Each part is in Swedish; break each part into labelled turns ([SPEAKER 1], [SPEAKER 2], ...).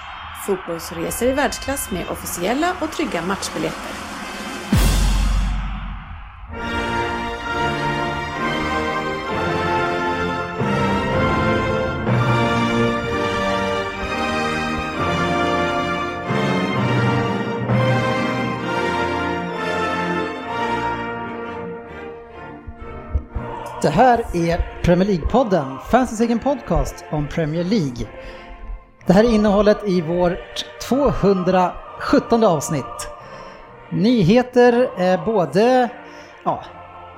[SPEAKER 1] fotbollsresor i världsklass med officiella och trygga matchbiljetter.
[SPEAKER 2] Det här är Premier League-podden, fansens egen podcast om Premier League. Det här är innehållet i vårt 217 avsnitt. Nyheter, eh, både ja,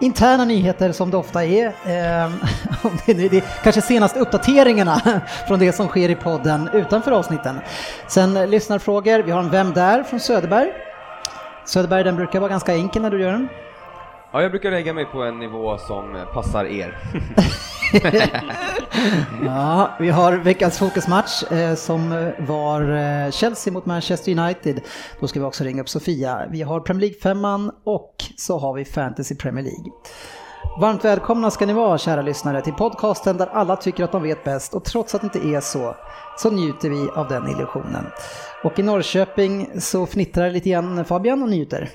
[SPEAKER 2] interna nyheter som det ofta är, eh, om det, det, det kanske senaste uppdateringarna från det som sker i podden utanför avsnitten. Sen eh, lyssnarfrågor, vi har en Vem där? från Söderberg. Söderberg, den brukar vara ganska enkel när du gör den.
[SPEAKER 3] Ja, jag brukar lägga mig på en nivå som passar er.
[SPEAKER 2] Ja, vi har veckans fokusmatch eh, som eh, var eh, Chelsea mot Manchester United. Då ska vi också ringa upp Sofia. Vi har Premier League-femman och så har vi Fantasy Premier League. Varmt välkomna ska ni vara kära lyssnare till podcasten där alla tycker att de vet bäst och trots att det inte är så så njuter vi av den illusionen. Och i Norrköping så fnittrar lite igen Fabian och njuter.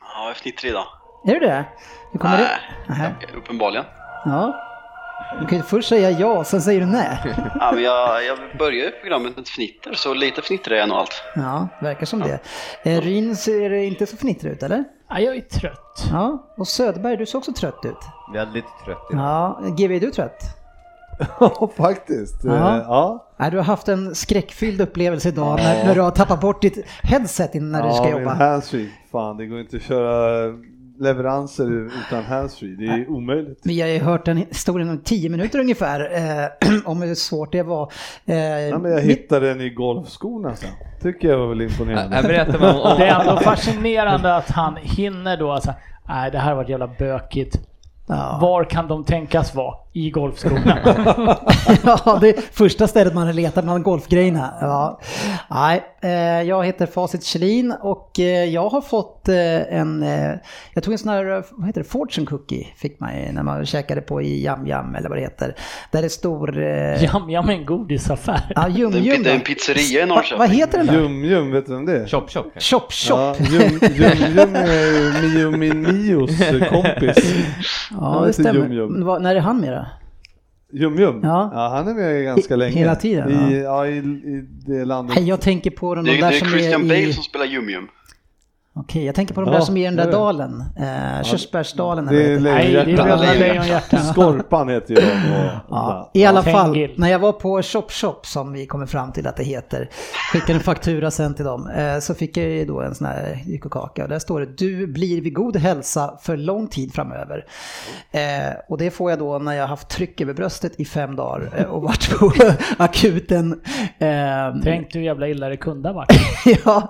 [SPEAKER 4] Ja, jag är fnittrig idag.
[SPEAKER 2] Är du det? Hur kommer
[SPEAKER 4] Nej,
[SPEAKER 2] det? Nähä.
[SPEAKER 4] uppenbarligen.
[SPEAKER 2] Ja. Du kan ju först säga ja, sen säger du nej.
[SPEAKER 4] Ja, men jag, jag börjar ju programmet med ett fnitter, så lite fnittrig är jag nog allt.
[SPEAKER 2] Ja, verkar som det. Eh, Ryn ser inte så fnittrig ut eller?
[SPEAKER 5] Ja, jag är trött.
[SPEAKER 2] Ja, och Söderberg du ser också trött ut.
[SPEAKER 3] Väldigt trött idag.
[SPEAKER 2] Ja, GB är du trött?
[SPEAKER 6] Ja, faktiskt. Eh,
[SPEAKER 2] Ja.
[SPEAKER 6] Ja.
[SPEAKER 2] Nej, du har haft en skräckfylld upplevelse idag när, när du har tappat bort ditt headset innan du ska
[SPEAKER 6] ja, men
[SPEAKER 2] jobba.
[SPEAKER 6] handsfree. Fan, det går inte att köra leveranser utan handsfree. Det är omöjligt.
[SPEAKER 2] Vi har ju hört den historien om tio minuter ungefär, eh, om hur svårt det var. Eh,
[SPEAKER 6] Ja, men jag
[SPEAKER 2] mitt-
[SPEAKER 6] hittade den i golfskorna sen. Tycker jag var väl imponerande.
[SPEAKER 3] Jag berättar man om...
[SPEAKER 5] Det är ändå fascinerande att han hinner då alltså, nej det här har varit jävla bökigt.
[SPEAKER 2] ja.
[SPEAKER 5] Var kan de tänkas vara? I golfskorna.
[SPEAKER 2] ja, det är första stället man letar bland golfgrejerna. Ja. Nej, eh, jag heter Facit Kjellin och eh, jag har fått eh, en, eh, jag tog en sån här, eh, vad heter det, fortune cookie fick man ju när man käkade på i Yum Yum eller vad det heter. Där det står, eh, ja,
[SPEAKER 5] Jam, jam är en godisaffär.
[SPEAKER 2] Yum
[SPEAKER 4] Det är en pi-
[SPEAKER 2] Yum.
[SPEAKER 4] det är en
[SPEAKER 2] va?
[SPEAKER 4] pizzeria i
[SPEAKER 2] Va-
[SPEAKER 4] Norrköping.
[SPEAKER 2] Vad heter den då?
[SPEAKER 6] Jum-Jum, vet du vem det är?
[SPEAKER 3] Chop chop. kanske.
[SPEAKER 2] Chop Chop.
[SPEAKER 6] Ja, Jum-Jum är ju Mio Min Mios kompis.
[SPEAKER 2] Ja,
[SPEAKER 6] det
[SPEAKER 2] det
[SPEAKER 6] heter
[SPEAKER 2] stämmer.
[SPEAKER 6] Yum Yum.
[SPEAKER 2] Men vad- När är han med då?
[SPEAKER 6] Jum-Jum?
[SPEAKER 2] Ja.
[SPEAKER 6] han är med ganska
[SPEAKER 2] He-
[SPEAKER 6] länge.
[SPEAKER 2] hela tiden,
[SPEAKER 6] I, ja, i, i det landet.
[SPEAKER 2] Nej, jag tänker på de,
[SPEAKER 4] Det
[SPEAKER 2] de
[SPEAKER 4] är,
[SPEAKER 2] där
[SPEAKER 4] det är
[SPEAKER 2] som är
[SPEAKER 4] Christian
[SPEAKER 2] i...
[SPEAKER 4] Bale som spelar Jum-Jum.
[SPEAKER 2] Okej, jag tänker på de
[SPEAKER 6] Ja,
[SPEAKER 2] där som är i den
[SPEAKER 6] det
[SPEAKER 2] där
[SPEAKER 6] är det.
[SPEAKER 2] dalen. Eh, Körsbärsdalen eller vad
[SPEAKER 6] Det
[SPEAKER 2] heter
[SPEAKER 6] är
[SPEAKER 2] det?
[SPEAKER 5] Nej, det är
[SPEAKER 6] Lejonhjärta.
[SPEAKER 5] Bröderna Lejonhjärta.
[SPEAKER 6] Skorpan heter ju de. och-
[SPEAKER 2] Ja, I alla
[SPEAKER 5] Tengil.
[SPEAKER 2] fall, när jag var på Shop Shop som vi kommer fram till att det heter, skickade en faktura sen till dem, eh, så fick jag ju då en sån här lyckokaka och där står det du blir vid god hälsa för lång tid framöver. Eh, och det får jag då när jag haft tryck över bröstet i fem dagar eh, och varit på akuten. Eh,
[SPEAKER 5] Tänk du hur jävla illa det kunde ha varit.
[SPEAKER 2] ja,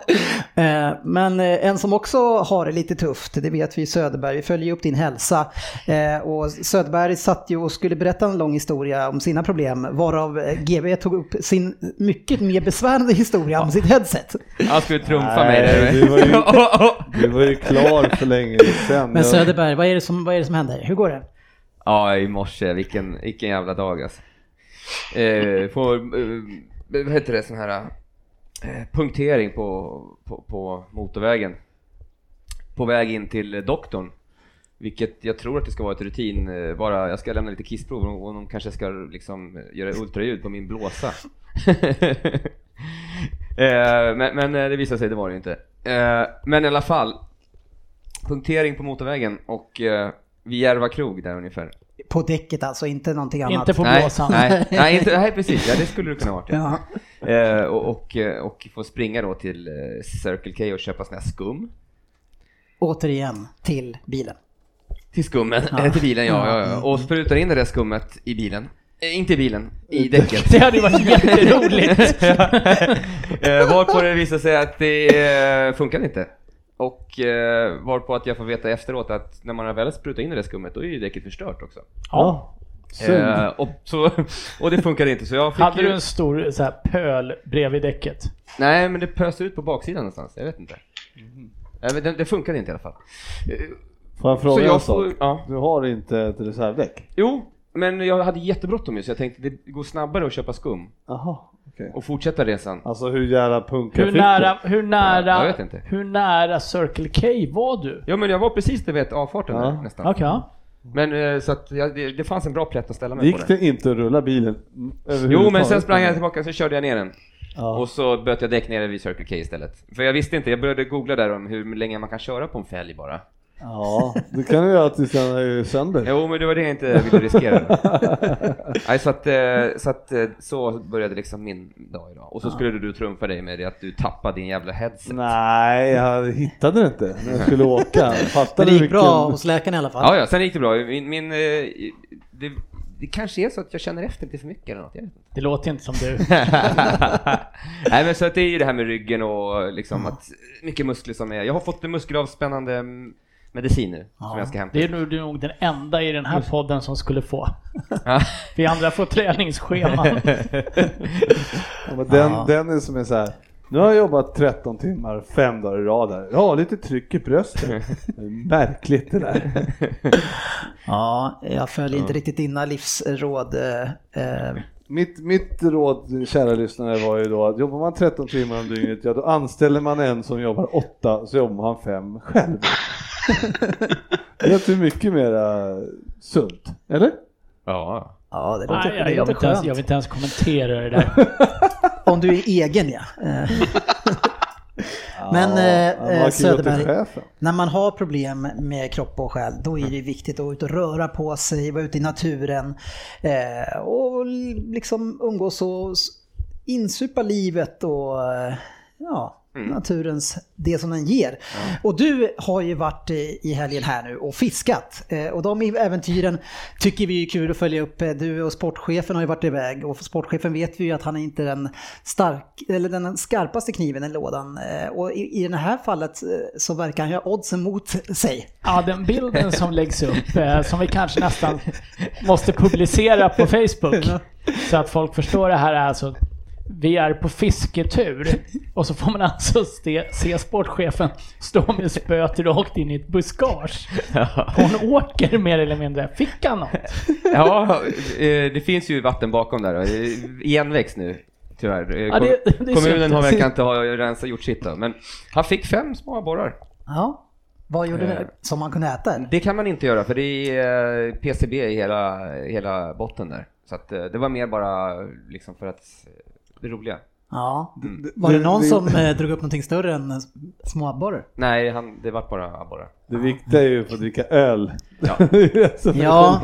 [SPEAKER 2] eh, men eh, en som också har det lite tufft, det vet vi Söderberg, vi följer ju upp din hälsa. Eh, Och Söderberg satt ju och skulle berätta en lång historia om sina problem, varav eh, GB tog upp sin mycket mer besvärande historia om sitt headset.
[SPEAKER 3] Han skulle trumfa
[SPEAKER 6] Nej,
[SPEAKER 3] mig där.
[SPEAKER 6] det var ju-
[SPEAKER 3] Åh, åh.
[SPEAKER 6] Du var ju klar för länge sedan.
[SPEAKER 2] Men
[SPEAKER 6] Jag-
[SPEAKER 2] Söderberg, vad är det som, vad är det som händer? Hur går det?
[SPEAKER 3] Ja, i morse. Vilken, vilken jävla dag alltså. Eh, på, eh, vad heter det, sån här eh, punktering på, på, på motorvägen. På väg in till doktorn. Vilket jag tror att det ska vara ett rutin, eh, bara jag ska lämna lite kissprov och och de kanske ska liksom eh, göra ultraljud på min blåsa. eh, men, men eh, det visade sig, det var det ju inte. Eh, men i alla fall, punktering på motorvägen och eh, vid Järva krog där ungefär.
[SPEAKER 2] På däcket alltså, inte någonting annat.
[SPEAKER 5] Inte på
[SPEAKER 3] Nej,
[SPEAKER 5] blåsan.
[SPEAKER 3] nej, nej, inte, nej precis, ja, det skulle du kunna ha varit. Ja.
[SPEAKER 2] Ja.
[SPEAKER 3] Eh, och, och, eh, och få springa då till eh, Circle K och köpa sån här skum.
[SPEAKER 2] Återigen till bilen.
[SPEAKER 3] Till skummen, eh, till bilen ja, ja, ja. Och sprutar in det där skummet i bilen. Eh, Inte i bilen, i däcket.
[SPEAKER 5] Det hade ju varit jätteroligt.
[SPEAKER 3] eh, varpå det visade sig att det eh, funkade inte. Och eh, varpå att jag får veta efteråt att när man väl sprutar in i det skummet, då är ju däcket förstört också.
[SPEAKER 5] Ja.
[SPEAKER 3] Eh, och, så, och det funkade inte, så jag fick
[SPEAKER 5] Hade
[SPEAKER 3] ju...
[SPEAKER 5] du en stor så här, pöl bredvid däcket?
[SPEAKER 3] Nej, men det pöste ut på baksidan någonstans. Jag vet inte. Nej, men Det, det funkade inte i alla fall. Eh,
[SPEAKER 6] Får jag fråga en
[SPEAKER 3] jag
[SPEAKER 6] sak?
[SPEAKER 3] får- ja.
[SPEAKER 6] Du har inte ett reservdäck?
[SPEAKER 3] Jo, men jag hade jättebråttom ju, så jag tänkte det går snabbare att köpa skum
[SPEAKER 6] Jaha, okej.
[SPEAKER 3] och fortsätta resan.
[SPEAKER 6] Alltså hur jävla punkar
[SPEAKER 5] Hur
[SPEAKER 6] fick du?
[SPEAKER 5] nära, hur nära,
[SPEAKER 3] jag vet inte.
[SPEAKER 5] hur nära Circle K var du?
[SPEAKER 3] Ja, men jag var precis där vid avfarten
[SPEAKER 6] Ja.
[SPEAKER 3] där, nästan.
[SPEAKER 5] Okej. ja.
[SPEAKER 3] Men eh, så att jag, det, det fanns en bra plätt att ställa mig
[SPEAKER 6] Gick
[SPEAKER 3] på. Den.
[SPEAKER 6] det inte att rulla bilen?
[SPEAKER 3] Jo, men sen
[SPEAKER 6] överhuvudtaget?
[SPEAKER 3] sprang jag tillbaka och så körde jag ner den.
[SPEAKER 6] Ja.
[SPEAKER 3] Och så böt jag däck nere vid Circle K istället. För jag visste inte, jag började googla där om hur länge man kan köra på en fälg bara.
[SPEAKER 6] Ja, det kan du göra tills den är sönder.
[SPEAKER 3] Jo, men det var det jag inte ville riskera. Nej, så att, eh, så att eh, så började liksom min dag idag. Och så skulle du trumfa dig med det att du tappade din jävla headset.
[SPEAKER 6] Nej, jag hittade det inte när jag skulle åka.
[SPEAKER 2] Men
[SPEAKER 6] Fattade
[SPEAKER 2] det gick
[SPEAKER 6] vilken...
[SPEAKER 2] bra hos läkaren i alla fall.
[SPEAKER 3] Ja, ja, sen gick det bra. Min, min, eh, det, det kanske är så att jag känner efter lite för mycket eller något. Jag vet inte.
[SPEAKER 5] Det låter inte som du.
[SPEAKER 3] Nej, men så att det är ju det här med ryggen och liksom att mycket muskler som är. Jag har fått en muskelavspännande mm, medicin nu som jag ska hämta.
[SPEAKER 5] Det är nog, du är nog den enda i den här podden som skulle få.
[SPEAKER 3] Ja.
[SPEAKER 5] Vi andra får träningsscheman.
[SPEAKER 6] Ja, men Den, den är som är så här. Nu har jag jobbat 13 timmar, fem dagar i rad här. Ja, lite tryck i bröstet. Det är Märkligt det där.
[SPEAKER 2] Ja, jag följer inte riktigt dina livsråd. eh, eh,
[SPEAKER 6] Mitt, mitt råd, kära lyssnare, var ju då att jobbar man 13 timmar om dygnet, ja då anställer man en som jobbar 8, så jobbar man 5 själv. det är ju mycket mera sunt, eller?
[SPEAKER 3] Ja.
[SPEAKER 2] Ja, det låter,
[SPEAKER 5] Nej, jag,
[SPEAKER 2] det
[SPEAKER 5] jag, vill
[SPEAKER 2] låter
[SPEAKER 5] inte ens,
[SPEAKER 2] skönt.
[SPEAKER 5] jag vill inte ens kommentera det där.
[SPEAKER 2] Om du är egen ja. Eh, Men, eh,
[SPEAKER 6] man kan ju
[SPEAKER 2] Söderberg-
[SPEAKER 6] gå till chefen.
[SPEAKER 2] När man har problem med kropp och själ, då är det viktigt att ut och röra på sig, vara ute i naturen eh, och liksom umgås och s- insupa livet och eh, ja, naturens, det som den ger. Och du har ju varit i, i helgen här nu och fiskat eh, och de äventyren tycker vi är kul att följa upp. Eh, Du och sportchefen har ju varit iväg och sportchefen vet vi ju att han är inte den, stark, eller den skarpaste kniven i lådan. Eh, Och i, i det här fallet eh, så verkar han ju ha oddsen mot sig.
[SPEAKER 5] Ja, den bilden som läggs upp, eh, som vi kanske nästan måste publicera på Facebook. Så att folk förstår det här är alltså, vi är på fisketur och så får man alltså se, se sportchefen stå med spöet rakt in i ett buskage.
[SPEAKER 3] Ja.
[SPEAKER 5] Hon åker mer eller mindre. Fick han något?
[SPEAKER 3] Ja, eh, det finns ju vatten bakom där. och, eh, Igenväxt nu, tyvärr. Eh,
[SPEAKER 5] Ja, det- det är
[SPEAKER 3] kommunen
[SPEAKER 5] synd.
[SPEAKER 3] har verkar inte ha rensat, gjort sitt då. Men han fick fem små borrar.
[SPEAKER 2] Ja. Vad gjorde
[SPEAKER 3] Eh.
[SPEAKER 2] du som man kunde äta? eller?
[SPEAKER 3] Det kan man inte göra för det är eh, PCB i hela, hela botten där. Så att eh, det var mer bara liksom för att eh, det roliga.
[SPEAKER 2] Ja. Var det
[SPEAKER 6] det-
[SPEAKER 2] någon
[SPEAKER 6] det-
[SPEAKER 2] som eh, drog upp någonting större än eh, små abborrar?
[SPEAKER 3] Nej, han, det vart bara abborrar.
[SPEAKER 6] Det viktiga är ju att få dricka öl.
[SPEAKER 3] Ja.
[SPEAKER 2] Ja,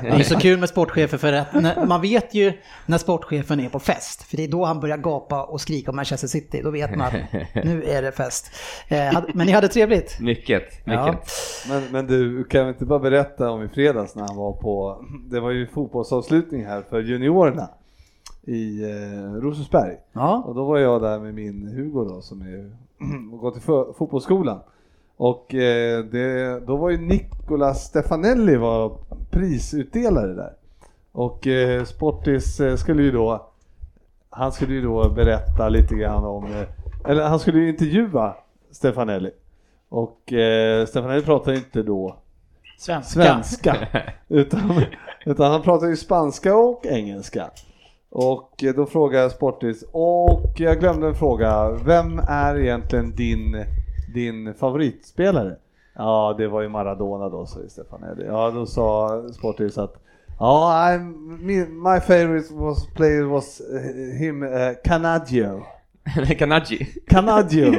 [SPEAKER 2] det är så kul med sportchefer för att när, man vet ju när sportchefen är på fest. För det är då han börjar gapa och skrika om Manchester City. Då vet man att nu är det fest. Eh, hade- Men ni hade trevligt?
[SPEAKER 3] Mycket, mycket.
[SPEAKER 2] Ja.
[SPEAKER 6] Men, men du, kan vi inte bara berätta om i fredags när han var på, det var ju fotbollsavslutning här för juniorerna i eh, Rosensberg.
[SPEAKER 2] Ja.
[SPEAKER 6] Och då var jag där med min Hugo då som är, och gått i fo- fotbollsskolan. Och eh, det, då var ju Nicolas Stefanelli var prisutdelare där. Och eh, Sportis eh, skulle ju då, han skulle ju då berätta lite grann om, eh, eller han skulle ju intervjua Stefanelli. Och eh, Stefanelli pratar ju inte då
[SPEAKER 5] Svenska.
[SPEAKER 6] svenska. utan, utan han pratar ju spanska och engelska. Och eh, då frågar jag Sportis, och jag glömde en fråga. Vem är egentligen din, din favoritspelare? Ja, det var ju Maradona då, sa Stefanelli. Ja, då sa Sportis att Ja, I'm, me, my favorite was player was eh, him, eh, Canadio.
[SPEAKER 3] Kanadji.
[SPEAKER 6] Canadio.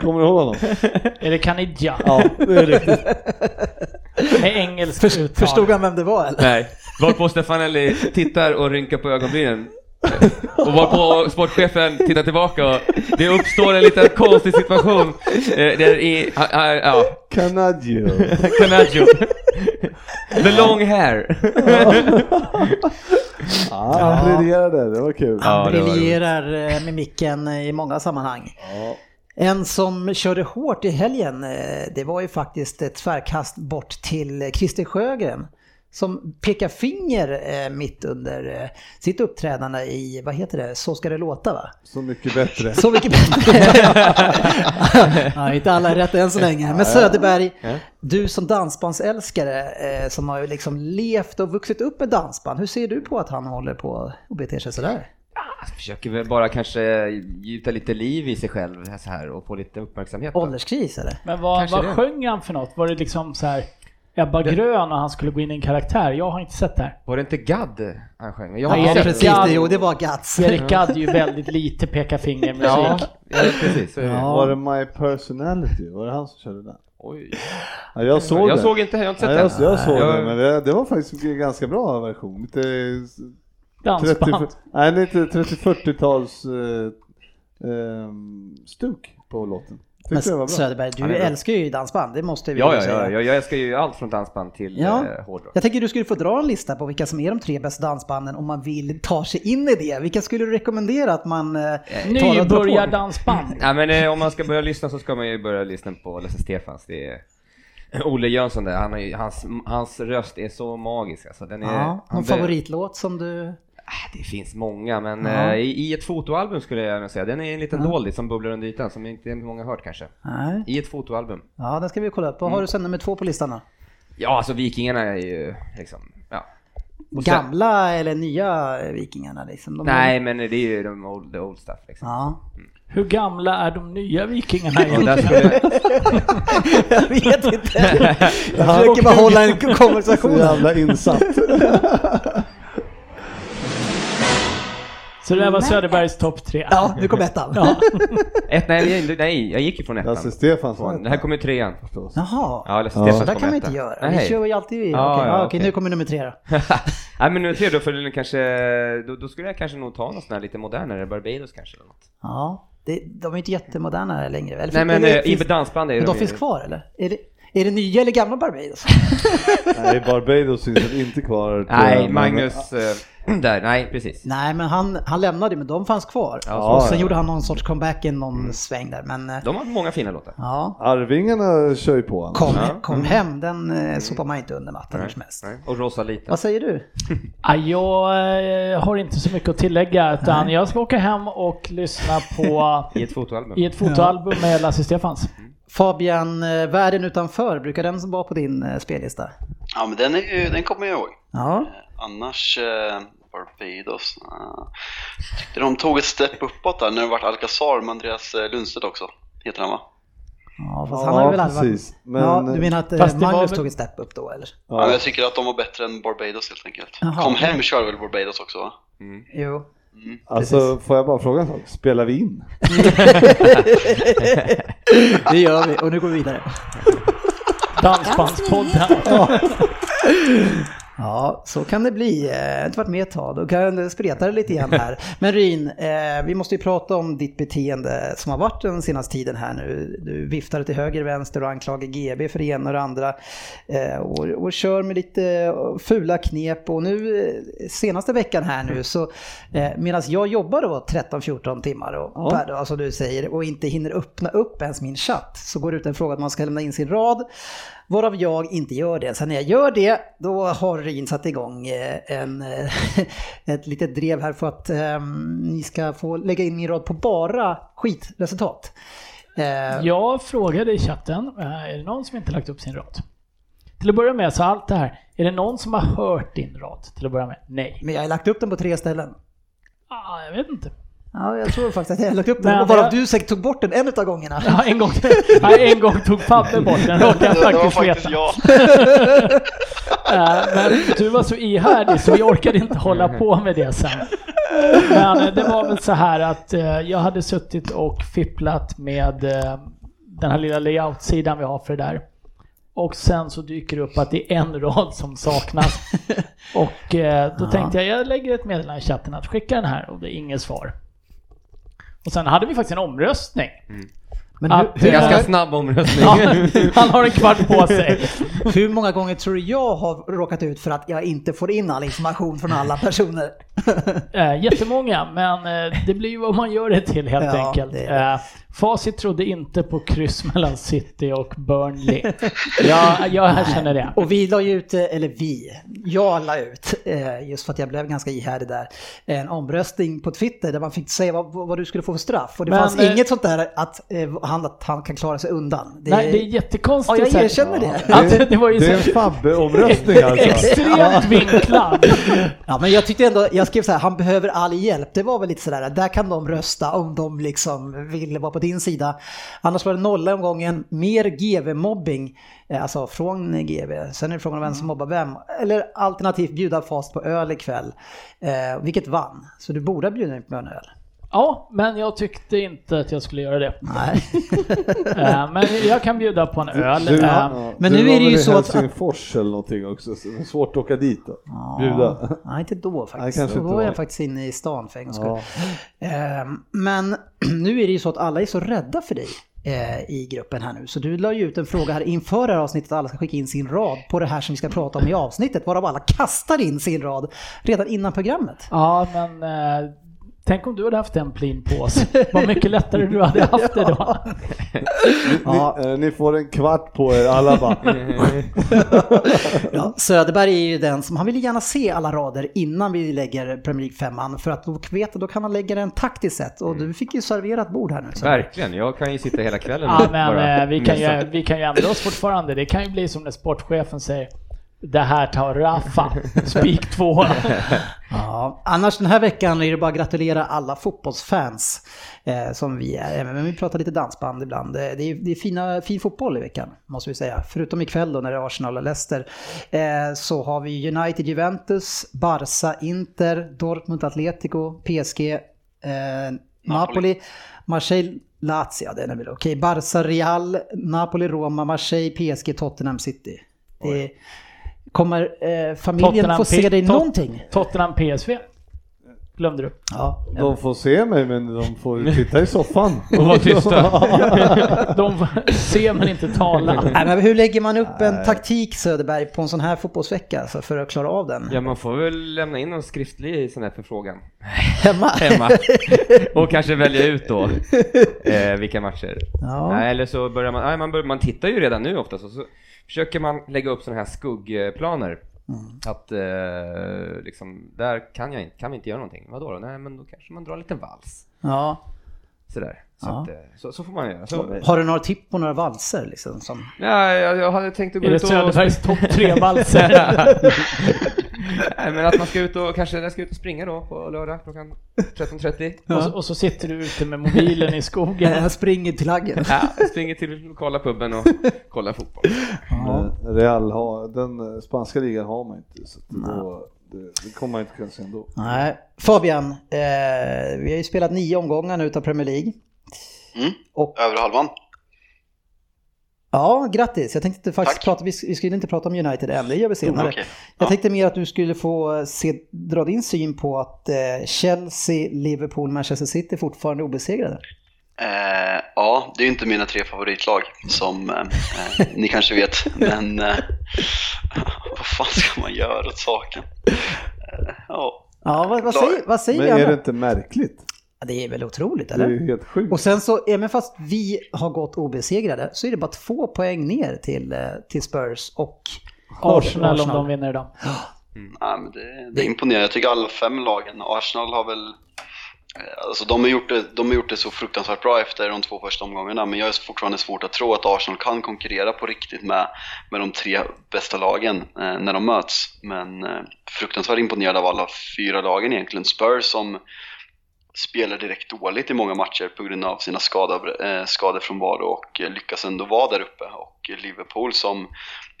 [SPEAKER 6] Kommer du ihåg honom?
[SPEAKER 5] Är det Kanidja?
[SPEAKER 6] Ja, det är riktigt.
[SPEAKER 5] Med engelskt
[SPEAKER 2] Förs-
[SPEAKER 5] uttal.
[SPEAKER 2] Förstod han vem det var eller?
[SPEAKER 3] Nej. Varpå Stefanelli tittar och rynkar på ögonbrynen. Och varpå sportchefen tittar tillbaka och det uppstår en liten konstig situation. Eh, där i, ah, ah, ja,
[SPEAKER 6] Canadio.
[SPEAKER 3] Canaggio. The long hair.
[SPEAKER 6] Ja, han briljerade, det var kul.
[SPEAKER 3] Ja,
[SPEAKER 2] Han
[SPEAKER 3] det var roligt.
[SPEAKER 2] briljerar eh, med micken eh, i många sammanhang.
[SPEAKER 6] Ja.
[SPEAKER 2] En som körde hårt i helgen, eh, det var ju faktiskt ett tvärkast bort till eh, Christer Sjögren. Som pekar finger eh, mitt under eh, sitt uppträdande i, vad heter det, Så ska det låta va?
[SPEAKER 6] Så mycket bättre.
[SPEAKER 2] Så mycket bättre. ja, inte alla är rätt än så länge. Men Söderberg, du som dansbandsälskare eh, som har ju liksom levt och vuxit upp med dansband. Hur ser du på att han håller på och beter sig sådär?
[SPEAKER 3] Försöker väl bara kanske gjuta lite liv i sig själv här så här och få lite uppmärksamhet. då.
[SPEAKER 2] Ålderskris eller?
[SPEAKER 5] Men vad,
[SPEAKER 3] Kanske
[SPEAKER 5] vad
[SPEAKER 3] det.
[SPEAKER 5] sjöng han för något? Var det liksom så här Ebba Grön och han skulle gå in i en karaktär? Jag har inte sett det här.
[SPEAKER 3] Var det inte Gadd han sjöng? Jag har
[SPEAKER 5] Nej,
[SPEAKER 2] Ja,
[SPEAKER 3] inte
[SPEAKER 5] är det
[SPEAKER 3] sett
[SPEAKER 2] precis.
[SPEAKER 5] gadd?
[SPEAKER 2] Det, jo, det var Gats.
[SPEAKER 5] Erik Gadd är ju väldigt lite peka finger musik.
[SPEAKER 3] Ja, ja, precis. så är det.
[SPEAKER 2] Ja.
[SPEAKER 6] Var det My Personality? Var det han som körde den?
[SPEAKER 3] Oj.
[SPEAKER 6] Ja, jag såg
[SPEAKER 3] jag
[SPEAKER 6] den.
[SPEAKER 3] såg inte, jag har inte
[SPEAKER 6] Ja,
[SPEAKER 3] sett
[SPEAKER 6] jag,
[SPEAKER 3] den.
[SPEAKER 6] jag såg
[SPEAKER 3] Jag-
[SPEAKER 6] den, men det, det var faktiskt en ganska bra version. Lite s- 30,
[SPEAKER 5] Dansband.
[SPEAKER 6] nej, lite 30-40-tals eh, ehm, stuk på låten.
[SPEAKER 2] Men
[SPEAKER 6] Tyckte det var bra.
[SPEAKER 2] Söderberg, du
[SPEAKER 3] Ja, det är bra.
[SPEAKER 2] älskar ju dansband, det måste vi
[SPEAKER 3] Ja,
[SPEAKER 2] ju
[SPEAKER 3] ja,
[SPEAKER 2] säga.
[SPEAKER 3] ja, ja, jag älskar ju allt från dansband till
[SPEAKER 2] Ja.
[SPEAKER 3] eh, hårdrock.
[SPEAKER 2] Jag tänker du skulle få dra en lista på vilka som är de tre bästa dansbanden om man vill ta sig in i det. Vilka skulle du rekommendera att man eh, tar och drar på?
[SPEAKER 5] Nybörjardansband.
[SPEAKER 3] Nej men eh, om man ska börja lyssna så ska man ju börja lyssna på Lasse Stefans. Det är Olle Jönsson där, han är, ju- hans, hans röst är så magisk alltså. Den är,
[SPEAKER 2] Ja,
[SPEAKER 3] han
[SPEAKER 2] någon
[SPEAKER 3] bör-
[SPEAKER 2] favoritlåt som du...
[SPEAKER 3] Ah, Det finns många men
[SPEAKER 2] Ja.
[SPEAKER 3] eh, i, i ett fotoalbum skulle jag gärna säga. Den är en liten doldis som bubblar under ytan som inte många hört kanske.
[SPEAKER 2] Nej.
[SPEAKER 3] I ett fotoalbum.
[SPEAKER 2] Ja, den ska vi kolla upp. Vad
[SPEAKER 3] Mm.
[SPEAKER 2] har du sen nummer två på listan då?
[SPEAKER 3] Ja alltså Vikingarna är ju liksom, ja. Och sen-
[SPEAKER 2] Gamla eller nya eh, Vikingarna liksom? De
[SPEAKER 3] Nej men det är ju de old, the old stuff liksom.
[SPEAKER 2] Ja,
[SPEAKER 5] Hur gamla är de nya vikingarna
[SPEAKER 3] Och där
[SPEAKER 5] egentligen?
[SPEAKER 3] skulle,
[SPEAKER 2] jag vet inte. Jag försöker bara hålla en
[SPEAKER 6] Så
[SPEAKER 2] konversation.
[SPEAKER 6] jävla insatt.
[SPEAKER 5] Så det där var Söderbergs topp tre.
[SPEAKER 2] Ja, nu kom ettan.
[SPEAKER 3] ett, nej, jag- nej, jag gick ju från ettan.
[SPEAKER 6] Lasse Stefans var
[SPEAKER 3] Från- Det här kommer ju trean.
[SPEAKER 6] förstås.
[SPEAKER 2] Jaha,
[SPEAKER 3] Ja, Lasse
[SPEAKER 6] Ja.
[SPEAKER 3] Stefans
[SPEAKER 2] så där
[SPEAKER 3] kom
[SPEAKER 2] kan man
[SPEAKER 3] etta.
[SPEAKER 2] inte göra. Vi
[SPEAKER 3] Nej.
[SPEAKER 2] kör ju alltid... Okej,
[SPEAKER 3] Ja, ja,
[SPEAKER 2] ja, okej,
[SPEAKER 3] okej.
[SPEAKER 2] nu kommer nummer tre då.
[SPEAKER 3] Nej men nu tre då, för den kanske, då, då skulle jag kanske nog ta någon sån här lite modernare, Barbados kanske eller något.
[SPEAKER 2] Ja, det, de är inte jättemoderna längre. Eller,
[SPEAKER 3] Mm. Nej men
[SPEAKER 2] eller,
[SPEAKER 3] eh, i
[SPEAKER 2] finns,
[SPEAKER 3] dansband är
[SPEAKER 2] men
[SPEAKER 3] de
[SPEAKER 2] de
[SPEAKER 3] ju-
[SPEAKER 2] finns kvar eller? Är det, är det nya eller gamla Barbados?
[SPEAKER 6] Nej, Barbados finns väl inte kvar. tror jag,
[SPEAKER 3] Nej,
[SPEAKER 6] men-
[SPEAKER 3] Magnus eh, där, nej precis.
[SPEAKER 2] Nej, men han, han lämnade ju, men de fanns kvar.
[SPEAKER 3] Ja,
[SPEAKER 2] och
[SPEAKER 6] så-
[SPEAKER 2] sen gjorde han någon sorts comeback i någon sväng där. Men eh,
[SPEAKER 3] De har många fina låtar.
[SPEAKER 2] ja,
[SPEAKER 6] Arvingarna kör ju på honom.
[SPEAKER 2] kom,
[SPEAKER 3] Ja.
[SPEAKER 2] kom hem, den eh, sopar man inte under mattan hur som helst.
[SPEAKER 3] Nej. Och Rosalita.
[SPEAKER 2] Vad säger du?
[SPEAKER 5] Ja, jag eh, har inte så mycket att tillägga utan jag ska åka hem och lyssna på
[SPEAKER 3] I ett fotoalbum.
[SPEAKER 5] i ett fotoalbum med Lasse Stefans.
[SPEAKER 2] Fabian, eh, världen utanför, brukar den vara på din eh, spellista?
[SPEAKER 4] Ja, men den, är ju, den kommer jag ihåg.
[SPEAKER 2] Ja.
[SPEAKER 4] Annars, eh, Barbados. Eh, tyckte de tog ett stepp uppåt där när det vart Alcazar med Andreas eh, Lundstedt också. Heter han va?
[SPEAKER 2] Ja, fast han har ju
[SPEAKER 6] Ja,
[SPEAKER 2] väl aldrig varit...
[SPEAKER 6] precis. Men,
[SPEAKER 2] ja, du menar att eh,
[SPEAKER 5] Fast det var
[SPEAKER 2] Magnus
[SPEAKER 5] väl-
[SPEAKER 2] tog ett step upp då eller?
[SPEAKER 4] Ja. men
[SPEAKER 6] ja,
[SPEAKER 4] jag tycker att de var bättre än Barbados helt enkelt.
[SPEAKER 2] Jaha.
[SPEAKER 4] Kom hem kör väl Barbados också va?
[SPEAKER 2] Jo.
[SPEAKER 6] alltså, får jag bara fråga en sak? Spelar vi in?
[SPEAKER 2] Det gör vi och nu går vi vidare.
[SPEAKER 5] Dansbandspodden.
[SPEAKER 2] Ja, så kan det bli. Eh, Jag har inte varit med ett tag, då kan det spreta det lite grann här. Men Ryn, eh, vi måste ju prata om ditt beteende som har varit den senaste tiden här nu. Du viftar till höger och vänster och anklagar GB för det ena och det andra. Eh, Och, och kör med lite eh, fula knep. Och nu eh, senaste veckan här nu så medan Eh, jag jobbar då 13-14 timmar och,
[SPEAKER 6] Ja.
[SPEAKER 2] per dag som du säger och inte hinner öppna upp ens min chatt så går det ut en fråga att man ska lämna in sin rad. Varav jag inte gör det. Sen när jag gör det, då har Ryn satt igång eh, en, eh, ett litet drev här för att eh, ni ska få lägga in min rad på bara skitresultat. Eh,
[SPEAKER 5] Jag frågade i chatten, eh, är det någon som inte lagt upp sin rad? Till att börja med, så allt det här, är det någon som har hört din rad? Till att börja med, nej.
[SPEAKER 2] Men jag har lagt upp den på tre ställen.
[SPEAKER 5] Ah, jag vet inte.
[SPEAKER 2] Ja, jag tror faktiskt att jag har lagt upp den.
[SPEAKER 5] Men
[SPEAKER 2] och varav
[SPEAKER 5] jag-
[SPEAKER 2] du säkert tog bort den en av gångarna.
[SPEAKER 5] Ja, en, gång, nej, en gång tog Fabbe bort den, råkade jag
[SPEAKER 4] det var
[SPEAKER 5] faktiskt
[SPEAKER 4] faktiskt
[SPEAKER 5] veta.
[SPEAKER 4] jag.
[SPEAKER 5] Eh, Men du var så ihärdig så vi orkade inte hålla på med det sen. Men eh, det var väl så här att eh, jag hade suttit och fipplat med eh, den här lilla layout-sidan vi har för det där. Och sen så dyker det upp att det är en rad som saknas. Och eh, då
[SPEAKER 7] Ja.
[SPEAKER 5] tänkte jag, jag lägger ett meddelande i chatten att skicka den här och det är inget svar. Och sen hade vi faktiskt en omröstning.
[SPEAKER 2] Men
[SPEAKER 5] Ja,
[SPEAKER 2] hur, hur,
[SPEAKER 3] Ganska
[SPEAKER 2] många,
[SPEAKER 3] snabb omröstning.
[SPEAKER 5] Ja, han har en kvart på sig.
[SPEAKER 2] hur många gånger tror du jag har råkat ut för att jag inte får in all information från alla personer?
[SPEAKER 5] Eh, jättemånga, men eh, det blir ju vad man gör det till helt
[SPEAKER 2] Ja,
[SPEAKER 5] enkelt.
[SPEAKER 2] det är
[SPEAKER 5] Eh, facit trodde inte på kryss mellan City och Burnley. ja, jag erkänner det.
[SPEAKER 2] Och vi la ju ut, eh, eller vi, jag la ut, eh, just för att jag blev ganska ihärdig där, en omröstning på Twitter där man fick säga vad, vad du skulle få för straff. Och det
[SPEAKER 5] Men,
[SPEAKER 2] fanns
[SPEAKER 5] eh,
[SPEAKER 2] inget sånt där att, eh, han, att han kan klara sig undan. Det,
[SPEAKER 5] Nej, det är
[SPEAKER 2] ja,
[SPEAKER 5] jättekonstigt.
[SPEAKER 2] jag
[SPEAKER 5] säkert.
[SPEAKER 2] erkänner det.
[SPEAKER 5] Ja, det- det var ju
[SPEAKER 6] det är en
[SPEAKER 5] så-
[SPEAKER 6] Fabbe-omröstning alltså.
[SPEAKER 5] Extremt vinklad.
[SPEAKER 2] Ja, men jag tyckte ändå, jag skrev så här, han behöver all hjälp. Det var väl lite sådär, där kan de rösta om de liksom vill vara på din sida. Annars var det nolla i omgången, mer GV-mobbing, eh, alltså från GV. Sen är det frågan om vem
[SPEAKER 5] Mm.
[SPEAKER 2] som mobbar vem. Eller alternativt bjuda fast på öl ikväll, eh, vilket vann. Så du borde ha bjudit in på en öl.
[SPEAKER 5] Ja, men jag tyckte inte att jag skulle göra det.
[SPEAKER 2] Nej.
[SPEAKER 5] Eh, Men jag kan bjuda på en öl.
[SPEAKER 6] Du,
[SPEAKER 5] Eh,
[SPEAKER 2] Men
[SPEAKER 6] du
[SPEAKER 2] nu
[SPEAKER 6] var
[SPEAKER 2] är det
[SPEAKER 6] väl
[SPEAKER 2] ju
[SPEAKER 6] i
[SPEAKER 2] så att-
[SPEAKER 6] Helsingfors eller någonting också, så det är svårt att åka dit då. Bjuda.
[SPEAKER 2] Nej, inte då faktiskt.
[SPEAKER 6] Nej, kanske
[SPEAKER 2] då
[SPEAKER 6] inte
[SPEAKER 2] var
[SPEAKER 6] då.
[SPEAKER 2] jag faktiskt inne i stan för en gångs
[SPEAKER 6] Ja.
[SPEAKER 2] skull. Ehm, Men nu är det ju så att alla är så rädda för dig eh, i gruppen här nu. Så du la ju ut en fråga här inför det här avsnittet att alla ska skicka in sin rad på det här som vi ska prata om i avsnittet. Varav alla kastar in sin rad redan innan programmet.
[SPEAKER 5] Ja, men eh, tänk om du hade haft en plin på oss. Vad mycket lättare du hade haft det då.
[SPEAKER 6] Ni,
[SPEAKER 2] Ja.
[SPEAKER 6] eh, ni får en kvart på er alla bara.
[SPEAKER 2] Ja, Söderberg är ju den som, han vill gärna se alla rader innan vi lägger Premier League-femman. För att då, vet, då kan han lägga den taktiskt sett.
[SPEAKER 6] Mm.
[SPEAKER 2] Och du fick ju serverat bord här nu. Så.
[SPEAKER 3] Verkligen, jag kan ju sitta hela kvällen
[SPEAKER 5] Ja,
[SPEAKER 3] och
[SPEAKER 5] men
[SPEAKER 3] bara
[SPEAKER 5] eh, vi kan,
[SPEAKER 3] mysa.
[SPEAKER 5] ju, vi kan ju ändra oss fortfarande. Det kan ju bli som när sportchefen säger det här tar Rafa, spik två.
[SPEAKER 2] Ja, annars den här veckan är det bara att gratulera alla fotbollsfans eh, som vi är. Även- Men vi pratar lite dansband ibland. Eh, Det är, det är fina, fin fotboll i veckan, måste vi säga. Förutom ikväll då när det är Arsenal och Leicester. Eh, så har vi United, Juventus, Barca, Inter, Dortmund, Atletico, PSG, eh, Napoli, Marseille, Lazio. Den är väl okej. Barca, Real, Napoli, Roma, Marseille, PSG, Tottenham City. Det är, kommer eh, familjen
[SPEAKER 5] Tottenham
[SPEAKER 2] få se
[SPEAKER 5] P-
[SPEAKER 2] dig
[SPEAKER 5] Tot-
[SPEAKER 2] någonting?
[SPEAKER 5] Tottenham PSV. Glömde du?
[SPEAKER 2] Ja,
[SPEAKER 6] De får se mig men de får ju titta i soffan.
[SPEAKER 3] Och var tysta.
[SPEAKER 5] De ser men inte talar.
[SPEAKER 2] Nej, men hur lägger man upp en taktik Söderberg på en sån här fotbollsvecka alltså, för att klara av den?
[SPEAKER 3] Ja, man får väl lämna in någon skriftlig sån här förfrågan
[SPEAKER 2] Hemma?
[SPEAKER 3] hemma. och kanske välja ut då eh, vilka matcher.
[SPEAKER 2] Ja.
[SPEAKER 3] Nej, eller så börjar man, nej, man, bör, man tittar ju redan nu oftast och så försöker man lägga upp såna här skuggplaner. Att eh, liksom, där kan jag inte, kan vi inte göra någonting. Vadå då? Nej, men då kanske man drar en liten vals.
[SPEAKER 2] ja.
[SPEAKER 3] Sådär. Så,
[SPEAKER 2] Ja.
[SPEAKER 3] att, eh, så, så får man göra. Så,
[SPEAKER 2] Har du några tips på några valser liksom? Som...
[SPEAKER 3] nej, jag, jag hade tänkt att gå
[SPEAKER 5] Är det
[SPEAKER 3] ut och...
[SPEAKER 5] Söderbergs topp tre-valser?
[SPEAKER 3] Nej, men att man ska ut och kanske, jag ska ut och springa då på lördag klockan 13.30.
[SPEAKER 5] Och, så- och så sitter du ute med mobilen i skogen.
[SPEAKER 2] Jag springer till laggen.
[SPEAKER 3] Ja, springer till lokala puben och kollar fotboll.
[SPEAKER 6] Men Real har, den eh, spanska ligan har man inte så att då, det, det kommer man inte kunna se ändå.
[SPEAKER 2] Nej. Fabian, eh, vi har ju spelat nio omgångar nu utav Premier League.
[SPEAKER 4] Mm.
[SPEAKER 2] Och-
[SPEAKER 4] Över halvan.
[SPEAKER 2] Ja, grattis. Jag tänkte inte faktiskt
[SPEAKER 4] Tack.
[SPEAKER 2] prata, vi, vi skulle inte prata om United än, det gör vi senare.
[SPEAKER 4] Okej.
[SPEAKER 2] Jag
[SPEAKER 4] Ja.
[SPEAKER 2] tänkte mer att du skulle få se, dra din syn på att eh, Chelsea, Liverpool, Manchester City fortfarande är obesegrade.
[SPEAKER 4] Eh, ja, det är ju inte mina tre favoritlag som eh, eh, ni kanske vet, men eh, vad fan ska man göra åt saken? Eh, ja.
[SPEAKER 2] Ja, vad, vad säger, vad säger
[SPEAKER 6] Men är det
[SPEAKER 2] det...
[SPEAKER 6] inte märkligt?
[SPEAKER 2] det är väl otroligt,
[SPEAKER 6] Det
[SPEAKER 2] eller?
[SPEAKER 6] är ju helt sjukt.
[SPEAKER 2] Och sen så, även fast vi har gått obesegrade, så är det bara två poäng ner till, eh, till Spurs och...
[SPEAKER 5] Arsenal om de vinner idag.
[SPEAKER 4] Nej, men det, det är imponerande. Jag tycker alla fem lagen, Arsenal har väl eh, Alltså de, har gjort det, de har gjort det så fruktansvärt bra efter de två första omgångarna men jag är fortfarande svårt att tro att Arsenal kan konkurrera på riktigt med, med de tre bästa lagen eh, när de möts. Men eh, fruktansvärt imponerad av alla fyra lagen egentligen. Spurs som spelar direkt dåligt i många matcher på grund av sina skador, eh, skador från var och eh, lyckas ändå vara där uppe. Och Liverpool som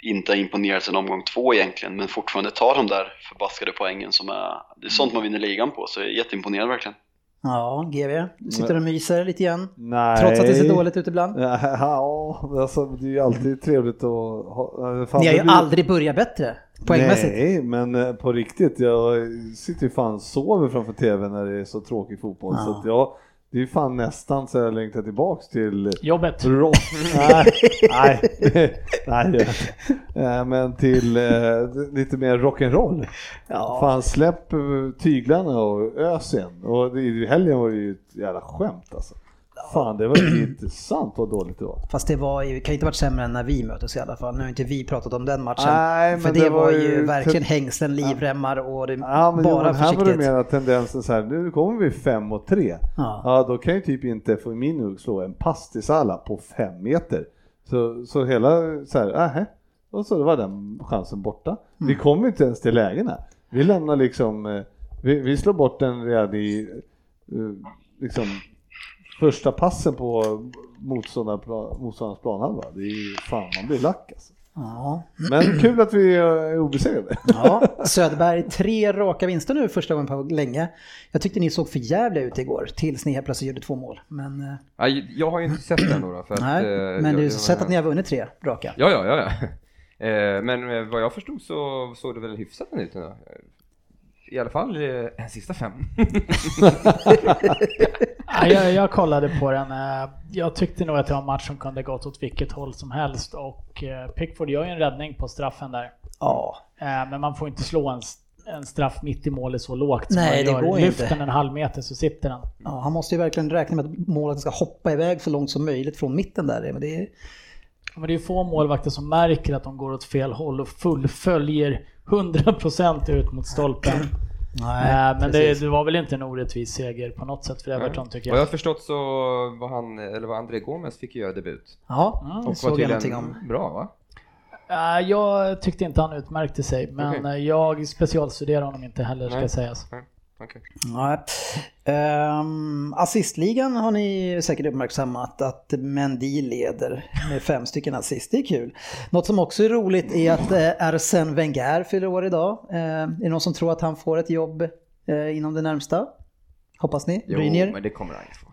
[SPEAKER 4] inte har imponerat sedan omgång två egentligen men fortfarande tar de där förbaskade poängen som är, det är sånt man vinner ligan på så jag är jätteimponerad verkligen.
[SPEAKER 2] Ja, GV. Du sitter och myser lite igen.
[SPEAKER 6] Nej. Eh,
[SPEAKER 2] Trots att det ser dåligt ut ibland.
[SPEAKER 6] Ja, alltså, det är ju alltid trevligt att ha... eh, fan,
[SPEAKER 2] Ni har
[SPEAKER 6] det
[SPEAKER 2] ju
[SPEAKER 6] blir-
[SPEAKER 2] aldrig börjat bättre poängmässigt.
[SPEAKER 6] Nej, men eh, på riktigt. Jag sitter ju fan och sover framför TV när det är så tråkig fotboll.
[SPEAKER 2] Ja.
[SPEAKER 6] Så att jag, det är ju fan nästan så jag längtar tillbaks till
[SPEAKER 5] Jobbet.
[SPEAKER 6] rock. nej, nej, nej. jag- Nej, men till eh, lite mer rock'n'roll.
[SPEAKER 2] Ja.
[SPEAKER 6] Fan släpp eh, tyglarna och ös igen. Och det- i helgen var det ju ett jävla skämt alltså. Fan det var ju inte sant vad dåligt det var.
[SPEAKER 2] Fast det var ju, kan ju inte varit sämre än när vi möttes i alla fall. Nu har inte vi pratat om den matchen.
[SPEAKER 6] Nej,
[SPEAKER 2] För
[SPEAKER 6] men
[SPEAKER 2] det,
[SPEAKER 6] det
[SPEAKER 2] var
[SPEAKER 6] var
[SPEAKER 2] ju
[SPEAKER 6] ju-
[SPEAKER 2] verkligen hängslen, livremmar och det,
[SPEAKER 6] Ja, men
[SPEAKER 2] bara
[SPEAKER 6] Johan, här var det
[SPEAKER 2] försiktighet.
[SPEAKER 6] mera tendensen så här, nu kommer vi fem mot tre.
[SPEAKER 2] Ja.
[SPEAKER 6] Ja, då kan ju typ inte Firmino slå en pass till Salah på fem meter. Så, så hela så här, ähä. Och så var den chansen borta.
[SPEAKER 2] Mm.
[SPEAKER 6] Vi kommer inte ens till lägena. Vi lämnar liksom, eh, vi, vi slår bort den redan i eh, liksom, första passen på motståndarpla- motståndarnas planhalva. Det är ju, fan man blir lack alltså.
[SPEAKER 2] Ja.
[SPEAKER 6] Men kul att vi eh, är obesegrade.
[SPEAKER 2] Ja, Söderberg, tre raka vinster nu första gången på länge. Jag tyckte ni såg för jävliga ut igår, tills ni helt plötsligt gjorde två mål. Men, eh,
[SPEAKER 3] Ja, jag har ju inte sett den då. då, För att,
[SPEAKER 2] nej,
[SPEAKER 3] eh,
[SPEAKER 2] men
[SPEAKER 3] jag-
[SPEAKER 2] du har
[SPEAKER 3] jag-
[SPEAKER 2] sett att ni har vunnit tre raka.
[SPEAKER 3] Ja, ja, ja. ja. Eh, Men eh, vad jag förstod så såg det väl hyfsat ut. ändå. I alla fall eh, sista fem.
[SPEAKER 5] Ja, jag, jag kollade på den. eh, Jag tyckte nog att det var en match som kunde gått åt vilket håll som helst och eh, Pickford gör ju en räddning på straffen där.
[SPEAKER 2] Ja,
[SPEAKER 5] Eh, Men man får inte slå en, s- en straff mitt i målet så lågt som
[SPEAKER 2] Nej, det
[SPEAKER 5] man gör.
[SPEAKER 2] går ju
[SPEAKER 5] Lyft
[SPEAKER 2] inte.
[SPEAKER 5] den en halv meter så sitter den.
[SPEAKER 2] ja, han måste ju verkligen räkna med att målet ska hoppa iväg så långt som möjligt från mitten där. Men det är,
[SPEAKER 5] Men det är ju få målvakter som märker att de går åt fel håll och fullföljer 100% ut mot stolpen. Eh, Men det,
[SPEAKER 2] precis.
[SPEAKER 5] det var väl inte en orättvis seger på något sätt för Everton tycker
[SPEAKER 3] Vad jag
[SPEAKER 5] jag.
[SPEAKER 3] har förstått så var han, eller var André Gomes fick ju göra debut.
[SPEAKER 2] Ja,
[SPEAKER 5] Mm,
[SPEAKER 2] det
[SPEAKER 3] Och
[SPEAKER 2] såg
[SPEAKER 3] var
[SPEAKER 2] jag
[SPEAKER 3] tydligen
[SPEAKER 2] någonting om.
[SPEAKER 3] bra va?
[SPEAKER 5] Eh, Jag tyckte inte han utmärkte sig men
[SPEAKER 3] Okej.
[SPEAKER 5] eh, jag specialstuderar honom inte heller ska
[SPEAKER 3] Nej.
[SPEAKER 5] sägas.
[SPEAKER 3] Okej.
[SPEAKER 2] Nej. Ehm, assistligan har ni säkert uppmärksammat att Mendy leder med fem stycken assist. Det är kul. Något som också är roligt är att eh, Arsène Wenger fyller år idag. Eh, är det någon som tror att han får ett jobb eh, inom det närmsta? Hoppas ni?
[SPEAKER 3] Jo,
[SPEAKER 2] Brynjer?
[SPEAKER 3] men det kommer han inte få.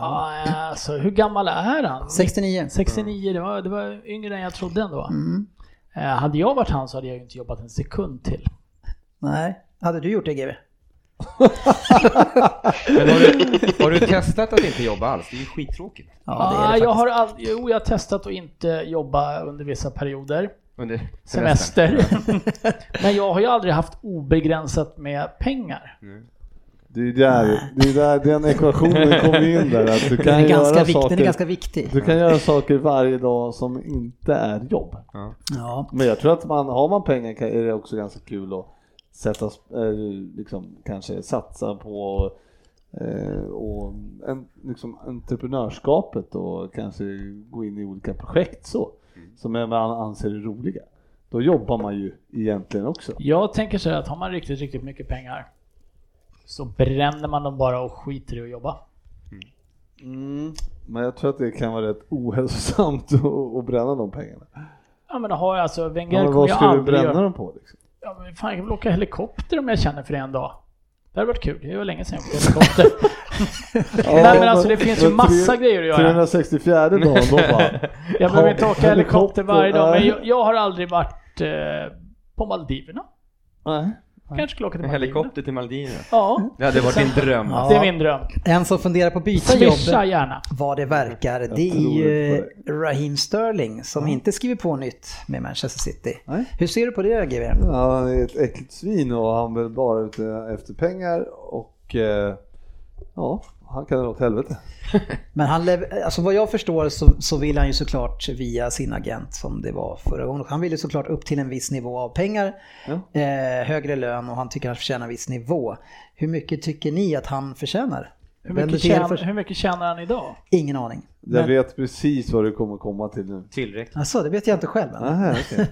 [SPEAKER 5] Ja, alltså, hur gammal är han?
[SPEAKER 2] 69.
[SPEAKER 5] 69, det var, det var yngre än jag trodde ändå.
[SPEAKER 2] Mm.
[SPEAKER 5] Eh, hade jag varit han så hade jag ju inte jobbat en sekund till.
[SPEAKER 2] Nej. Hade du gjort det GW?
[SPEAKER 3] Men har du, har du testat att inte jobba alls? Det är ju skittråkigt.
[SPEAKER 2] Ja, det är det
[SPEAKER 5] Ah,
[SPEAKER 2] faktiskt.
[SPEAKER 5] jag har all... Jo, jag har testat att inte jobba under vissa perioder.
[SPEAKER 3] Under semestern.
[SPEAKER 5] Semester. Men jag har ju aldrig haft obegränsat med pengar.
[SPEAKER 6] Det är ju där, det är där den ekvationen kommer in där. Att du kan
[SPEAKER 2] Den är, ganska
[SPEAKER 6] göra
[SPEAKER 2] vik-
[SPEAKER 6] saker,
[SPEAKER 2] den är ganska viktig.
[SPEAKER 6] Du kan göra saker varje dag som inte är jobb.
[SPEAKER 2] Ja.
[SPEAKER 6] Men jag tror att man, har man pengar kan- är det också ganska kul att sätta, sp- eh, liksom, kanske satsa på eh, och en, liksom entreprenörskapet och kanske gå in i olika projekt så. Som man anser är roliga. Då jobbar man ju egentligen också.
[SPEAKER 5] Jag tänker så här att har man riktigt, riktigt mycket pengar så bränner man dem bara och skiter i att jobba.
[SPEAKER 2] Mm.
[SPEAKER 6] Men jag tror att det kan vara rätt ohälsosamt att att bränna de pengarna.
[SPEAKER 5] Ja men har alltså,
[SPEAKER 6] Ja,
[SPEAKER 5] Wenger
[SPEAKER 6] men
[SPEAKER 5] kommer
[SPEAKER 6] vad
[SPEAKER 5] ju
[SPEAKER 6] ska du
[SPEAKER 5] aldrig...
[SPEAKER 6] bränna
[SPEAKER 5] göra-
[SPEAKER 6] dem på? Liksom?
[SPEAKER 5] Ja, men fan, jag kan väl åka helikopter om jag känner för det en dag. Det hade varit kul, det var länge sedan jag åkte helikopter. Nej men alltså det finns ju massa grejer att göra.
[SPEAKER 6] 364 dagen då bara.
[SPEAKER 5] Jag behöver inte
[SPEAKER 6] Helikopter,
[SPEAKER 5] åka helikopter varje dag, men
[SPEAKER 6] nej.
[SPEAKER 5] jag, jag har aldrig varit eh, på Maldiverna.
[SPEAKER 6] Nej.
[SPEAKER 5] Kanske skulle åka till
[SPEAKER 3] En
[SPEAKER 5] Maldiverna.
[SPEAKER 3] helikopter till Maldiverna.
[SPEAKER 5] Ja,
[SPEAKER 3] Det hade varit din dröm.
[SPEAKER 2] Ja.
[SPEAKER 5] det är min dröm.
[SPEAKER 2] En som funderar på att byta jobb.
[SPEAKER 5] Swisha gärna.
[SPEAKER 2] vad det verkar, det är
[SPEAKER 6] tror
[SPEAKER 2] ju
[SPEAKER 6] inte
[SPEAKER 2] Raheem Sterling som inte skriver på nytt med Manchester City.
[SPEAKER 6] Nej.
[SPEAKER 2] Hur ser du på det GW?
[SPEAKER 6] Ja, han är ett äckligt svin och han vill bara ute efter pengar och eh, ja, han kan dra åt helvete.
[SPEAKER 2] Men han, lev- alltså vad jag förstår så, så vill han ju såklart via sin agent som det var förra gången. Han vill ju såklart upp till en viss nivå av pengar,
[SPEAKER 6] Ja.
[SPEAKER 2] eh, högre lön och han tycker han förtjänar en viss nivå. Hur mycket tycker ni att han förtjänar?
[SPEAKER 5] Hur
[SPEAKER 2] Vänder
[SPEAKER 5] mycket,
[SPEAKER 2] till er
[SPEAKER 5] tjän,
[SPEAKER 2] först.
[SPEAKER 5] hur mycket tjänar han idag?
[SPEAKER 2] Ingen aning.
[SPEAKER 6] Jag
[SPEAKER 5] Men-
[SPEAKER 6] vet precis vad du kommer komma till nu.
[SPEAKER 7] Tillräckligt.
[SPEAKER 2] Alltså, det vet jag inte själv än.
[SPEAKER 6] Aha, okej.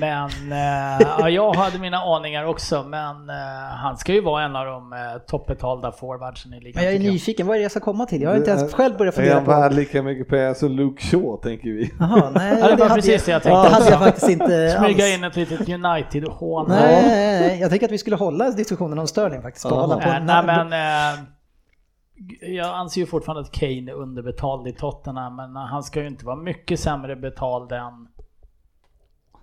[SPEAKER 5] Men eh, ja, jag hade mina aningar också, men eh, han ska ju vara en av de eh, toppbetalda forwardsen i ligan.
[SPEAKER 2] Men jag är
[SPEAKER 5] tycker
[SPEAKER 2] nyfiken, vad är det jag ska komma till? Jag har
[SPEAKER 6] Det
[SPEAKER 2] inte
[SPEAKER 6] är-
[SPEAKER 2] ens själv börjat
[SPEAKER 6] Är
[SPEAKER 2] fundera
[SPEAKER 6] han
[SPEAKER 2] på.
[SPEAKER 6] värd lika mycket pengar som Luke Shaw tänker vi?
[SPEAKER 2] Jaha, nej,
[SPEAKER 5] Ja, det var
[SPEAKER 2] hade
[SPEAKER 5] precis det jag tänkte
[SPEAKER 2] Det hade
[SPEAKER 5] också.
[SPEAKER 2] jag faktiskt inte eh, alls.
[SPEAKER 5] Smyga in ett litet United-hån.
[SPEAKER 2] Nej, nej, nej, jag tänker att vi skulle hålla diskussionen om Sterling faktiskt. Bara
[SPEAKER 6] Ja.
[SPEAKER 2] hålla på.
[SPEAKER 5] Eh, nej men... Eh, jag anser ju fortfarande att Kane är underbetald i Tottenham, men eh, han ska ju inte vara mycket sämre betald än...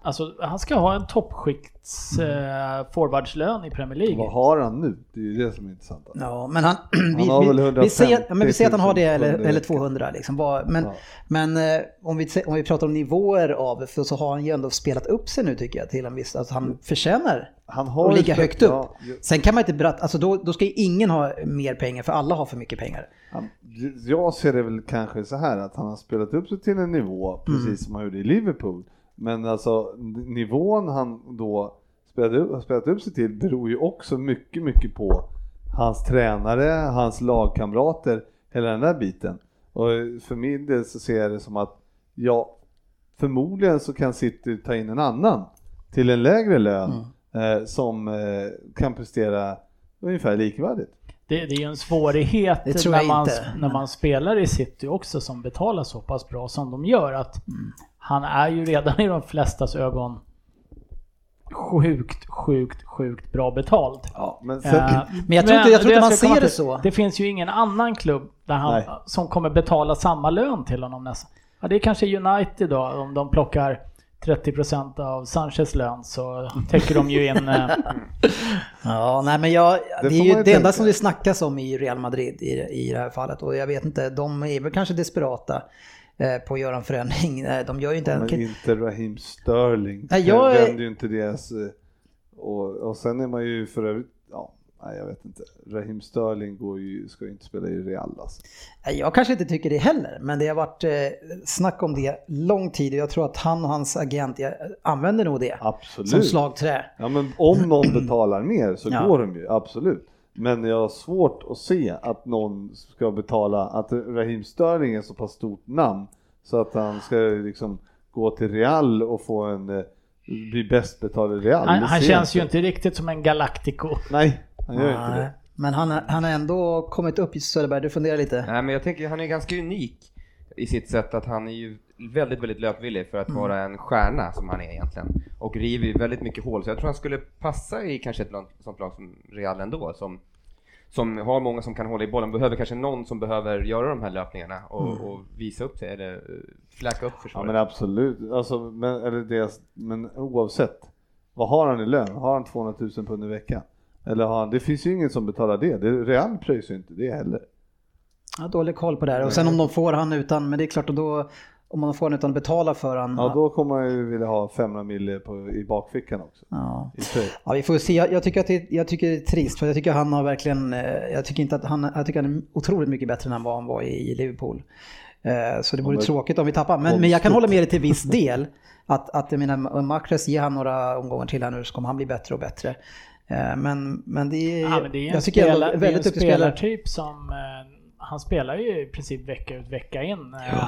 [SPEAKER 5] Alltså, han ska ha en toppskikts eh, forwardslön i Premier
[SPEAKER 6] Vad
[SPEAKER 5] League.
[SPEAKER 6] har han nu? Det är ju det som är intressant.
[SPEAKER 2] Ja, men han, vi,
[SPEAKER 6] har väl
[SPEAKER 2] vi, vi, säger,
[SPEAKER 6] 150
[SPEAKER 2] ja, men vi säger att han har det
[SPEAKER 6] 000
[SPEAKER 2] eller,
[SPEAKER 6] under
[SPEAKER 2] eller
[SPEAKER 6] veckan.
[SPEAKER 2] 200 liksom. Vad- Men,
[SPEAKER 6] Ja.
[SPEAKER 2] men eh, om, vi, om vi pratar om nivåer av, för så har han ju ändå spelat upp sig nu tycker jag till en viss, alltså han förtjänar
[SPEAKER 6] Han
[SPEAKER 2] att
[SPEAKER 6] ju
[SPEAKER 2] ligga
[SPEAKER 6] spelat-
[SPEAKER 2] högt upp.
[SPEAKER 6] Ja, ju-
[SPEAKER 2] Sen kan man inte berätta, alltså då, då ska ju ingen ha mer pengar för alla har för mycket pengar.
[SPEAKER 6] han- Jag ser det väl kanske så här att han har spelat upp sig till en nivå precis som han gjorde i Liverpool. Men alltså n- nivån han då spelade upp, har spelat upp sig till beror ju också mycket, mycket på hans tränare, hans lagkamrater, hela den där biten. Och för min del så ser jag det som att ja, förmodligen så kan City ta in en annan till en lägre lön eh, som eh, kan prestera ungefär likvärdigt.
[SPEAKER 5] Det, det är ju en svårighet
[SPEAKER 2] Det tror
[SPEAKER 5] när,
[SPEAKER 2] jag
[SPEAKER 5] man,
[SPEAKER 2] inte.
[SPEAKER 5] när man spelar i City också som betalar så pass bra som de gör att han är ju redan i de flestas ögon sjukt, sjukt, sjukt bra betald.
[SPEAKER 6] Ja, men sen,
[SPEAKER 5] Eh,
[SPEAKER 2] Men jag tror inte- jag tror inte man
[SPEAKER 5] ska komma
[SPEAKER 2] ser det
[SPEAKER 5] till-
[SPEAKER 2] så.
[SPEAKER 5] Det finns ju ingen annan klubb där han,
[SPEAKER 6] Nej.
[SPEAKER 5] som kommer betala samma lön till honom nästan. Ja, det är kanske United då, om de plockar 30% av Sanchez lön så täcker de ju in... eh,
[SPEAKER 2] Ja, nej men jag, det,
[SPEAKER 6] Det får
[SPEAKER 2] är
[SPEAKER 6] man
[SPEAKER 2] ju
[SPEAKER 6] ju
[SPEAKER 2] det
[SPEAKER 6] tänka.
[SPEAKER 2] enda som det snackas om i Real Madrid i, i det här fallet och jag vet inte, de är väl kanske desperata eh, på att göra en förändring. Eh, De gör ju inte en...
[SPEAKER 6] Men inte Raheem Sterling.
[SPEAKER 2] Nej, jag
[SPEAKER 6] Det
[SPEAKER 2] är-
[SPEAKER 6] vänder ju inte deras... eh, Och, och sen är man ju för övrigt... Ja, nej, jag vet inte. Raheem Sterling går ju, ska ju inte spela i Real alltså.
[SPEAKER 2] Nej, Jag kanske inte tycker det heller, men det har varit eh, snack om det lång tid och jag tror att han och hans agent eh, använder nog det som
[SPEAKER 6] Absolut.
[SPEAKER 2] slagträ.
[SPEAKER 6] Ja, men om någon betalar mer så
[SPEAKER 2] Ja.
[SPEAKER 6] går de ju, absolut. Men jag har svårt att se att någon ska betala, att Raheem Sterling är så pass stort namn så att han ska liksom gå till Real och få en, eh, bli bäst betald i Real.
[SPEAKER 5] han,
[SPEAKER 6] Det
[SPEAKER 5] han
[SPEAKER 6] ser jag
[SPEAKER 5] känns ju inte riktigt som en Galactico.
[SPEAKER 6] Nej, han gör inte
[SPEAKER 2] Nej,
[SPEAKER 6] det.
[SPEAKER 2] Men han, han har ändå kommit upp i Söderberg, du funderar lite?
[SPEAKER 3] Nej, men jag tänker han är ganska unik i sitt sätt att han är ju väldigt, väldigt löpvillig för att vara en stjärna som han är egentligen. Och river ju väldigt mycket hål, så jag tror han skulle passa i kanske ett lag- sånt lag som Real ändå, som, som har många som kan hålla i bollen, behöver kanske någon som behöver göra de här löpningarna och, och visa upp sig, eller eh, fläka upp
[SPEAKER 6] Ja
[SPEAKER 3] försvaret.
[SPEAKER 6] men absolut, alltså, men, eller det, men oavsett. Vad har han i lön? Har han 200 000 pund i veckan? Eller har han, det finns ju ingen som betalar det. det Real pröjsar ju inte det heller.
[SPEAKER 2] Jag har dålig koll på det här och sen om de får han utan, men det är klart och då om man får han utan att betala för han.
[SPEAKER 6] Ja, då kommer man ju vilja ha 500 mille på, i bakfickan också.
[SPEAKER 2] Ja.
[SPEAKER 6] I tröj.
[SPEAKER 2] Ja, vi får se. Jag, jag, tycker att det, jag tycker det är trist för jag tycker han har verkligen, eh, jag tycker inte att han, jag tycker han är otroligt mycket bättre än han var, han var i Liverpool. Eh, Så det vore
[SPEAKER 6] men-
[SPEAKER 2] tråkigt om vi tappar. Men, men jag kan hålla med dig till viss del. Att, att jag menar, Mahrez, ger han några omgångar till här nu så kommer han bli bättre och bättre. Eh, Men, men det är,
[SPEAKER 5] Ja, men det är en
[SPEAKER 2] jag tycker ändå
[SPEAKER 5] spelar, det är en
[SPEAKER 2] väldigt duktig spelare.
[SPEAKER 5] spelartyp som... Eh, han spelar ju i princip vecka ut vecka in. Eh,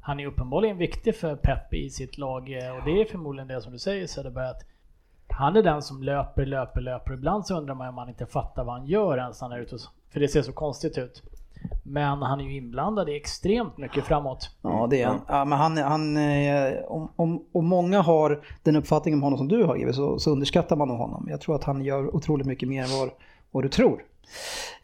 [SPEAKER 5] Han är uppenbarligen viktig för Pep i sitt lag eh, och det är förmodligen det som du säger Söderberg att han är den som löper, löper, löper. Ibland så undrar man om han inte fattar vad han gör ens när han är ute och, så- För det ser så konstigt ut. Men han är ju inblandad i extremt mycket framåt.
[SPEAKER 2] Mm, Ja, det är han. Ja, men han, han eh, om, om, om många har den uppfattningen om honom som du har Gibi, så, så underskattar man nog honom. Jag tror att han gör otroligt mycket mer än vad, vad du tror.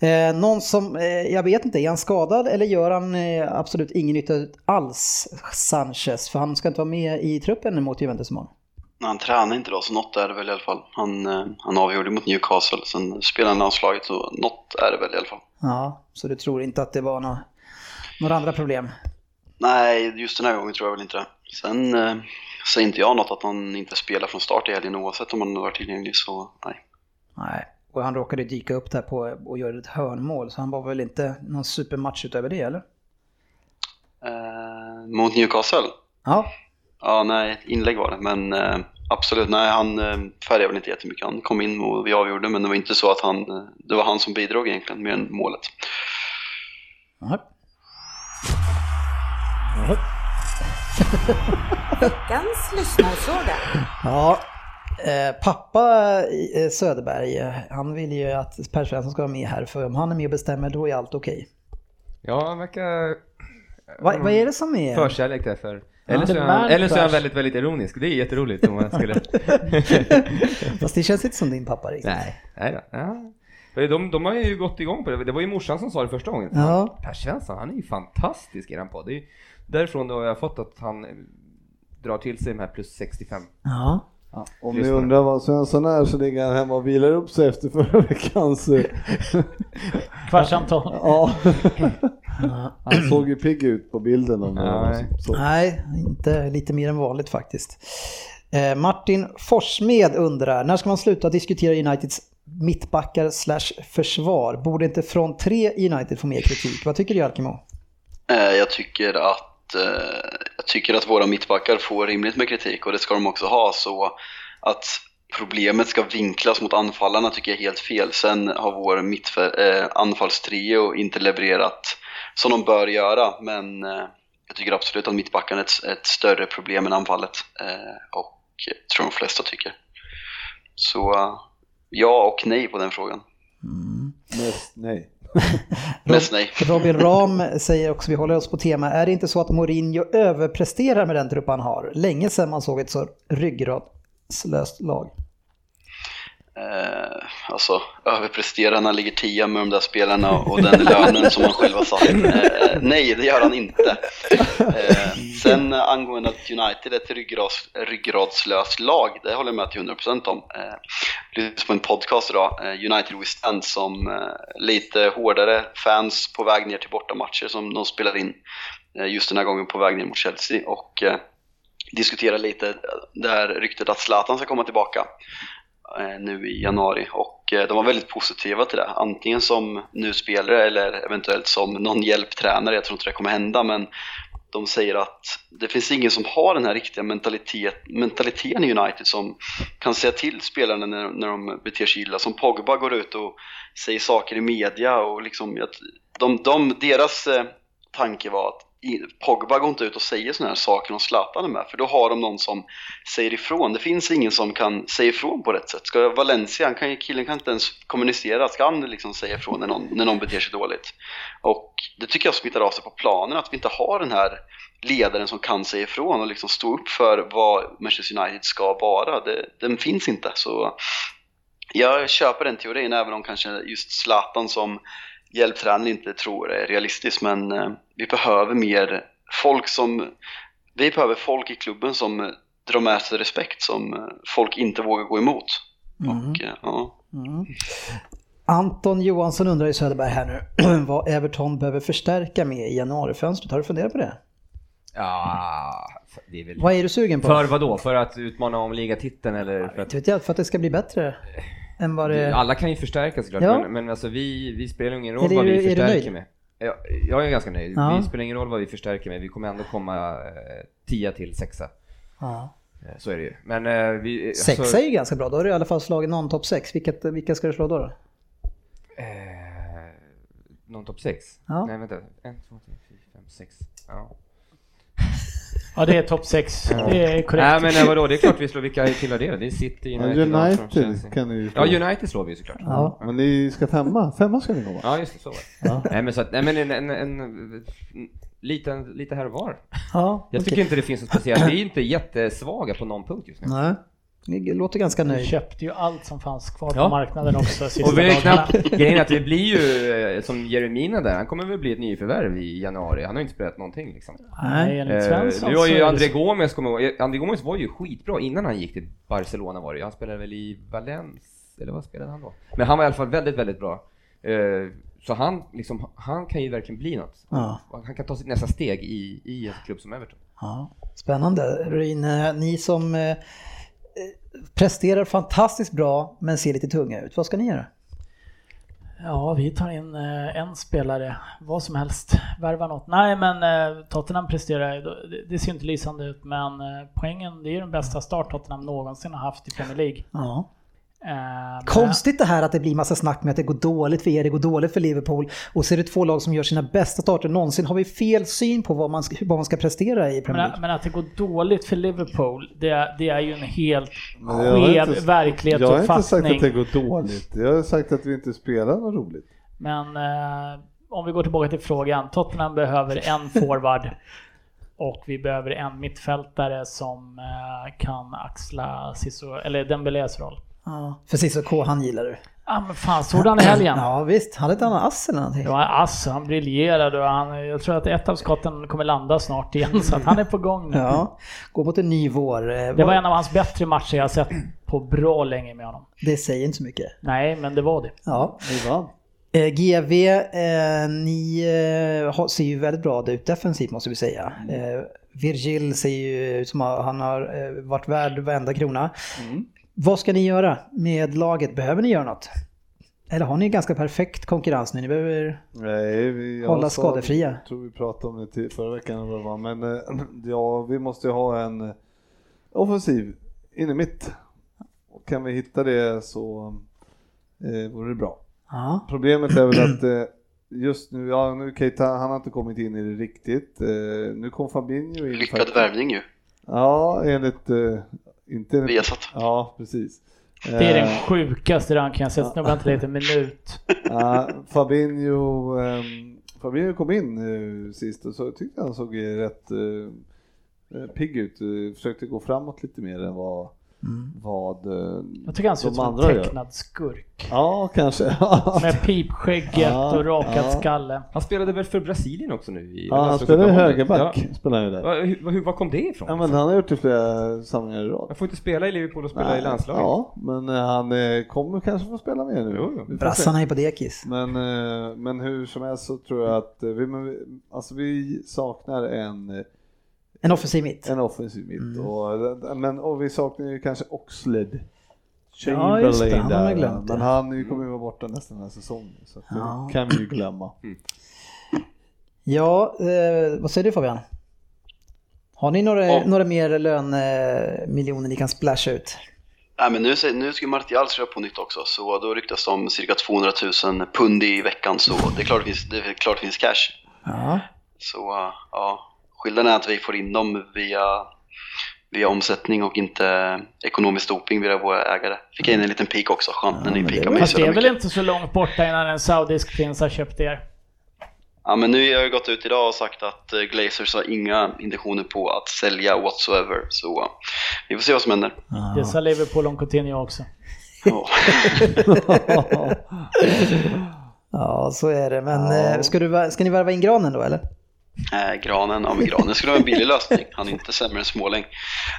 [SPEAKER 2] Eh, någon som, eh, jag vet inte, är han skadad eller gör han eh, absolut ingen nytta alls, Sanchez? För han ska inte vara med i truppen mot Juventus imorgon.
[SPEAKER 4] Nej, han tränade inte då, så något är det väl i alla fall. Han, eh, han avgjorde mot Newcastle, sen spelade han i landslaget, så något är det väl i alla fall.
[SPEAKER 2] Ja, så du tror inte att det var nå några andra problem?
[SPEAKER 4] Nej, just den här gången tror jag väl inte det. Sen eh, säger inte jag något att han inte spelar från start i helgen oavsett om han har varit tillgänglig, så nej.
[SPEAKER 2] Nej. Och han råkade dyka upp där på, och göra ett hörnmål, så han var väl inte någon supermatch utöver det eller?
[SPEAKER 4] Eh, mot Newcastle?
[SPEAKER 2] Ja,
[SPEAKER 4] Ja, nej, ett inlägg var det, men eh, absolut, nej, han eh, färgade väl inte jättemycket. Han kom in och vi avgjorde, men det var inte så att han, eh, det var han som bidrog egentligen, mer än målet.
[SPEAKER 7] Jaha.
[SPEAKER 1] Veckans lyssnarfråga.
[SPEAKER 2] Ja, eh, pappa eh, Söderberg, eh, han vill ju att Per Svensson ska vara med här för om han är med och bestämmer då är allt okej.
[SPEAKER 3] Ja, han verkar
[SPEAKER 2] Va, Vad är det som är...
[SPEAKER 3] förkärlek där för.
[SPEAKER 5] Ja.
[SPEAKER 3] Eller, så
[SPEAKER 5] The
[SPEAKER 3] är
[SPEAKER 5] man
[SPEAKER 3] han, eller så är han
[SPEAKER 5] crush.
[SPEAKER 3] väldigt, väldigt ironisk. Det är jätteroligt om man skulle...
[SPEAKER 2] Fast det känns inte som din pappa riktigt.
[SPEAKER 3] Nej. Nej då. Ja. De, de har ju gått igång på det. Det var ju morsan som sa det första gången.
[SPEAKER 2] Ja.
[SPEAKER 3] Per Svensson, han är ju fantastisk i den podd. Det är ju därifrån då har jag fått att han eh, drar till sig de här plus 65.
[SPEAKER 2] Ja.
[SPEAKER 6] Ja, om ni
[SPEAKER 3] Lyssnar.
[SPEAKER 6] undrar vad Svensson är så ligger han hemma och vilar upp sig efter förra veckans... eh,
[SPEAKER 5] Kvartsamtal.
[SPEAKER 6] ja. Han såg ju pigg ut på bilden om det var
[SPEAKER 3] Nej.
[SPEAKER 6] så.
[SPEAKER 2] Nej, inte lite mer än vanligt faktiskt. Eh, Martin Forsmed undrar, när ska man sluta diskutera Uniteds mittbackar slash försvar? Borde inte från tre United få mer kritik? Vad tycker du Alkemo?
[SPEAKER 4] Eh, Jag tycker att, eh, jag tycker att våra mittbackar får rimligt med kritik och det ska de också ha. Så att problemet ska vinklas mot anfallarna tycker jag är helt fel. Sen har vår mittfä- eh, anfallstrio inte levererat som de bör göra. Men eh, jag tycker absolut att mittbackarna är ett, ett större problem än anfallet. Eh, Och jag tror de flesta tycker. Så eh, ja och nej på den frågan.
[SPEAKER 6] Mest nej.
[SPEAKER 4] Mest nej.
[SPEAKER 2] Robin Ram säger också, vi håller oss på tema, är det inte så att Mourinho överpresterar med den trupp han har? Länge sedan man såg ett så ryggradslöst lag.
[SPEAKER 4] Eh, alltså överpresterar när han ligger tia med de där spelarna och den lönen som han själv har satt. Eh, nej, det gör han inte. Eh, sen eh, angående att United är ett ryggrads, ryggradslöst lag, det håller jag med till 100% om. Eh, lyssnade på en podcast idag, eh, United We Stand, som eh, lite hårdare fans på väg ner till bortamatcher som de spelar in eh, just den här gången på väg ner mot Chelsea. Och, eh, diskutera lite det här ryktet att Zlatan ska komma tillbaka eh, nu i januari och eh, de var väldigt positiva till det. Antingen som nu spelare eller eventuellt som någon hjälptränare, jag tror inte det kommer hända men de säger att det finns ingen som har den här riktiga mentalitet, mentaliteten i United som kan säga till spelarna när, när de beter sig illa. Som Pogba går ut och säger saker i media och liksom att de, de, deras eh, tanke var att i- Pogba går inte ut och säger sådana här saker om Zlatan är med, för då har de någon som säger ifrån. Det finns ingen som kan säga ifrån på rätt sätt. Ska Valencia, han kan, ju- killen kan inte ens kommunicera, ska han liksom säga ifrån när någon, när någon beter sig dåligt? Och det tycker jag smittar av sig på planen, att vi inte har den här ledaren som kan säga ifrån och liksom stå upp för vad Manchester United ska vara. Det, den finns inte. Så jag köper den teorin, även om kanske just Zlatan som hjälptränare inte tror är realistisk. Men eh, vi behöver mer folk som... Vi behöver folk i klubben som eh, drar med sig respekt, som eh, folk inte vågar gå emot. Och, eh, ja.
[SPEAKER 2] Anton Johansson undrar i Söderberg här nu vad Everton behöver förstärka med i januarifönstret. Har du funderat på det?
[SPEAKER 3] Ja, alltså, det är väl...
[SPEAKER 2] Vad är du sugen på?
[SPEAKER 3] För vad då? För att utmana om ligatiteln eller för att...
[SPEAKER 2] Inte vet jag, för att det ska bli bättre än vad det...
[SPEAKER 3] Alla kan ju förstärka såklart,
[SPEAKER 2] Ja.
[SPEAKER 3] men, men alltså vi, vi spelar ju ingen
[SPEAKER 2] Är
[SPEAKER 3] roll
[SPEAKER 2] det-
[SPEAKER 3] vad
[SPEAKER 2] är
[SPEAKER 3] vi
[SPEAKER 2] du
[SPEAKER 3] förstärker
[SPEAKER 2] nöjd?
[SPEAKER 3] med. Jag, jag är ganska nöjd.
[SPEAKER 2] Ja.
[SPEAKER 3] Vi spelar ingen roll vad vi förstärker med, vi kommer ändå komma eh, tia till sexa.
[SPEAKER 2] Ja.
[SPEAKER 3] Eh, Så är det ju. Men eh, vi... eh,
[SPEAKER 2] Sexa
[SPEAKER 3] alltså,
[SPEAKER 2] är ju ganska bra, då har du i alla fall slagit någon topp sex. Vilket, vilka ska du slå då? då?
[SPEAKER 3] eh, någon topp sex?
[SPEAKER 2] Ja.
[SPEAKER 3] Nej vänta. En, två, tre, fyra, fem, sex. Ja.
[SPEAKER 5] Ja, det är topp 6. Det är
[SPEAKER 3] Nej
[SPEAKER 5] korrekt.
[SPEAKER 3] men eh, vadå, det är klart vi slår, vilka tillhör det då? Det är City,
[SPEAKER 6] Men
[SPEAKER 3] United, Arsenal,
[SPEAKER 6] United
[SPEAKER 3] Chelsea.
[SPEAKER 6] kan ni ju
[SPEAKER 3] Ja, United slår vi ju såklart.
[SPEAKER 2] Ja.
[SPEAKER 6] Men ni ska femma, femma ska ni komma.
[SPEAKER 3] Ja, just det, så var det. Nej men så att, nej men en, en, en, en liten, lite här och var.
[SPEAKER 2] ja
[SPEAKER 3] Jag
[SPEAKER 2] okej.
[SPEAKER 3] tycker inte det finns något speciellt, vi är inte jättesvaga på någon punkt just nu.
[SPEAKER 2] Nej, ni låter ganska
[SPEAKER 5] Vi
[SPEAKER 2] nöjd.
[SPEAKER 5] köpte ju allt som fanns kvar på
[SPEAKER 3] Ja.
[SPEAKER 5] marknaden också sista
[SPEAKER 3] Och vi är
[SPEAKER 5] dagarna.
[SPEAKER 3] knappt, grejen är att vi blir ju eh, som Jeremina där, han kommer väl bli ett nyförvärv i januari, han har ju inte spelat någonting liksom.
[SPEAKER 5] Nej, enligt Svensson
[SPEAKER 3] Eh, nu har
[SPEAKER 5] så är
[SPEAKER 3] ju
[SPEAKER 5] det
[SPEAKER 3] André
[SPEAKER 5] så.
[SPEAKER 3] Gomes, kommer jag ihåg- André Gomes var ju skitbra innan han gick till Barcelona var det ju. Han spelade väl i Valencia, eller vad spelade han då? Men han var i alla fall väldigt, väldigt bra. Eh, så han, liksom, han kan ju verkligen bli något.
[SPEAKER 2] Ja.
[SPEAKER 3] Han kan ta sitt nästa steg i, i en klubb som Everton.
[SPEAKER 2] Ja. Spännande. Ruin, eh, ni som eh, eh, presterar fantastiskt bra men ser lite tunga ut, vad ska ni göra?
[SPEAKER 5] Ja, vi tar in eh, en spelare, vad som helst, värva något. Nej, men eh, Tottenham presterar, det- det ser inte lysande ut, men eh, poängen, det är ju den bästa start Tottenham någonsin har haft i Premier League.
[SPEAKER 2] Ja.
[SPEAKER 5] Eh,
[SPEAKER 2] Konstigt det här att det blir massa snack med att det går dåligt för er, det går dåligt för Liverpool. Och så är det två lag som gör sina bästa starter någonsin. Har vi fel syn på vad man, ska- vad man ska prestera i Premier
[SPEAKER 5] Men,
[SPEAKER 2] League?
[SPEAKER 5] men att det går dåligt för Liverpool, det, det är ju en helt
[SPEAKER 6] Men jag har
[SPEAKER 5] skev
[SPEAKER 6] inte- Jag har inte sagt
[SPEAKER 5] verklighetsuppfattning.
[SPEAKER 6] att det går dåligt. Jag har sagt att vi inte spelar något roligt.
[SPEAKER 5] Men eh, om vi går tillbaka till frågan. Tottenham behöver en forward och vi behöver en mittfältare som eh, kan axla Ciso, eller Dembélés roll.
[SPEAKER 2] Ja, för Cissoko, han gillar du.
[SPEAKER 5] Ja ah, men fan, såg du han i helgen?
[SPEAKER 2] Ja visst, han hade ett annat ass eller någonting.
[SPEAKER 5] Det var ass, han briljerade och han, jag tror att ett av skotten kommer landa snart igen så att han är på gång nu.
[SPEAKER 2] Ja, gå mot en ny vår. Eh,
[SPEAKER 5] Det
[SPEAKER 2] vad-
[SPEAKER 5] var en av hans bättre matcher jag har sett på bra länge med honom.
[SPEAKER 2] det säger inte så mycket.
[SPEAKER 5] Nej, men det var det.
[SPEAKER 2] Ja.
[SPEAKER 6] Vi vann.
[SPEAKER 2] Eh, GV, eh, ni eh, har- ser ju väldigt bra ut defensivt måste vi säga. Eh, Virgil ser ju ut som att han har eh, varit värd varenda krona. Vad ska ni göra med laget? Behöver ni göra något? Eller har ni ganska perfekt konkurrens nu? Ni behöver...
[SPEAKER 6] Nej, vi, jag
[SPEAKER 2] Hålla
[SPEAKER 6] sa-
[SPEAKER 2] skadefria.
[SPEAKER 6] tror vi pratade om det till, förra veckan. eller vad det var. Men eh, ja, vi måste ju ha en eh, offensiv in i mitt. Och kan vi hitta det så eh, vore det bra.
[SPEAKER 2] Ja.
[SPEAKER 6] Problemet är väl att eh, just nu, ja nu Keita, han har inte kommit in i det riktigt. Eh, nu kom Fabinho in.
[SPEAKER 4] Lyckad
[SPEAKER 6] faktiskt.
[SPEAKER 4] värvning ju.
[SPEAKER 6] Ja, enligt... Eh, inte enligt...
[SPEAKER 4] Viasat.
[SPEAKER 6] Ja, precis.
[SPEAKER 5] Det är
[SPEAKER 6] Eh,
[SPEAKER 5] den sjukaste rankingen jag sett. Snubben har inte levt en minut.
[SPEAKER 6] Ja, Fabinho, ehm, Fabinho kom in eh, sist och så tyckte han såg eh, rätt eh, pigg ut. Eh, försökte gå framåt lite mer än vad, vad eh,
[SPEAKER 5] Jag tycker han ser
[SPEAKER 6] de
[SPEAKER 5] ut som
[SPEAKER 6] andra
[SPEAKER 5] en
[SPEAKER 6] gör.
[SPEAKER 5] tecknad skurk.
[SPEAKER 6] Ja, kanske.
[SPEAKER 5] Med pipskägget
[SPEAKER 6] Ja,
[SPEAKER 5] och rakad
[SPEAKER 6] ja.
[SPEAKER 5] skalle.
[SPEAKER 3] Han spelade väl för Brasilien också nu? I,
[SPEAKER 6] ja, han spelar ju högerback. Spelar ju
[SPEAKER 3] Ja.
[SPEAKER 6] där.
[SPEAKER 3] Va- hur- Var, hur, var kom det ifrån?
[SPEAKER 6] Ja, men han har gjort det flera samlingar i rad.
[SPEAKER 3] Jag får inte spela i Liverpool och spela i
[SPEAKER 6] Nej,
[SPEAKER 3] landslaget.
[SPEAKER 6] Ja, men eh, han eh, kommer kanske få spela mer nu.
[SPEAKER 3] Jo, jo.
[SPEAKER 6] Vi får se.
[SPEAKER 2] Brassarna är på dekis.
[SPEAKER 6] Men, eh, men hur som helst så tror jag att eh, vi, men vi, alltså vi saknar en eh,
[SPEAKER 2] En offensiv mitt.
[SPEAKER 6] En offensiv mitt.
[SPEAKER 2] Mm.
[SPEAKER 6] Och, men, och vi saknar ju kanske Oxled.
[SPEAKER 2] Ja, just det. Han har man
[SPEAKER 6] där,
[SPEAKER 2] glömt det.
[SPEAKER 6] men han är ju- kommer ju vara borta nästan den här säsongen. Så att det
[SPEAKER 2] Ja.
[SPEAKER 6] kan vi ju glömma.
[SPEAKER 2] Ja, eh, vad säger du Fabian? Har ni några,
[SPEAKER 4] Ja.
[SPEAKER 2] några mer lönemiljoner ni kan splasha ut?
[SPEAKER 4] Nej, men nu, säger- nu ska ju Martial skriva på nytt också, så då ryktas det om cirka 200 000 pund i veckan, så det är klart det finns, det är klart det finns cash.
[SPEAKER 2] Ja.
[SPEAKER 4] Så eh, ja, skillnaden är att vi får in dem via, via omsättning och inte ekonomisk doping via våra ägare. Fick in en liten pik också, skönt när
[SPEAKER 2] men
[SPEAKER 4] ni
[SPEAKER 2] det
[SPEAKER 4] pikar
[SPEAKER 2] var-
[SPEAKER 4] mig
[SPEAKER 5] Fast
[SPEAKER 4] så
[SPEAKER 5] det är
[SPEAKER 4] mycket.
[SPEAKER 5] väl inte så långt borta innan en saudisk prins har köpt er.
[SPEAKER 4] Ja men nu har jag gått ut idag och sagt att eh, Glazers har inga intentioner på att sälja whatsoever, så eh, vi får se vad som händer.
[SPEAKER 5] Det sa Liverpool om Coutinho också.
[SPEAKER 4] Ja.
[SPEAKER 2] Ja, så är det. Men
[SPEAKER 6] Ja.
[SPEAKER 2] eh, ska, du, vär- ska ni värva in granen då eller?
[SPEAKER 4] Eh, granen, ja men granen skulle ha en billig lösning. Han är inte sämre än Småling.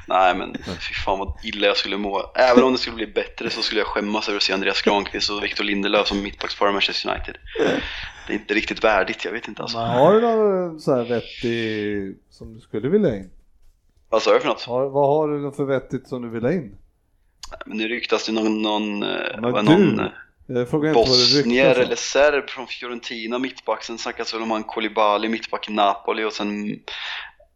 [SPEAKER 4] Nej men fy fan vad illa jag skulle må. Även om det skulle bli bättre så skulle jag skämmas över att se Andreas Granqvist och Victor Lindelöf som mittbackspar i Manchester United. Det är inte riktigt värdigt, jag vet inte alltså.
[SPEAKER 6] Men har du någon eh, så här vettig som du skulle vilja in?
[SPEAKER 4] Vad sa jag för något?
[SPEAKER 6] Har, vad har du för vettigt som du vill ha in?
[SPEAKER 4] Nej, Men nu ryktas det någon, någon, eh,
[SPEAKER 6] Men
[SPEAKER 4] vad,
[SPEAKER 6] du,
[SPEAKER 4] någon eh,
[SPEAKER 6] Jag frågar inte vad det
[SPEAKER 4] bosnier
[SPEAKER 6] ryktas om.
[SPEAKER 4] eller serb från Fiorentina mittback. Sen snackas väl om han Kolibali mittback i Napoli och sen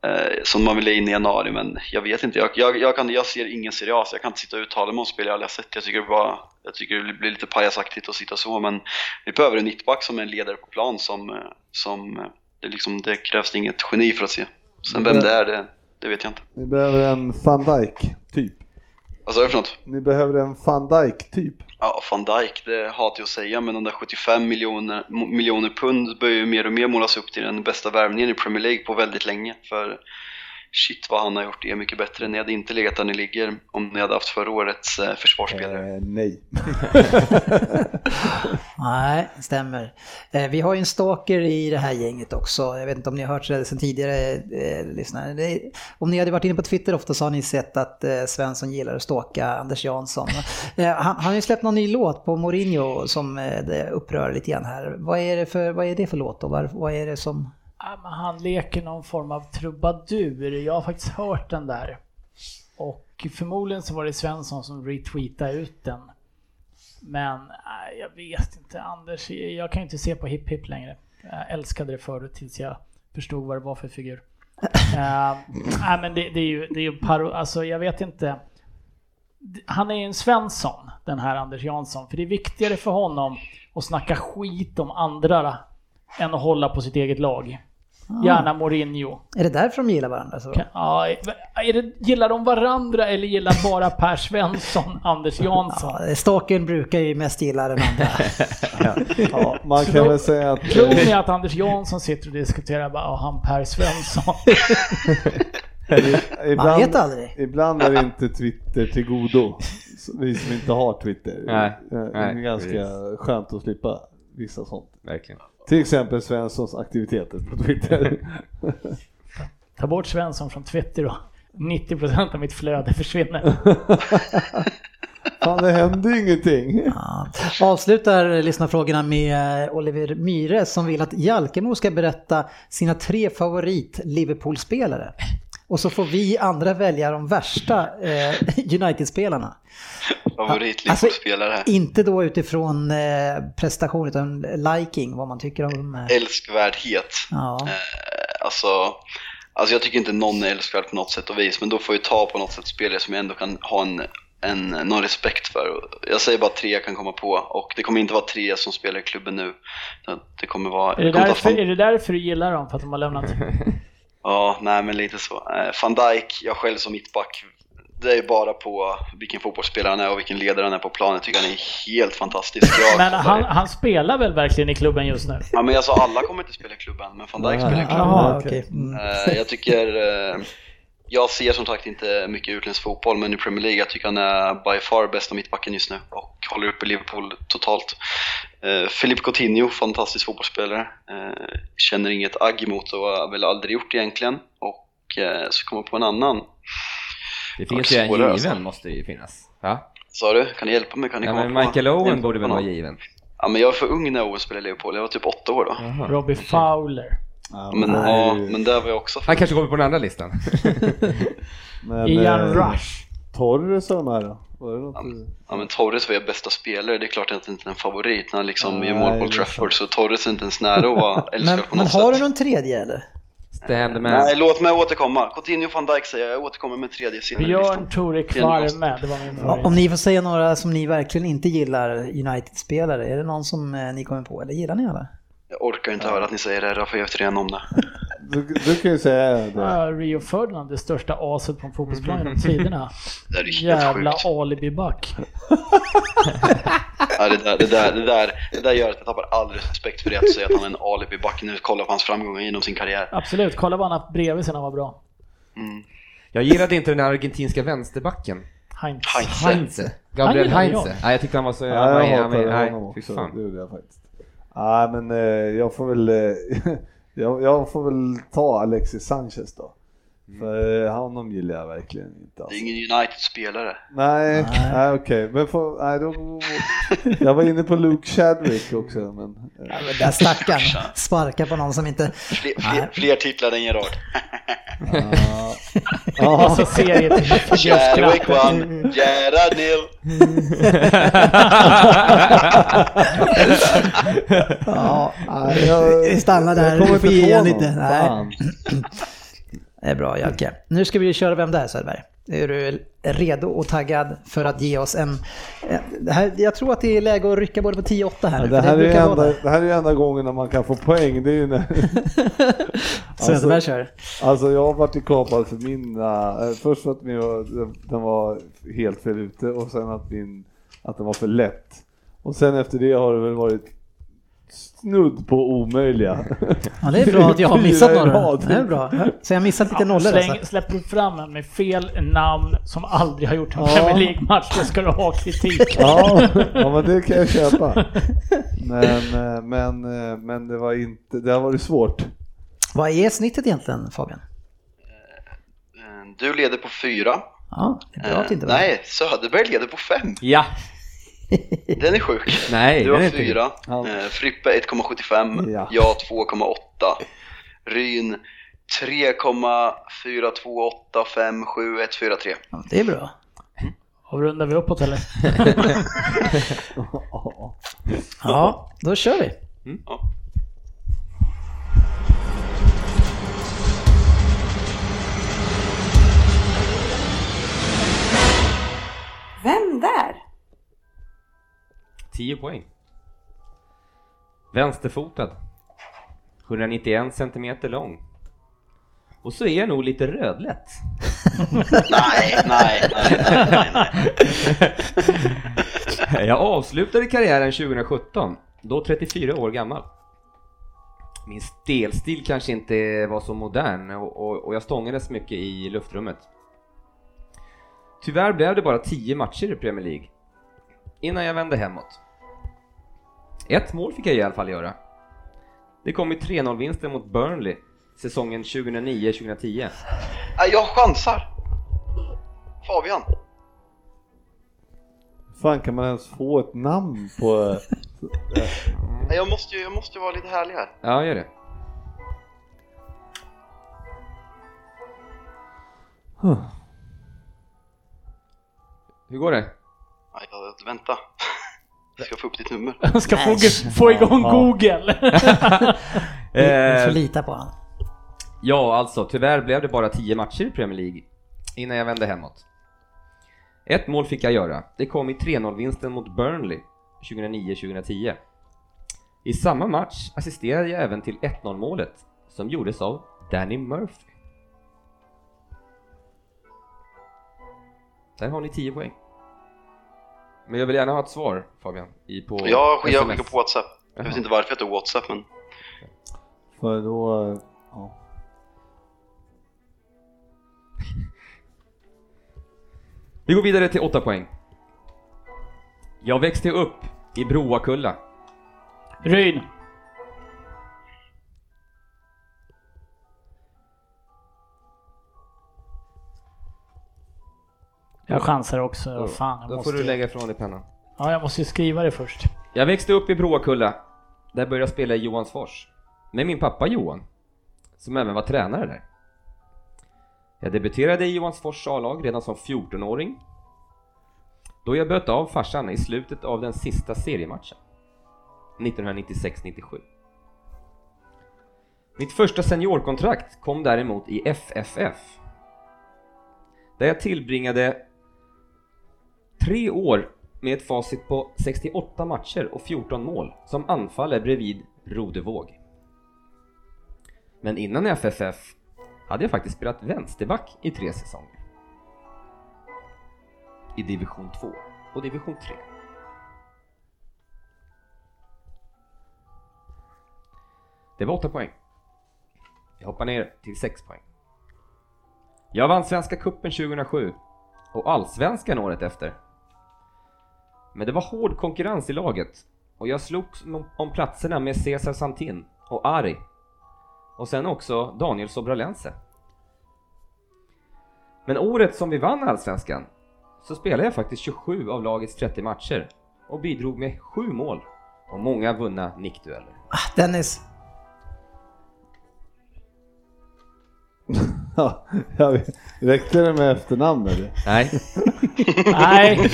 [SPEAKER 4] eh, som man ville in i januari. Men jag vet inte. Jag, jag, jag, kan, jag ser ingen Serie A, så jag kan inte sitta och uttala mig om spelare jag aldrig har sett. Jag tycker, det bara, jag tycker det blir lite pajasaktigt att sitta så. Men vi behöver en mittback som är en ledare på plan som, eh, som eh, det, är liksom, det krävs inget geni för att se. Sen
[SPEAKER 6] Mm.
[SPEAKER 4] vem det är, det, det vet jag inte.
[SPEAKER 6] Ni behöver en van Dijk typ.
[SPEAKER 4] Vad sa du för något?
[SPEAKER 6] Ni behöver en van Dijk typ.
[SPEAKER 4] Ja, van Dijk, det hatar jag att säga, men de där 75 miljoner, mo- miljoner pund börjar ju mer och mer målas upp till den bästa värvningen i Premier League på väldigt länge. För shit vad han har gjort det mycket bättre. Ni hade inte legat där ni ligger om ni hade haft förra årets eh, försvarsspelare.
[SPEAKER 6] Eh, nej.
[SPEAKER 2] Nej, det stämmer. Eh, Vi har ju en stalker i det här gänget också. Jag vet inte om ni har hört det sen tidigare eh, lyssnare. Det, är- om ni hade varit inne på Twitter ofta så har ni sett att eh, Svensson gillar att stalka Anders Jansson. Eh, han, han har ju släppt någon ny låt på Mourinho som eh, det upprör lite grann här. Vad är det för, vad är det för låt och var, vad är det som...
[SPEAKER 5] Ja, men han leker någon form av trubadur. Jag har faktiskt hört den där. Och förmodligen så var det Svensson som retweetade ut den. Men nej, jag vet inte. Anders, jag kan ju inte se på Hip Hip längre. Jag älskade det förut tills jag förstod vad det var för figur. Ehm, Eh, nej, men det, det är ju, det är ju paro, alltså jag vet inte. han är ju en Svensson, den här Anders Jansson. För det är viktigare för honom att snacka skit om andra än att hålla på sitt eget lag. Gärna Mourinho.
[SPEAKER 2] Är det därför de gillar varandra? Så?
[SPEAKER 5] Kan- Ja, är det, gillar de varandra eller gillar bara Per Svensson Anders Jansson?
[SPEAKER 2] Ja, Stalkern brukar ju mest gilla den andra.
[SPEAKER 6] Ja, man kan väl säga att...
[SPEAKER 5] Tror ni att Anders Jansson sitter och diskuterar bara "Ja, han Per Svensson?
[SPEAKER 6] i-
[SPEAKER 2] Man
[SPEAKER 6] ibland,
[SPEAKER 2] vet aldrig.
[SPEAKER 6] ibland är det inte Twitter till godo. Så Vi som inte har Twitter.
[SPEAKER 3] Nej,
[SPEAKER 6] Eh, det är
[SPEAKER 3] nej,
[SPEAKER 6] ganska
[SPEAKER 3] precis.
[SPEAKER 6] skönt att slippa vissa sånt.
[SPEAKER 3] Verkligen.
[SPEAKER 6] Till exempel Svenssons aktiviteter på Twitter.
[SPEAKER 5] Ta bort Svensson från Twitter och 90% av mitt flöde försvinner.
[SPEAKER 6] Fan, det händer ju ingenting.
[SPEAKER 2] Ja. Avslutar lyssnarfrågorna med eh, Oliver Myhre som vill att Jalkemo ska berätta sina tre favorit Liverpool-spelare. Och så får vi andra välja de värsta eh, United-spelarna.
[SPEAKER 4] Favoritliverpool-spelare.
[SPEAKER 2] Inte då utifrån eh, prestation utan liking, vad man tycker om... Eh,
[SPEAKER 4] Älskvärdhet.
[SPEAKER 2] ja.
[SPEAKER 4] Eh, Alltså, alltså jag tycker inte någon är älskvärd på något sätt och vis, men då får jag ta på något sätt spelare som jag ändå kan ha en, en, någon respekt för. Jag säger bara tre jag kan komma på och det kommer inte vara tre som spelar i klubben nu. Utan Det kommer vara...
[SPEAKER 5] Är det,
[SPEAKER 4] det kommer ta
[SPEAKER 5] därför,
[SPEAKER 4] Van-
[SPEAKER 5] är det därför du gillar dem? För att de har lämnat?
[SPEAKER 4] Ja, nej men lite så. Eh, Van Dijk, jag själv som mittback, det är bara på vilken fotbollsspelare han är och vilken ledare han är på planen. Jag tycker han är helt fantastisk. Jag,
[SPEAKER 5] Men han, han spelar väl verkligen i klubben just nu?
[SPEAKER 4] Ja men alltså alla kommer inte spela i klubben, men Van Dijk spelar i klubben.
[SPEAKER 2] Jaha,
[SPEAKER 6] okej.
[SPEAKER 2] okej. Mm.
[SPEAKER 4] Eh, jag tycker... eh, jag ser som sagt inte mycket utländsk fotboll, men i Premier League jag tycker han är by far bästa mittbacken just nu och håller uppe Liverpool totalt. Eh, Philippe Coutinho, fantastisk fotbollsspelare. Eh, känner inget agg emot och har väl aldrig gjort egentligen. Och eh, så kommer jag på en annan.
[SPEAKER 3] Det
[SPEAKER 4] Ja,
[SPEAKER 3] finns ju en
[SPEAKER 4] svårare alltså.
[SPEAKER 3] given, måste det ju finnas. Va?
[SPEAKER 4] Sa du? Kan du hjälpa mig? Kan ni
[SPEAKER 3] Ja,
[SPEAKER 4] komma
[SPEAKER 3] men
[SPEAKER 4] på någon?
[SPEAKER 3] Michael
[SPEAKER 4] Hjälp
[SPEAKER 3] Owen
[SPEAKER 4] mig
[SPEAKER 3] borde
[SPEAKER 4] på
[SPEAKER 3] väl vara
[SPEAKER 4] någon.
[SPEAKER 3] given?
[SPEAKER 4] Ja, men jag var för ung när Owen spelade i Liverpool, jag var typ åtta år då.
[SPEAKER 5] Robbie Fowler.
[SPEAKER 6] Ja,
[SPEAKER 4] Men,
[SPEAKER 6] det är
[SPEAKER 4] ja,
[SPEAKER 6] ju-
[SPEAKER 4] men där var jag också för
[SPEAKER 3] Han kanske kommer på den andra listan.
[SPEAKER 6] men,
[SPEAKER 5] Ian
[SPEAKER 6] eh,
[SPEAKER 5] Rush.
[SPEAKER 6] Torres och de här då? Var det något?
[SPEAKER 4] Ja men Torres var ju bästa spelare, det är klart att det inte är en favorit när han liksom
[SPEAKER 6] Nej,
[SPEAKER 4] gör mål
[SPEAKER 6] det är
[SPEAKER 4] på Trafford så Torres är inte ens nära att vara
[SPEAKER 2] Men,
[SPEAKER 4] älskad på
[SPEAKER 2] men
[SPEAKER 4] något
[SPEAKER 2] har du
[SPEAKER 4] sätt.
[SPEAKER 2] någon tredje eller?
[SPEAKER 3] Stand man.
[SPEAKER 4] Nej, låt mig återkomma. Coutinho van Dijk säger jag, jag återkommer med tredje senare i listan.
[SPEAKER 5] Björn Tore Kvarme. Det var min
[SPEAKER 2] Ja, Om
[SPEAKER 5] favorit.
[SPEAKER 2] ni får säga några som ni verkligen inte gillar United-spelare, är det någon som eh, ni kommer på? Eller gillar ni alla?
[SPEAKER 4] Jag orkar inte höra att ni säger det, Rafa jag vet redan om det.
[SPEAKER 6] Du, du kan ju säga det.
[SPEAKER 5] Ja, Rio Ferdinand, det största aset på en fotbollsplan genom tiderna.
[SPEAKER 4] Det där är ju helt
[SPEAKER 5] Jävla
[SPEAKER 4] sjukt.
[SPEAKER 5] alibiback.
[SPEAKER 4] Ja, det, där, det, där, det, där, det där gör att jag tappar all respekt för det att säga att han är en alibi-back nu, kolla på hans framgångar genom sin karriär.
[SPEAKER 5] Absolut, kolla vad han haft bredvid sen han var bra.
[SPEAKER 3] Jag gillade inte den här argentinska vänsterbacken.
[SPEAKER 5] Heinz.
[SPEAKER 4] Heinze.
[SPEAKER 3] Heinze. Gabriel
[SPEAKER 5] Han gillade
[SPEAKER 3] Heinze.
[SPEAKER 5] jag.
[SPEAKER 3] Nej, jag tyckte han var så...
[SPEAKER 6] Ja,
[SPEAKER 3] han var-
[SPEAKER 6] jag
[SPEAKER 3] han var-
[SPEAKER 6] hatade
[SPEAKER 3] nej,
[SPEAKER 6] honom
[SPEAKER 3] fy
[SPEAKER 6] också.
[SPEAKER 3] fan.
[SPEAKER 6] Det gjorde jag faktiskt. Nej, men eh, jag får väl eh, jag, jag får väl ta Alexis Sanchez då.
[SPEAKER 2] Mm.
[SPEAKER 6] För eh, honom gillar jag verkligen inte.
[SPEAKER 4] Det
[SPEAKER 6] Alltså.
[SPEAKER 4] är ingen United-spelare.
[SPEAKER 6] Nej, nej okej. Men får, nej, då, jag var inne på Luke Chadwick också. Men, eh,
[SPEAKER 2] Ja, men Där stackaren sparkar på någon som inte...
[SPEAKER 4] Fler, fler, fler titlar än Gerard.
[SPEAKER 6] ja.
[SPEAKER 5] Och
[SPEAKER 6] ja,
[SPEAKER 5] så serietidningsfigur.
[SPEAKER 4] Chadwick vann, Gerard nil.
[SPEAKER 2] Ja,
[SPEAKER 6] nej, jag,
[SPEAKER 2] Vi stannar där.
[SPEAKER 6] Jag
[SPEAKER 2] Vi
[SPEAKER 6] kommer
[SPEAKER 2] får ge
[SPEAKER 6] inte
[SPEAKER 2] en
[SPEAKER 6] på någon.
[SPEAKER 2] lite. Nej.
[SPEAKER 6] Fan.
[SPEAKER 2] det är bra Jalke. Nu ska vi köra Vem där Söderberg? Är du redo och taggad för att ge oss en... eh, Det här, jag tror att det är läge att rycka både på 10-8 här nu.
[SPEAKER 6] Ja,
[SPEAKER 2] för
[SPEAKER 6] det, här är ju
[SPEAKER 2] brukar vara
[SPEAKER 6] enda,
[SPEAKER 2] det.
[SPEAKER 6] det här är ju enda gången när man kan få poäng. Det är ju när,
[SPEAKER 2] Söderberg kör.
[SPEAKER 6] Alltså jag har varit kapad för mina, eh, först för att min var, den var helt fel ute och sen att, min, att den var för lätt. Och sen efter det har det väl varit snudd på omöjliga.
[SPEAKER 2] Ja, det är bra att jag har
[SPEAKER 6] Fyra
[SPEAKER 2] missat
[SPEAKER 6] i
[SPEAKER 2] några.
[SPEAKER 6] rad.
[SPEAKER 2] Det är bra. Så jag har missat lite
[SPEAKER 5] Ja,
[SPEAKER 2] nollor alltså.
[SPEAKER 5] Släng, släpper du fram en med fel namn som aldrig har gjort en
[SPEAKER 6] Ja.
[SPEAKER 5] Premier League-match, då ska du ha kritik.
[SPEAKER 6] Ja, ja men det kan jag köpa. Men, eh, men, eh, men det var inte, det har varit svårt.
[SPEAKER 2] Vad är snittet egentligen Fabian?
[SPEAKER 4] Du leder på fyra.
[SPEAKER 2] Ja, det är bra att det inte
[SPEAKER 4] Eh,
[SPEAKER 2] var.
[SPEAKER 4] Nej, Söderberg leder på fem.
[SPEAKER 3] Ja.
[SPEAKER 4] Den är sjuk.
[SPEAKER 3] Nej,
[SPEAKER 4] Du
[SPEAKER 3] den
[SPEAKER 4] har
[SPEAKER 3] är inte-
[SPEAKER 4] fyra.
[SPEAKER 6] Ja.
[SPEAKER 4] Eh, Frippe 1,75.
[SPEAKER 6] Ja.
[SPEAKER 4] Jag 2,8. Ryn 3,428571143.
[SPEAKER 2] Ja, det är bra.
[SPEAKER 5] Avrundar vi uppåt eller?
[SPEAKER 2] Ja, då kör vi.
[SPEAKER 4] Ja.
[SPEAKER 1] där.
[SPEAKER 3] 10 poäng. Vänsterfotad. 191 centimeter lång. Och så är jag nog lite rödlätt.
[SPEAKER 4] Nej, nej, nej, nej, nej, nej.
[SPEAKER 3] Jag avslutade karriären 2017, då 34 år gammal. Min stelstil kanske inte var så modern och, och, och jag stångades mycket i luftrummet. Tyvärr blev det bara 10 matcher i Premier League innan jag vände hemåt. Ett mål fick jag i alla fall göra. Det kom i 3-0-vinsten mot Burnley säsongen 2009-2010.
[SPEAKER 4] Nej, Jag chansar. Fabian.
[SPEAKER 6] fan kan man ens få ett namn på...
[SPEAKER 4] Nej, Jag måste ju, jag måste ju vara lite härlig här.
[SPEAKER 3] Ja, gör det.
[SPEAKER 6] Huh.
[SPEAKER 3] Hur går det?
[SPEAKER 4] Nej, jag- vänta. Jag ska få upp ditt nummer.
[SPEAKER 3] Mm.
[SPEAKER 5] Han ska få, få igång
[SPEAKER 6] Ja.
[SPEAKER 5] Google.
[SPEAKER 2] Vi vi får
[SPEAKER 3] Eh,
[SPEAKER 2] lita på honom.
[SPEAKER 3] Ja, alltså tyvärr blev det bara 10 matcher i Premier League innan jag vände hemåt. Ett mål fick jag göra. Det kom i 3-0-vinsten mot Burnley 2009-2010. I samma match assisterade jag även till 1-0-målet som gjordes av Danny Murphy. Där har ni 10 poäng. Men jag vill gärna ha ett svar Fabian. I på
[SPEAKER 4] Jag, jag
[SPEAKER 3] SMS.
[SPEAKER 4] skickar på Whatsapp. Jag vet inte varför jag tog Whatsapp, men
[SPEAKER 6] För då... eh, Ja.
[SPEAKER 3] Vi går vidare till 8 poäng. Jag växte upp i Broakulla
[SPEAKER 5] Ryn. Jag chansar också.
[SPEAKER 3] Då-
[SPEAKER 5] Vad fan, jag
[SPEAKER 3] Då
[SPEAKER 5] måste...
[SPEAKER 3] får du lägga ifrån dig pennan.
[SPEAKER 5] Ja, jag måste ju skriva det först.
[SPEAKER 3] Jag växte upp i Bråkulla. Där började jag spela i Johansfors. Med min pappa Johan. Som även var tränare där. Jag debuterade i Johansfors A-lag redan som 14-åring. Då jag böt av farsan i slutet av den sista seriematchen. 1996-97. Mitt första seniorkontrakt kom däremot i FFF. Där jag tillbringade Tre år med ett facit på 68 matcher och 14 mål som anfaller bredvid Rodevåg. Men innan FFF hade jag faktiskt spelat vänsterback i tre säsonger. I division 2 och division 3. Det var 8 poäng. Jag hoppar ner till 6 poäng. Jag vann Svenska Cupen 2007 och Allsvenskan året efter. Men det var hård konkurrens i laget och jag slogs om- om platserna med Cesar Santin och Ari och sen också Daniel Sobralense. Men året som vi vann Allsvenskan så spelade jag faktiskt 27 av lagets 30 matcher och bidrog med 7 mål och många vunna nickdueller.
[SPEAKER 2] Ah, Dennis,
[SPEAKER 6] Ja, jag vet. Räckte det med efternamn eller?
[SPEAKER 3] Nej,
[SPEAKER 5] Nej.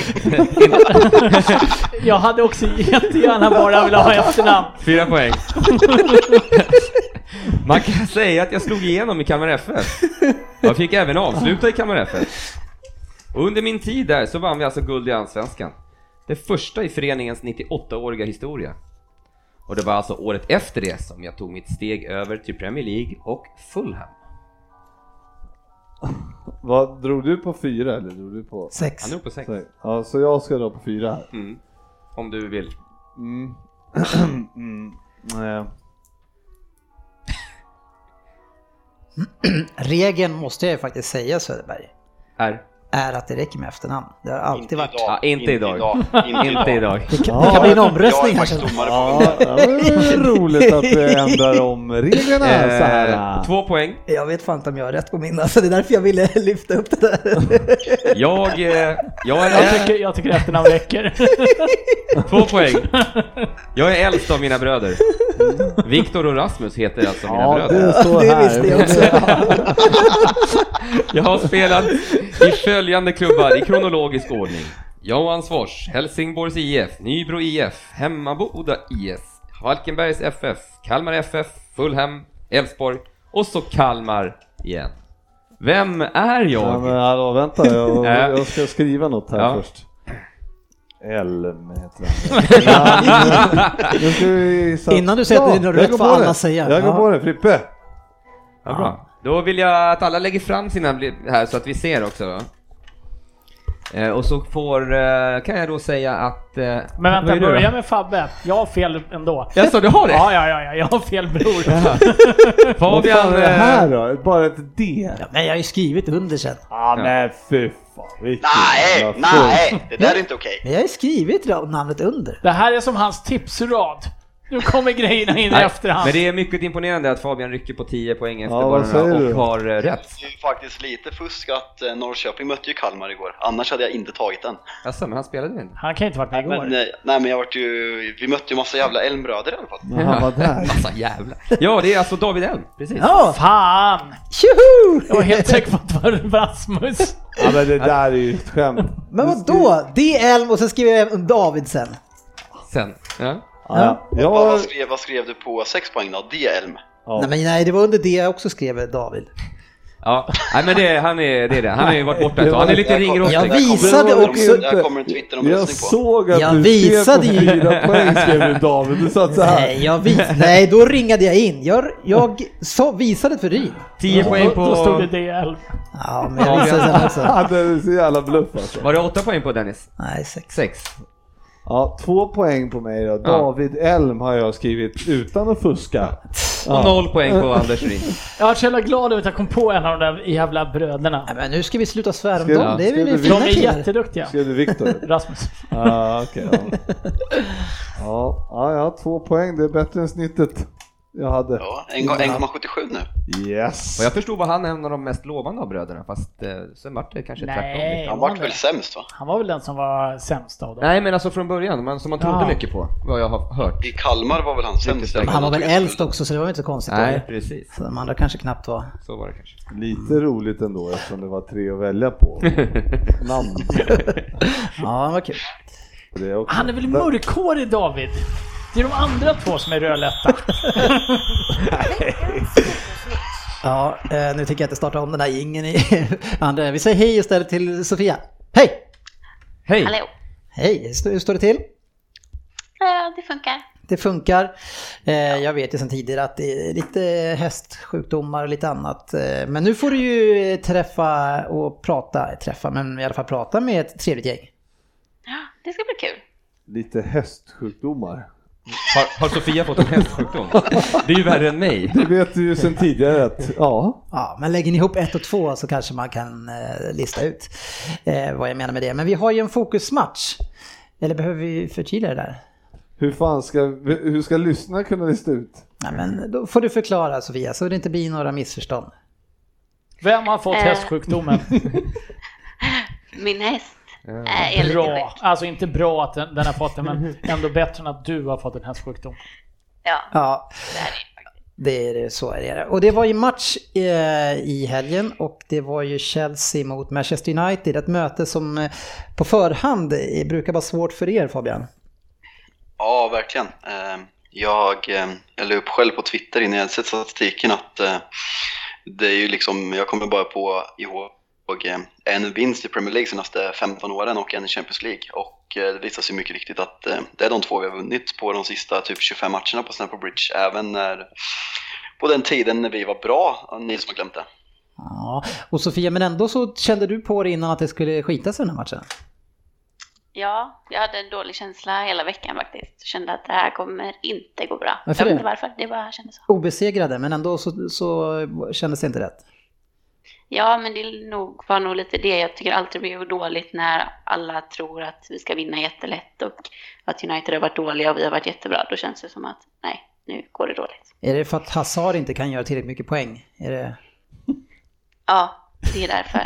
[SPEAKER 5] jag hade också jättegärna bara velat ha efternamn.
[SPEAKER 3] fyra poäng. Man kan säga att jag slog igenom i Kalmar FF. Jag fick även avsluta i Kalmar FF. Och under min tid där så vann vi alltså guld i Allsvenskan. Det första i föreningens 98-åriga historia. Och det var alltså året efter det som jag tog mitt steg över till Premier League och Fulham.
[SPEAKER 6] Vad, drog du på fyra eller drog du på...
[SPEAKER 2] sex.
[SPEAKER 3] Han drog på sex.
[SPEAKER 6] Så, ja, så jag ska dra på fyra här.
[SPEAKER 3] Mm. Om du vill.
[SPEAKER 6] Mm. mm. eh,
[SPEAKER 2] Regeln måste jag ju faktiskt säga Söderberg,
[SPEAKER 3] Är.
[SPEAKER 2] är att det räcker med efternamn. Det har alltid varit...
[SPEAKER 4] idag.
[SPEAKER 3] Ja, inte idag. Inte idag.
[SPEAKER 2] Det kan, det
[SPEAKER 6] Ja,
[SPEAKER 2] kan bli en
[SPEAKER 4] Jag
[SPEAKER 2] omröstning här
[SPEAKER 4] är faktiskt
[SPEAKER 2] sen.
[SPEAKER 4] domare på
[SPEAKER 6] Ja, det var roligt att du ändrar om reglerna så här.
[SPEAKER 3] Eh, två poäng.
[SPEAKER 2] Jag vet fan inte om jag har rätt på min, alltså det är därför jag ville lyfta upp det där.
[SPEAKER 3] Jag... Eh, jag
[SPEAKER 5] Jag
[SPEAKER 3] är...
[SPEAKER 5] tycker, jag tycker efternamn räcker.
[SPEAKER 3] Två poäng. Jag är äldst av mina bröder. Viktor och Rasmus heter alltså mina
[SPEAKER 6] Ja,
[SPEAKER 3] bröder.
[SPEAKER 6] det står
[SPEAKER 2] Det
[SPEAKER 6] här.
[SPEAKER 2] visste jag också.
[SPEAKER 3] Jag har spelat i följande klubbar i kronologisk ordning. Johansfors, Helsingborgs IF, Nybro IF, Hemmaboda IS, Falkenbergs FF, Kalmar FF, Fulham, Elfsborg och så Kalmar igen. Vem är
[SPEAKER 6] Ja, men eh,
[SPEAKER 3] jag?
[SPEAKER 6] hallå, vänta, jag, jag ska skriva något här
[SPEAKER 3] Ja.
[SPEAKER 6] först. Elm heter han. Ja, men- nu ska vi gissa.
[SPEAKER 2] Innan du säger att det är något
[SPEAKER 6] jag
[SPEAKER 2] rätt
[SPEAKER 6] går
[SPEAKER 2] får
[SPEAKER 6] på
[SPEAKER 2] alla
[SPEAKER 6] det.
[SPEAKER 2] säga.
[SPEAKER 6] Jag går
[SPEAKER 2] Ja.
[SPEAKER 6] på det, Frippe.
[SPEAKER 3] Ja, bra. Då vill jag att alla lägger fram sina bli- här så att vi ser också då. Eh, och så får, eh, kan jag då säga att... Eh,
[SPEAKER 5] Men
[SPEAKER 3] vad
[SPEAKER 5] vänta,
[SPEAKER 3] är du då?
[SPEAKER 5] börja med Fabbe. Jag har fel ändå.
[SPEAKER 3] Jaså, du har det?
[SPEAKER 5] Ja, ja, ja, ja, jag har fel bror.
[SPEAKER 6] Vad
[SPEAKER 3] Fabian...
[SPEAKER 6] fan är det här
[SPEAKER 3] Eh,
[SPEAKER 6] då? Bara ett D?
[SPEAKER 2] Ja, men jag har ju skrivit under sen.
[SPEAKER 6] Ah, men fy fan. vilken
[SPEAKER 4] Nej,
[SPEAKER 6] jävla
[SPEAKER 4] nej, det där är inte okej.
[SPEAKER 2] Men jag har ju skrivit ra- namnet under.
[SPEAKER 5] Det här är som hans tipsrad. Nu kommer grejerna in i
[SPEAKER 3] nej,
[SPEAKER 5] efterhand.
[SPEAKER 3] men det är mycket imponerande att Fabian rycker på 10 poäng efter
[SPEAKER 6] Ja, vad
[SPEAKER 3] bollarna
[SPEAKER 6] säger
[SPEAKER 3] och
[SPEAKER 6] du?
[SPEAKER 3] har eh, rätt.
[SPEAKER 4] Det är ju faktiskt lite fusk att eh, Norrköping mötte ju Kalmar igår, annars hade jag inte tagit den.
[SPEAKER 3] Jaså, men han spelade inte?
[SPEAKER 5] Han kan ju inte varit med igår.
[SPEAKER 4] Men, eh, nej men jag vart ju, vi mötte ju massa jävla Elmbröder i alla fall.
[SPEAKER 6] Men han var där.
[SPEAKER 3] Massa Alltså, jävlar. Ja, det är alltså David Elm, precis.
[SPEAKER 2] Ja,
[SPEAKER 5] Fan!
[SPEAKER 2] tjoho!
[SPEAKER 5] Jag var helt säker på att det var Rasmus.
[SPEAKER 6] Ja, men det där är ju ett skämt.
[SPEAKER 2] Men vadå? Det är Elm och sen skriver jag även David sen.
[SPEAKER 3] Sen. Ja.
[SPEAKER 6] Ja, jag,
[SPEAKER 4] Vad, vad, skrev, vad skrev du på 6 poäng då? Det är Elm.
[SPEAKER 6] Ja.
[SPEAKER 2] Nej, men nej, det var under det jag också skrev David.
[SPEAKER 3] ja. Nej, men det, han är det. Är det. Han har ju varit borta ett tag. Han är lite
[SPEAKER 4] Jag kom-
[SPEAKER 3] ringrostig.
[SPEAKER 2] Jag
[SPEAKER 4] jag kommer-
[SPEAKER 2] visade
[SPEAKER 4] jag kommer-
[SPEAKER 2] också-
[SPEAKER 4] Jag kommer en Twitteromröstning
[SPEAKER 6] jag
[SPEAKER 4] på.
[SPEAKER 6] såg att
[SPEAKER 2] Jag
[SPEAKER 6] du
[SPEAKER 2] visade
[SPEAKER 6] skrev
[SPEAKER 2] ju-
[SPEAKER 6] på fyra poäng skrev du David. Du satt så här.
[SPEAKER 2] Nej, jag vis nej, då ringade jag in. Jag, jag sa, visade för Ryn.
[SPEAKER 3] 10 poäng
[SPEAKER 5] Då,
[SPEAKER 3] på...
[SPEAKER 5] då stod det DL.
[SPEAKER 2] Ja, men jag visade sen också.
[SPEAKER 6] Han är så jävla bluff alltså.
[SPEAKER 3] Var det 8 poäng på Dennis?
[SPEAKER 2] Nej, sex.
[SPEAKER 3] 6.
[SPEAKER 6] Ja, två poäng på mig då. David Elm har jag skrivit utan att fuska.
[SPEAKER 3] Och 0 poäng på Anders Ring.
[SPEAKER 5] Jag var så jävla glad över att jag kom på en av de där jävla bröderna.
[SPEAKER 2] Nej, men nu ska vi sluta svära om
[SPEAKER 6] Skrev-
[SPEAKER 2] dem. Det är väl
[SPEAKER 6] skrev
[SPEAKER 5] De
[SPEAKER 2] fina
[SPEAKER 5] är
[SPEAKER 2] killar.
[SPEAKER 5] jätteduktiga.
[SPEAKER 6] Skrev du Viktor?
[SPEAKER 5] Rasmus.
[SPEAKER 6] Ja, okej. ja. ja. ja, jag har två poäng. Det är bättre än snittet jag hade.
[SPEAKER 4] Ja, en- 1,77 nu.
[SPEAKER 6] Yes.
[SPEAKER 3] Och jag förstod bara han är en av de mest lovande av bröderna, fast eh, sen vart det kanske tvärtom.
[SPEAKER 5] Nej,
[SPEAKER 3] lite.
[SPEAKER 4] Han
[SPEAKER 5] var
[SPEAKER 4] vart
[SPEAKER 5] han,
[SPEAKER 4] väl
[SPEAKER 5] väl.
[SPEAKER 4] sämst va?
[SPEAKER 5] han var väl den som var sämst av dem.
[SPEAKER 3] Nej men alltså från början, man, som man trodde
[SPEAKER 5] Ja.
[SPEAKER 3] mycket på, vad jag har hört.
[SPEAKER 4] I Kalmar var väl han sämst?
[SPEAKER 3] säkert.
[SPEAKER 2] Men Han var väl äldst också, så det var väl inte så konstigt.
[SPEAKER 3] Nej,
[SPEAKER 2] eller?
[SPEAKER 3] precis.
[SPEAKER 2] Så de andra kanske knappt var...
[SPEAKER 3] Så var det kanske.
[SPEAKER 6] Lite roligt ändå eftersom det var tre att välja på. Namn.
[SPEAKER 2] Ja, vad kul.
[SPEAKER 6] Det är också-
[SPEAKER 5] Han är väl mörkhårig David? Det är de andra två som är rödlätta.
[SPEAKER 2] Ja, eh, nu tycker jag att jag startar om den här jingeln i andra. Vi säger hej istället till Sofia. Hej!
[SPEAKER 3] Hej!
[SPEAKER 7] Hallå.
[SPEAKER 2] Hej, hur st- hur står det till?
[SPEAKER 7] Ja, det funkar.
[SPEAKER 2] Det funkar. Eh, Jag vet ju sedan tidigare att det är lite hästsjukdomar och lite annat. Eh, Men nu får du ju eh, träffa och prata, träffa, men i alla fall prata med ett trevligt gäng.
[SPEAKER 7] Ja, det ska bli kul.
[SPEAKER 6] Lite hästsjukdomar.
[SPEAKER 3] Har, har Sofia fått en hästsjukdom? Det är ju värre än mig.
[SPEAKER 6] Det vet du ju sedan tidigare att, ja.
[SPEAKER 2] Ja, men lägger ni ihop ett och två så kanske man kan eh, lista ut eh, vad jag menar med det. Men vi har ju en fokusmatch. Eller behöver vi förtydliga det där?
[SPEAKER 6] Hur fan ska, hur ska lyssnarna kunna lista ut?
[SPEAKER 2] Nej, men då får du förklara Sofia, så det inte blir några missförstånd.
[SPEAKER 5] Vem har fått
[SPEAKER 7] Eh.
[SPEAKER 5] hästsjukdomen?
[SPEAKER 7] Min häst eh, är lite
[SPEAKER 5] Bra.
[SPEAKER 7] sjuk.
[SPEAKER 5] Alltså inte bra att den, den har fått den, men ändå bättre än att du har fått en hästsjukdom.
[SPEAKER 7] Ja,
[SPEAKER 2] Ja,
[SPEAKER 7] det är det faktiskt.
[SPEAKER 2] Det är det, så är det. Och det var ju match eh, i helgen och det var ju Chelsea mot Manchester United. Ett möte som eh, på förhand eh, brukar vara svårt för er Fabian.
[SPEAKER 4] Ja, verkligen. Eh, Jag, eh, jag la upp själv på Twitter innan jag sett statistiken att eh, det är ju liksom, jag kommer bara på ihåg eh, en vinst i Premier League senaste 15 åren och en i Champions League. Och eh, det visar sig mycket riktigt att eh, det är de två vi har vunnit på de sista typ 25 matcherna på Stamford Bridge, även när, på den tiden när vi var bra, ni som har glömt det.
[SPEAKER 2] Ja, och Sofia, men ändå så kände du på det innan att det skulle skita sig den här matchen.
[SPEAKER 7] ja, jag hade en dålig känsla hela veckan faktiskt. Kände att det här kommer inte gå bra.
[SPEAKER 2] Varför
[SPEAKER 7] jag
[SPEAKER 2] det?
[SPEAKER 7] vet inte varför, det bara kändes så.
[SPEAKER 2] Obesegrade, men ändå så, så kändes det inte rätt.
[SPEAKER 7] Ja, men det är nog, var nog lite det. Jag tycker alltid det blir dåligt när alla tror att vi ska vinna jättelätt och att United har varit dåliga och vi har varit jättebra. Då känns det som att nej, nu går det dåligt.
[SPEAKER 2] Är det för att Hazard inte kan göra tillräckligt mycket poäng? Är det...
[SPEAKER 7] Ja, det är därför.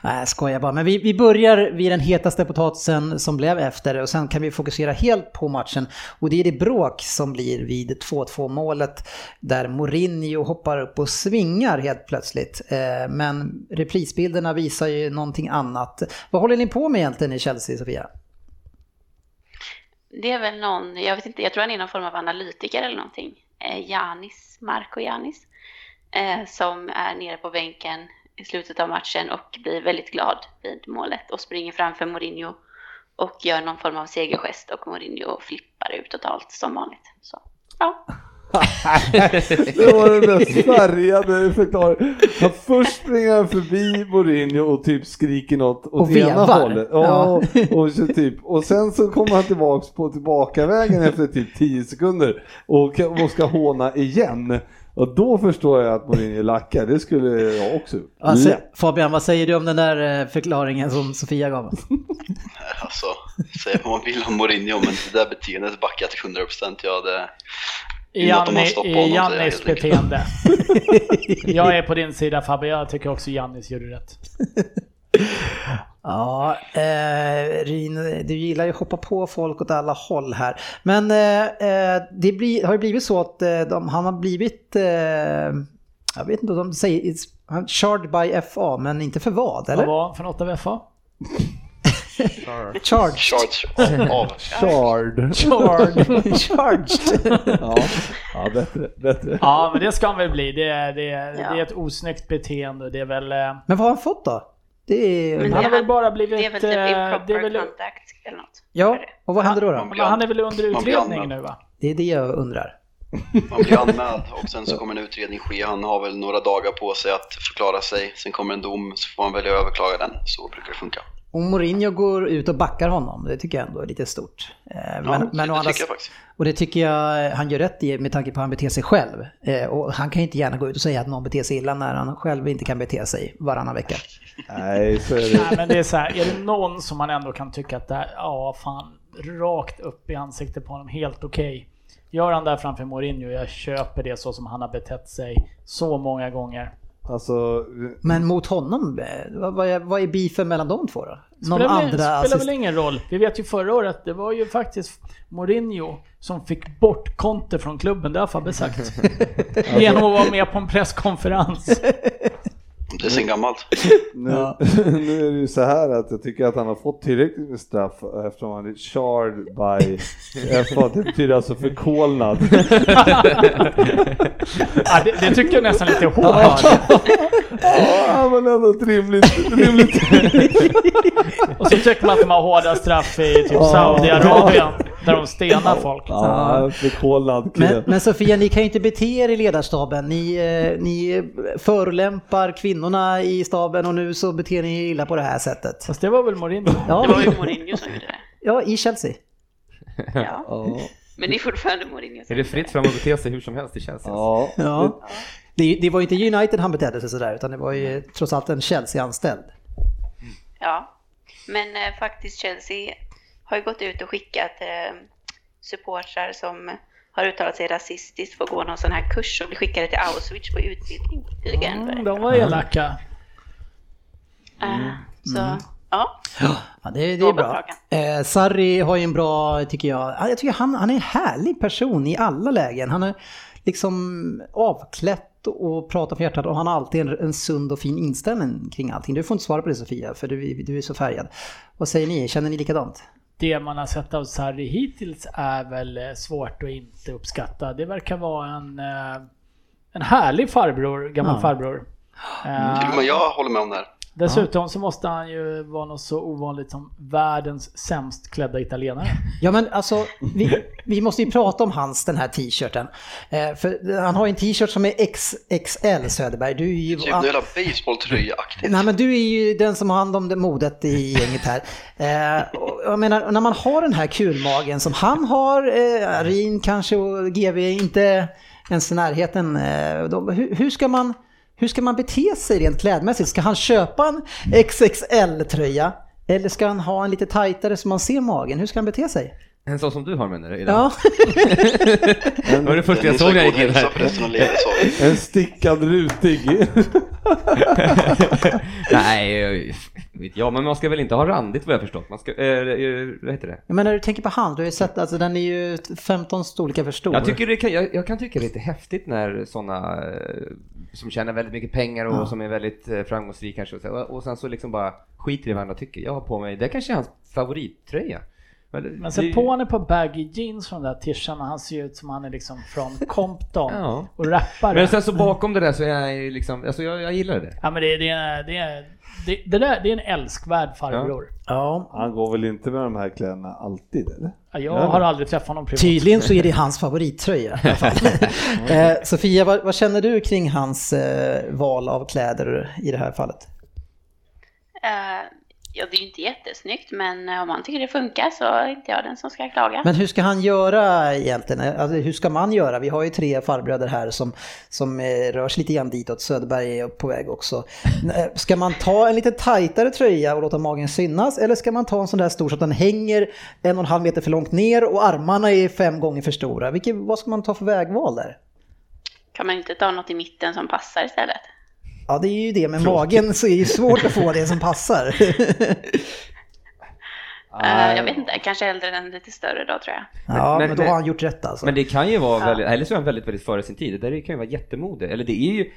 [SPEAKER 2] Nej, jag skojar bara. Men vi, vi börjar vid den hetaste potatisen som blev efter och sen kan vi fokusera helt på matchen. Och det är det bråk som blir vid 2-2 målet där Mourinho hoppar upp och svingar helt plötsligt. Eh, Men reprisbilderna visar ju någonting annat. Vad håller ni på med egentligen i Chelsea, Sofia?
[SPEAKER 7] Det är väl någon, jag vet inte, jag tror han är någon form av analytiker eller någonting. Eh, Janis, Marco Janis, eh, som är nere på bänken i slutet av matchen och blir väldigt glad vid målet och springer framför Mourinho och gör någon form av segergest och Mourinho flippar ut totalt som vanligt. Så, ja.
[SPEAKER 6] Det var den mest färgade förklaringen. Han först springer han förbi Mourinho och typ skriker något åt
[SPEAKER 2] Och
[SPEAKER 6] ena
[SPEAKER 2] vevar.
[SPEAKER 6] hållet. Ja, och, så typ. och sen så kommer han tillbaks på tillbakavägen efter typ 10 sekunder och, och ska håna igen. Och då förstår jag att Mourinho lackar, det skulle jag också gjort.
[SPEAKER 2] Alltså,
[SPEAKER 6] Lätt.
[SPEAKER 2] Fabian, vad säger du om den där eh, förklaringen som Sofia gav?
[SPEAKER 4] Alltså, säga vad man vill om Mourinho, men det där beteendet backar jag till 100%. Jag hade... Innan de har
[SPEAKER 5] Janni,
[SPEAKER 4] stoppat honom,
[SPEAKER 5] i
[SPEAKER 4] säger jag
[SPEAKER 5] Jannis
[SPEAKER 4] helt enkelt.
[SPEAKER 5] beteende. Jag är på din sida Fabbe, jag tycker också Jannis gjorde rätt.
[SPEAKER 2] Ja, eh, Rin, du gillar ju att hoppa på folk åt alla håll här. Men eh, eh, det blir, har ju blivit så att eh, de, han har blivit, eh, jag vet inte om de säger, it's, han charged by FA, men inte för vad, eller?
[SPEAKER 5] Vad var han för något av FA?
[SPEAKER 2] Charged.
[SPEAKER 4] Charge av.
[SPEAKER 6] Shard.
[SPEAKER 5] Charged.
[SPEAKER 2] Charged.
[SPEAKER 6] Ja, ja bättre, bättre.
[SPEAKER 5] Ja, men det ska han väl bli. Det är, det är,
[SPEAKER 7] Ja.
[SPEAKER 5] det är ett osnyggt beteende. Det är väl... eh,
[SPEAKER 2] Men vad har han fått då? Det är,
[SPEAKER 7] Men
[SPEAKER 5] Han har
[SPEAKER 7] det-
[SPEAKER 5] väl bara blivit...
[SPEAKER 7] Det är väl typ
[SPEAKER 5] eh, det är
[SPEAKER 7] improper
[SPEAKER 5] väl-
[SPEAKER 7] contact eller något.
[SPEAKER 2] ja, och vad händer då? då?
[SPEAKER 4] Man
[SPEAKER 5] men Han är väl under
[SPEAKER 4] Man blir
[SPEAKER 5] utredning
[SPEAKER 4] anmäld.
[SPEAKER 5] nu va?
[SPEAKER 2] Det är det jag undrar.
[SPEAKER 4] Man blir anmäld och sen så kommer en utredning ske. Han har väl några dagar på sig att förklara sig. Sen kommer en dom så får han välja att överklaga den. Så brukar det funka.
[SPEAKER 2] Och Mourinho går ut och backar honom, det tycker jag ändå är lite stort. Eh,
[SPEAKER 4] Ja,
[SPEAKER 2] men, men å
[SPEAKER 4] det
[SPEAKER 2] andra
[SPEAKER 4] tycker jag faktiskt.
[SPEAKER 2] Och det tycker jag han gör rätt i med tanke på hur han beter sig själv. Eh, och han kan ju inte gärna gå ut och säga att någon beter sig illa när han själv inte kan bete sig varannan vecka.
[SPEAKER 6] Nej, så är det.
[SPEAKER 5] Nej, men det är så här, är det någon som man ändå kan tycka att det här, ja fan, rakt upp i ansiktet på honom, helt okej. Gör han det här framför Mourinho, jag köper det så som han har betett sig så många gånger.
[SPEAKER 6] Alltså,
[SPEAKER 2] Men mot honom, eh, vad, vad, är, vad är beefen mellan de två då? Någon
[SPEAKER 5] spelar väl,
[SPEAKER 2] andra
[SPEAKER 5] spelar
[SPEAKER 2] assist...
[SPEAKER 5] väl ingen roll. Vi vet ju förra året, det var ju faktiskt Mourinho som fick bort Conte från klubben, det har Fabbe sagt. Genom att vara med på en presskonferens.
[SPEAKER 4] Det är sen gammalt.
[SPEAKER 6] Nu, nu är det ju så här att jag tycker att han har fått tillräckligt med straff eftersom han är charred by FA. Det betyder alltså förkolnad.
[SPEAKER 5] Ja, det, det tycker jag nästan lite är hårt.
[SPEAKER 6] Ja, men ändå ett rimligt, rimligt.
[SPEAKER 5] Och så tycker man att de har hårda straff i typ Saudiarabien, där de stenar folk.
[SPEAKER 6] Ja, förkolnad
[SPEAKER 2] Men,
[SPEAKER 6] kille.
[SPEAKER 2] men Sofia, ni kan ju inte bete er i ledarstaben. Ni, eh, ni förolämpar kvinnorna i staben och nu så beter ni er illa på det här sättet.
[SPEAKER 5] Fast det var väl Mourinho?
[SPEAKER 2] Ja,
[SPEAKER 7] Det var ju Mourinho som gjorde det.
[SPEAKER 2] ja i Chelsea.
[SPEAKER 7] Ja.
[SPEAKER 6] Ja,
[SPEAKER 7] Men det är fortfarande Mourinho
[SPEAKER 3] Är
[SPEAKER 7] som
[SPEAKER 3] det fritt fram att bete sig hur som helst i Chelsea? alltså?
[SPEAKER 6] ja.
[SPEAKER 2] Ja. Det, det var ju inte United han betedde sig sådär, utan det var ju trots allt en Chelsea-anställd.
[SPEAKER 7] Ja, men eh, faktiskt Chelsea har ju gått ut och skickat eh, supportrar som har uttalat sig rasistiskt får gå någon sån här kurs och bli skickade till Auschwitz på utbildning. Det tycker jag ändå är
[SPEAKER 5] Mm,
[SPEAKER 7] bra.
[SPEAKER 5] de var elaka.
[SPEAKER 7] Eh, Så, ja.
[SPEAKER 2] Ja, det, det är bra. Eh, Sarri har ju en bra, tycker jag, ja, jag tycker han, han är en härlig person i alla lägen. Han är liksom avklätt och pratar från hjärtat och han har alltid en, en sund och fin inställning kring allting. Du får inte svara på det Sofia, för du, du är så färgad. Vad säger ni, känner ni likadant?
[SPEAKER 5] Det man har sett av Sarri hittills är väl eh, svårt att inte uppskatta. Det verkar vara en, eh, en härlig farbror, gammal
[SPEAKER 2] Ja.
[SPEAKER 5] farbror. Eh,
[SPEAKER 4] Jo, men jag håller med om det här. Typ
[SPEAKER 5] Dessutom så måste han ju vara något så ovanligt som världens sämst klädda italienare.
[SPEAKER 2] Ja men alltså, vi, vi måste ju prata om hans, den här t-shirten. Eh, för han har ju en t-shirt som är XXL Söderberg. Du är ju...
[SPEAKER 4] Typ någon jävla basebolltröja-aktigt.
[SPEAKER 2] Nej men du är ju den som har hand om det modet i gänget här. Eh, och jag menar, när man har den här kulmagen som han har, eh, Rin kanske och GV inte ens i närheten. Eh, de, hur, hur, ska man, hur ska man bete sig rent klädmässigt? Ska han köpa en XXL-tröja? Eller ska han ha en lite tajtare så man ser magen? Hur ska han bete sig?
[SPEAKER 3] En sån som du har menar du? idag?
[SPEAKER 2] Ja,
[SPEAKER 3] Det var det första jag
[SPEAKER 4] Ni ska
[SPEAKER 3] såg när jag
[SPEAKER 4] gå och
[SPEAKER 3] gick in
[SPEAKER 4] hälsa på
[SPEAKER 3] här.
[SPEAKER 4] resten av livet, sa vi.
[SPEAKER 6] En stickad rutig.
[SPEAKER 3] Nej, eh, vet jag, men man ska väl inte ha randigt vad jag förstått. Man ska, eh, eh, vad heter det?
[SPEAKER 2] jag menar du tänker på han, du har ju sett, alltså den är ju 15 storlekar för stor.
[SPEAKER 3] Jag, tycker det kan, jag, jag kan tycka det är lite häftigt när sådana som tjänar väldigt mycket pengar och som är väldigt eh, framgångsrika kanske och, så, och sen så liksom bara skiter i vad andra tycker. Jag har på mig, det kanske är hans favorittröja. Men, det-
[SPEAKER 5] Men
[SPEAKER 3] det-
[SPEAKER 5] se på honom på baggy jeans från den där tishan och han ser ut som han är liksom från Compton
[SPEAKER 3] Ja.
[SPEAKER 5] och rappare.
[SPEAKER 3] Men sen så bakom det där så är jag ju liksom, alltså jag, jag gillar det.
[SPEAKER 5] Ja men det, det, är- det, är- det, det, där, det är en älskvärd farbror.
[SPEAKER 2] Ja.
[SPEAKER 6] Han går väl inte med de här kläderna alltid eller?
[SPEAKER 5] Ja. Jag
[SPEAKER 6] Ja.
[SPEAKER 5] har aldrig träffat honom privat.
[SPEAKER 2] Tydligen så är det hans favorittröja i alla fall. eh, Sofia, vad, vad känner du kring hans eh, val av kläder i det här fallet?
[SPEAKER 7] Eh, ja, det är ju inte jättesnyggt, men eh, om man tycker det funkar så är inte jag den som ska klaga.
[SPEAKER 2] Men hur ska han göra egentligen? Alltså, hur ska man göra? Vi har ju tre farbröder här som, som eh, rör sig lite grann ditåt. Söderberg är på väg också. N- eh, Ska man ta en lite tajtare tröja och låta magen synas? Eller ska man ta en sån där stor så att den hänger en och en halv meter för långt ner och armarna är fem gånger för stora? Vilket, vad ska man ta för vägval där?
[SPEAKER 7] Kan man inte ta något i mitten som passar istället?
[SPEAKER 2] Ja, det är ju det med magen så är det ju svårt att få det som passar.
[SPEAKER 7] Eh, jag vet inte, kanske hellre den lite större då tror jag.
[SPEAKER 2] Ja,
[SPEAKER 3] Men-
[SPEAKER 2] men, då har
[SPEAKER 3] men-
[SPEAKER 2] han gjort rätt alltså.
[SPEAKER 3] Men det kan ju vara väldigt, eller så är han väldigt, väldigt före sin tid. Det där kan ju vara jättemodig. Eller det är ju,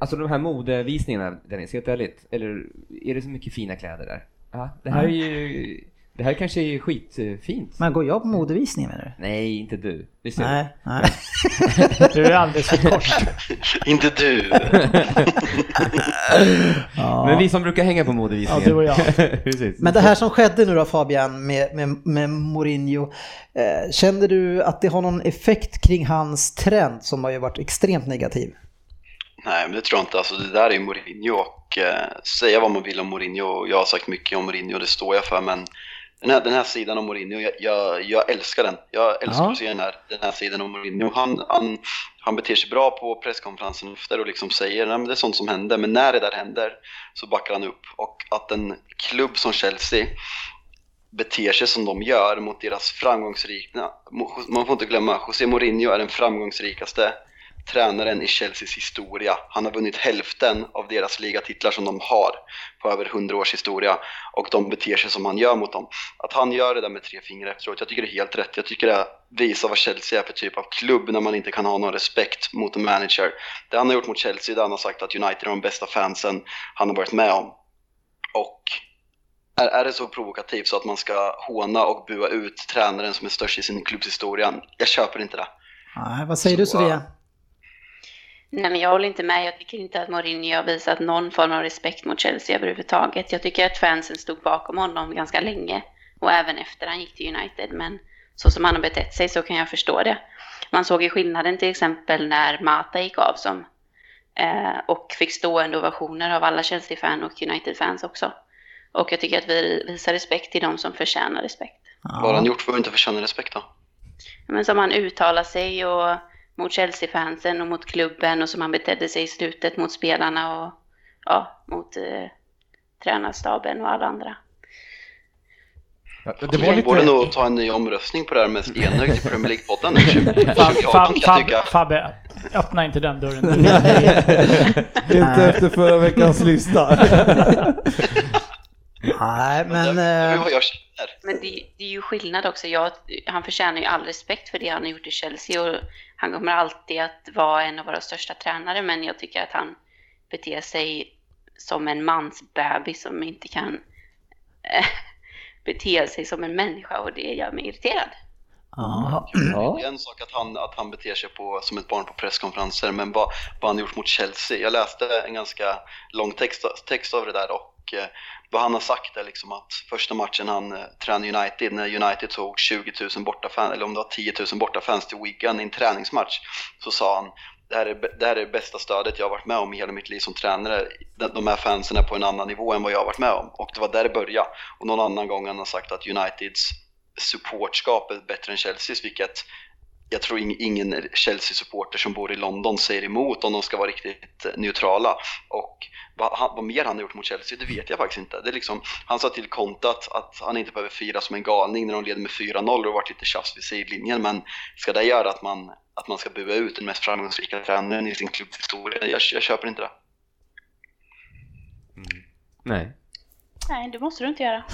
[SPEAKER 3] alltså de här modevisningarna Dennis, helt ärligt. Eller är det så mycket fina kläder där? Ja, det här är ju, det här kanske är skitfint.
[SPEAKER 2] Men går jag på modevisning menar du?
[SPEAKER 3] Nej, inte du. Det är synd.
[SPEAKER 2] Nej, nej.
[SPEAKER 5] Du är alldeles för kort.
[SPEAKER 4] Inte du!
[SPEAKER 3] Men vi som brukar hänga på
[SPEAKER 5] Ja,
[SPEAKER 3] modevisningar.
[SPEAKER 5] du och jag.
[SPEAKER 6] Precis.
[SPEAKER 2] Men det här som skedde nu då Fabian med, med, med Mourinho, eh, kände du att det har någon effekt kring hans trend som har ju varit extremt negativ?
[SPEAKER 4] Nej, men det tror jag inte. Alltså, det där är ju Mourinho och eh, säga vad man vill om Mourinho. och Jag har sagt mycket om Mourinho, det står jag för. Men den här, den här sidan om Mourinho, jag, jag, jag älskar den. Jag älskar
[SPEAKER 5] Ja.
[SPEAKER 4] att se den här, den här sidan om Mourinho. Han, han, han beter sig bra på presskonferensen efter och liksom säger att det är sånt som händer. Men när det där händer så backar han upp. Och att en klubb som Chelsea beter sig som de gör mot deras framgångsrika... Man får inte glömma, José Mourinho är den framgångsrikaste tränaren i Chelseas historia. Han har vunnit hälften av deras ligatitlar som de har på över 100 års historia och de beter sig som han gör mot dem. Att han gör det där med tre fingrar efteråt, jag tycker det är helt rätt. Jag tycker det visar vad Chelsea är för typ av klubb när man inte kan ha någon respekt mot en manager. Det han har gjort mot Chelsea, det han har sagt att United är de bästa fansen han har varit med om. Och är, är det så provokativt så att man ska håna och bua ut tränaren som är störst i sin klubbs historia? Jag köper inte det.
[SPEAKER 2] Nej, vad säger du
[SPEAKER 4] Så,
[SPEAKER 2] Sofia?
[SPEAKER 7] Nej, men jag håller inte med. Jag tycker inte att Mourinho har visat någon form av respekt mot Chelsea överhuvudtaget. Jag tycker att fansen stod bakom honom ganska länge och även efter han gick till United. Men så som han har betett sig så kan jag förstå det. Man såg ju skillnaden till exempel när Mata gick av som eh, och fick stående ovationer av alla Chelsea-fan och United-fans också. Och jag tycker att vi visar respekt till de som förtjänar respekt.
[SPEAKER 4] Vad har han gjort för att inte förtjäna respekt då?
[SPEAKER 7] Men som han uttalar sig och mot Chelsea-fansen och mot klubben och som han betedde sig i slutet mot spelarna och ja, mot eh, tränarstaben och alla andra.
[SPEAKER 3] Ja,
[SPEAKER 4] Det
[SPEAKER 3] var
[SPEAKER 4] borde
[SPEAKER 3] lite...
[SPEAKER 4] nog ta en ny omröstning på det här med enögt i Premier League-podden nu 2018
[SPEAKER 5] Fab, fab,
[SPEAKER 4] kan jag
[SPEAKER 5] fab,
[SPEAKER 4] tycka.
[SPEAKER 5] Fabbe, öppna inte den dörren. Du.
[SPEAKER 6] Inte efter förra veckans lista.
[SPEAKER 2] Nej, men...
[SPEAKER 4] det är
[SPEAKER 2] eh,
[SPEAKER 4] vad jag känner.
[SPEAKER 7] Men det, det är ju skillnad också. Jag, han förtjänar ju all respekt för det han har gjort i Chelsea och han kommer alltid att vara en av våra största tränare men jag tycker att han beter sig som en mansbebis som inte kan eh, bete sig som en människa och det gör mig irriterad.
[SPEAKER 2] ja.
[SPEAKER 4] Det är en sak att han, att han beter sig på, som ett barn på presskonferenser, men vad, vad han gjort mot Chelsea. Jag läste en ganska lång text, text av det där och eh, vad han har sagt är liksom att första matchen han eh, tränade United, när United tog 20 000 bortafans, eller om det var 10 000 bortafans till Wigan i en träningsmatch, så sa han det här, är, b- det här är det bästa stödet jag har varit med om i hela mitt liv som tränare. De- De här fansen är på en annan nivå än vad jag har varit med om. Och det var där det började. Och någon annan gång han har sagt att Uniteds supportskap är bättre än Chelseas, vilket jag tror ing- ingen Chelsea-supporter som bor i London säger emot om de ska vara riktigt eh, neutrala. Och vad, han, vad mer han har gjort mot Chelsea, det vet jag faktiskt inte. Det är liksom, han sa till Conte att, att han inte behöver fira som en galning när de leder med 4-0 och det har varit lite tjafs vid sidlinjen. Men ska det göra att man, att man ska bua ut den mest framgångsrika tränaren i sin klubbs historia? Jag, jag köper inte det.
[SPEAKER 3] Nej.
[SPEAKER 7] Nej, det måste du inte göra.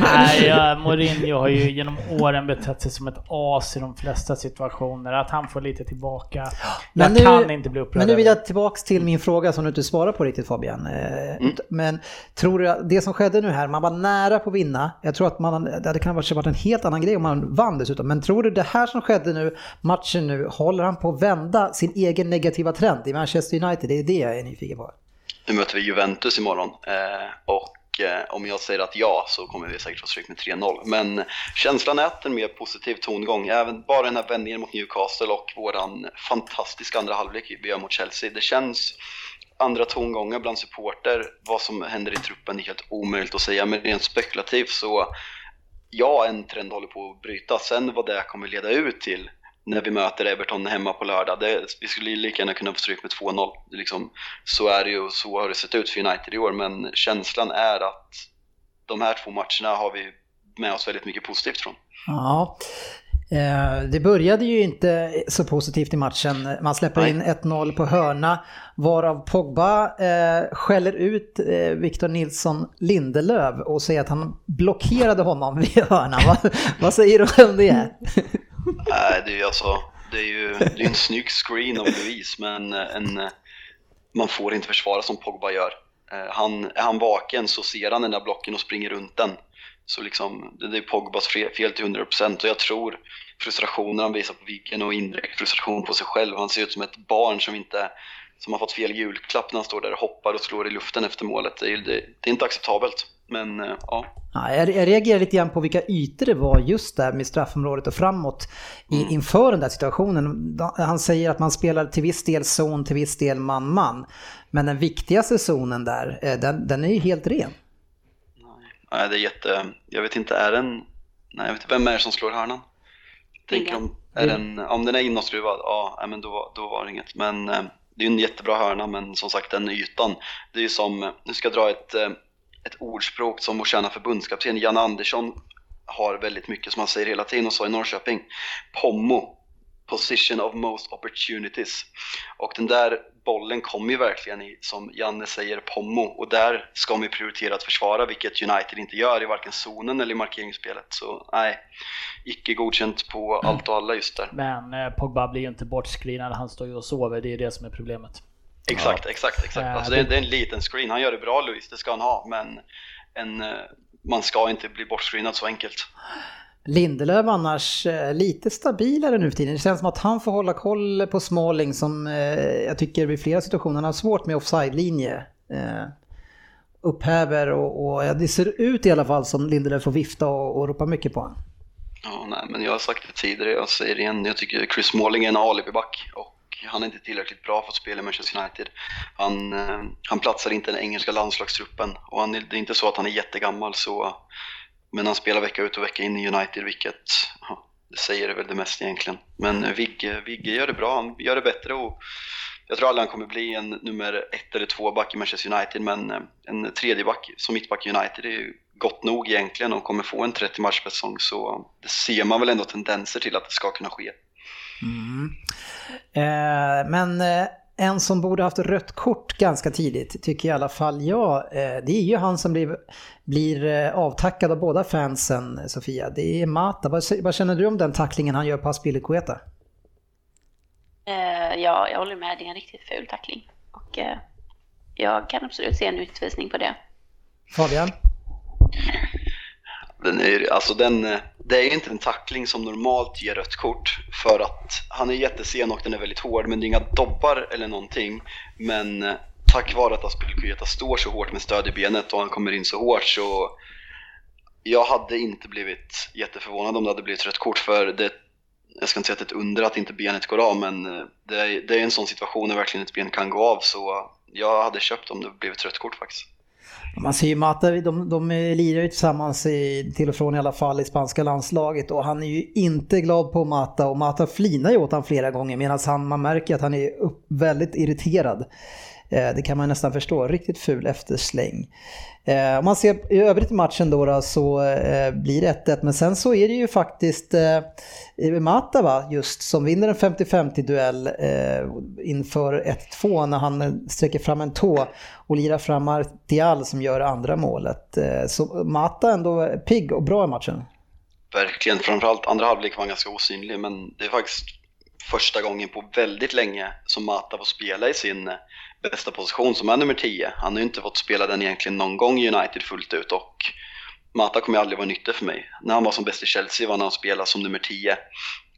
[SPEAKER 5] Nej, ja, Mourinho har ju genom åren betett sig som ett as i de flesta situationer. Att han får lite tillbaka.
[SPEAKER 2] Men
[SPEAKER 5] jag
[SPEAKER 2] nu-
[SPEAKER 5] kan inte bli upprörd.
[SPEAKER 2] Men nu vill
[SPEAKER 5] över
[SPEAKER 2] jag tillbaks till min fråga som du inte svarar på riktigt Fabian. Eh, Men tror du att det som skedde nu här, man var nära på att vinna. Jag tror att man, det hade kanske varit en helt annan grej om man vann dessutom. Men tror du det här som skedde nu, matchen nu, håller han på att vända sin egen negativa trend i Manchester United? Det är det jag är nyfiken på.
[SPEAKER 4] Nu möter vi Juventus imorgon eh, och eh, om jag säger att ja så kommer vi säkert få stryk med 3-0. Men känslan är att en mer positiv tongång, även bara den här vändningen mot Newcastle och våran fantastiska andra halvlek vi gör mot Chelsea. Det känns andra tongångar bland supporter. Vad som händer i truppen är helt omöjligt att säga, men rent spekulativt så ja, en trend håller på att brytas. Sen vad det kommer leda ut till när vi möter Everton hemma på lördag, det, vi skulle ju lika gärna kunna få stryk med 2-0. Det är Liksom, så är det ju och så har det sett ut för United i år, men känslan är att de här två matcherna har vi med oss väldigt mycket positivt från.
[SPEAKER 2] Ja. Eh, Det började ju inte så positivt i matchen. Man släpper
[SPEAKER 4] Nej.
[SPEAKER 2] in 1-0 på hörna varav Pogba eh, skäller ut eh, Victor Nilsson Lindelöf och säger att han blockerade honom vid hörnan. Vad, vad säger du om det?
[SPEAKER 4] Nej, det är ju alltså, det är ju det är en snygg screen av Luis, men eh, en, man får inte försvara som Pogba gör. Eh, Han, är han vaken så ser han den där blocken och springer runt den. Så liksom, det det är Pogbas fe- fel till 100% och jag tror frustrationen han visar på viken och indirekt frustration på sig själv. Han ser ut som ett barn som inte som har fått fel julklapp när han står där och hoppar och slår i luften efter målet. Det är, ju- det, det är inte acceptabelt. Men eh, ja,
[SPEAKER 2] Ja, jag, jag reagerar lite grann på vilka ytor det var just där med straffområdet och framåt i, inför den där situationen. Da- Han säger att man spelar till viss del zon, till viss del man-man. Men den viktigaste zonen där, eh, den, den är ju helt ren.
[SPEAKER 4] Nej, det är jätte... Jag vet inte, är den... Nej, jag vet inte, vem är det som slår hörnan? Tänker
[SPEAKER 7] Ingen.
[SPEAKER 4] om, är den, om den är inåtskruvad, ja, nej, men då, var- då var det inget. Men eh, det är ju en jättebra hörna, men som sagt den ytan. Det är ju som, nu ska jag dra ett, eh, ett ordspråk som vår kärna förbundskapten Jan Andersson har väldigt mycket som han säger hela tiden och sa i Norrköping. Pommo, position of most opportunities. Och den där bollen kom ju verkligen i, som Janne säger, Pommo. Och där ska man ju prioritera att försvara, vilket United inte gör i varken zonen eller i markeringsspelet. Så nej, icke godkänt på allt och alla just där.
[SPEAKER 5] det. Men eh, Pogba blir ju inte bortscreenad. Han står ju och sover. Det är det som är problemet.
[SPEAKER 4] Exakt, exakt, exakt.
[SPEAKER 5] Äh,
[SPEAKER 4] Alltså det, är-
[SPEAKER 5] det-
[SPEAKER 4] det är en liten screen. Han gör det bra Luis, det ska han ha, men en, eh, man ska inte bli bortscreenad så enkelt.
[SPEAKER 2] Lindelöf annars eh, lite stabilare nu för tiden. Det känns som att han får hålla koll på Smalling som eh, jag tycker vid flera situationer han har svårt med offside-linje. Eh, upphäver och, och ja, det ser ut i alla fall som Lindelöf får vifta och, och ropa mycket på honom.
[SPEAKER 4] Ja, nej, men jag har sagt det tidigare, jag säger det igen. Jag tycker Chris Smalling är en alibiback och han är inte tillräckligt bra för att spela i Manchester United. Han, eh, han platsar inte i den engelska landslagstruppen och han, är- det är inte så att han är jättegammal så men han spelar vecka ut och vecka in i United vilket ja, det säger väl det mesta egentligen. Men eh, Vigge, Vigge gör det bra, han gör det bättre och jag tror aldrig han kommer bli en nummer ett eller två back i Manchester United men eh, en tredje back som mittback i United är ju gott nog egentligen och kommer få en 30 match per säsong så det ser man väl ändå tendenser till att det ska kunna ske.
[SPEAKER 2] Eh, men eh, en som borde haft rött kort ganska tidigt, tycker i alla fall jag, eh, det är ju han som blir, blir eh, avtackad av båda fansen, eh, Sofia. Det är Mata. Vad, vad känner du om den tacklingen han gör på Aspilicueta?
[SPEAKER 7] Eh, ja, jag håller med. Det är en riktigt ful tackling. Och eh, jag kan absolut se en utvisning på det.
[SPEAKER 2] Fabian?
[SPEAKER 4] Den är, ju- alltså den, eh, det är ju inte en tackling som normalt ger rött kort för att han är jättesen och den är väldigt hård men det är inga dobbar eller någonting. Men eh, tack vare att Aspelkueta står så hårt med stöd i benet och han kommer in så hårt så jag hade inte blivit jätteförvånad om det hade blivit rött kort för det, jag ska inte säga att det är ett under att inte benet går av men eh, det är, det är en sån situation där verkligen ett ben kan gå av så jag hade köpt om det blev ett rött kort faktiskt.
[SPEAKER 2] Man ser ju Mata, de, de lirar ju tillsammans i, till och från i alla fall i spanska landslaget och han är ju inte glad på Mata och Mata flinar ju åt han flera gånger medan han, man märker att han är upp, väldigt irriterad. Eh, Det kan man nästan förstå. Riktigt ful eftersläng. Eh, Om man ser i övrigt i matchen då, då så eh, blir det 1-1. Men sen så är det ju faktiskt eh, Mata va, just som vinner en 50-50 duell eh, inför 1-2 när han sträcker fram en tå och lirar fram Martial som gör andra målet. Eh, Så Mata ändå pigg och bra i matchen.
[SPEAKER 4] Verkligen, framförallt andra halvlek var han ganska osynlig men det är faktiskt första gången på väldigt länge som Mata får spela i sin eh, bästa position som är nummer 10. Han har ju inte fått spela den egentligen någon gång i United fullt ut och Mata kommer ju aldrig vara nytta för mig. När han var som bäst i Chelsea var när han spelade som nummer 10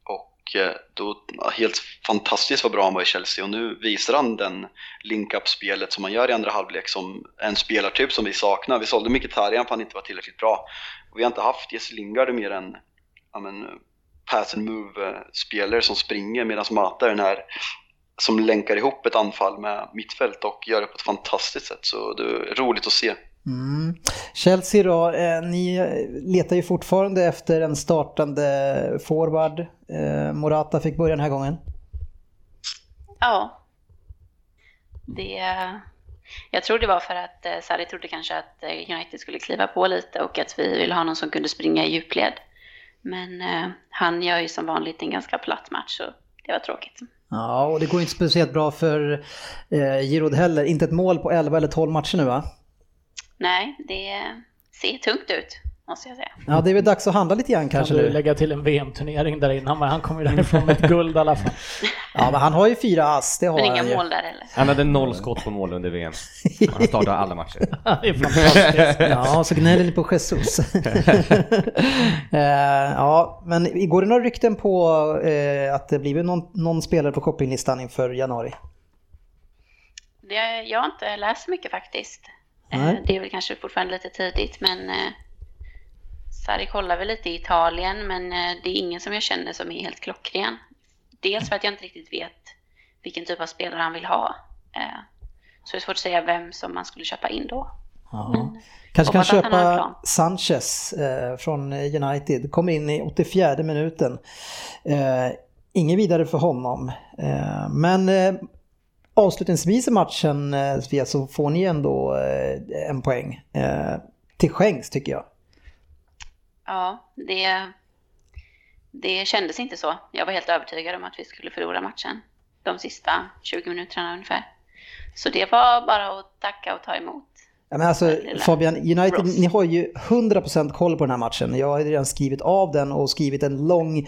[SPEAKER 4] och eh, då, ja, helt fantastiskt vad bra han var i Chelsea och nu visar han den link-up-spelet som han gör i andra halvlek som en spelartyp som vi saknar. Vi sålde Mkhitaryan för han inte var tillräckligt bra. Och vi har inte haft Jesse Lingard mer än ja, men, eh, pass and move-spelare som springer medan Mata är den här som länkar ihop ett anfall med mittfält och gör det på ett fantastiskt sätt. Så det är roligt att se.
[SPEAKER 2] Mm. Chelsea då, eh, ni letar ju fortfarande efter en startande forward. Eh, Morata fick börja den här gången.
[SPEAKER 7] Ja. Det, eh, jag tror det var för att eh, Sarri trodde kanske att eh, United skulle kliva på lite och att vi ville ha någon som kunde springa i djupled. Men eh, han gör ju som vanligt en ganska platt match så det var tråkigt.
[SPEAKER 2] Ja, och det går inte speciellt bra för eh, Giroud heller. Inte ett mål på 11 eller 12 matcher nu va?
[SPEAKER 7] Nej, det ser tungt ut måste jag säga.
[SPEAKER 2] Ja, det är väl dags att handla lite grann kanske
[SPEAKER 5] kan du
[SPEAKER 2] nu.
[SPEAKER 5] lägga till en VM-turnering där innan? Men han kommer ju därifrån med ett guld i alla fall.
[SPEAKER 2] Ja, men han har ju fyra ass, det har
[SPEAKER 7] Men
[SPEAKER 2] han ju.
[SPEAKER 7] inga mål där heller.
[SPEAKER 3] Han hade noll skott på mål under VM. Och Han startade alla matcher.
[SPEAKER 5] Det är fantastiskt.
[SPEAKER 2] Ja, så gnäller ni på Jesus. eh, ja, men går det några rykten på eh, att det blivit någon, någon spelare på shoppinglistan inför januari?
[SPEAKER 7] Det, jag har inte läst så mycket faktiskt.
[SPEAKER 2] Nej.
[SPEAKER 7] Eh, Det är väl kanske fortfarande lite tidigt, men eh, Sarri kollar väl lite i Italien, men eh, det är ingen som jag känner som är helt klockren. Dels för att jag inte riktigt vet vilken typ av spelare han vill ha. Eh, Så det är svårt att säga vem som man skulle köpa in då.
[SPEAKER 2] Ja. Kanske kan
[SPEAKER 7] Mm. Hoppas att han har en plan.
[SPEAKER 2] köpa Sanchez eh, från United. Kommer in i 84 minuten. Eh, inget vidare för honom. Eh, men eh, avslutningsvis i matchen eh, Sofia, så får ni ändå eh, en poäng. Eh, till skänks tycker jag.
[SPEAKER 7] Ja, det, det kändes inte så. Jag var helt övertygad om att vi skulle förlora matchen de sista 20 minuterna ungefär. Så det var bara att tacka och ta emot.
[SPEAKER 2] Ja, men alltså,
[SPEAKER 7] Lilla
[SPEAKER 2] Fabian, United,
[SPEAKER 7] Ross.
[SPEAKER 2] ni har ju 100% koll på den här matchen. Jag har ju redan skrivit av den och skrivit en lång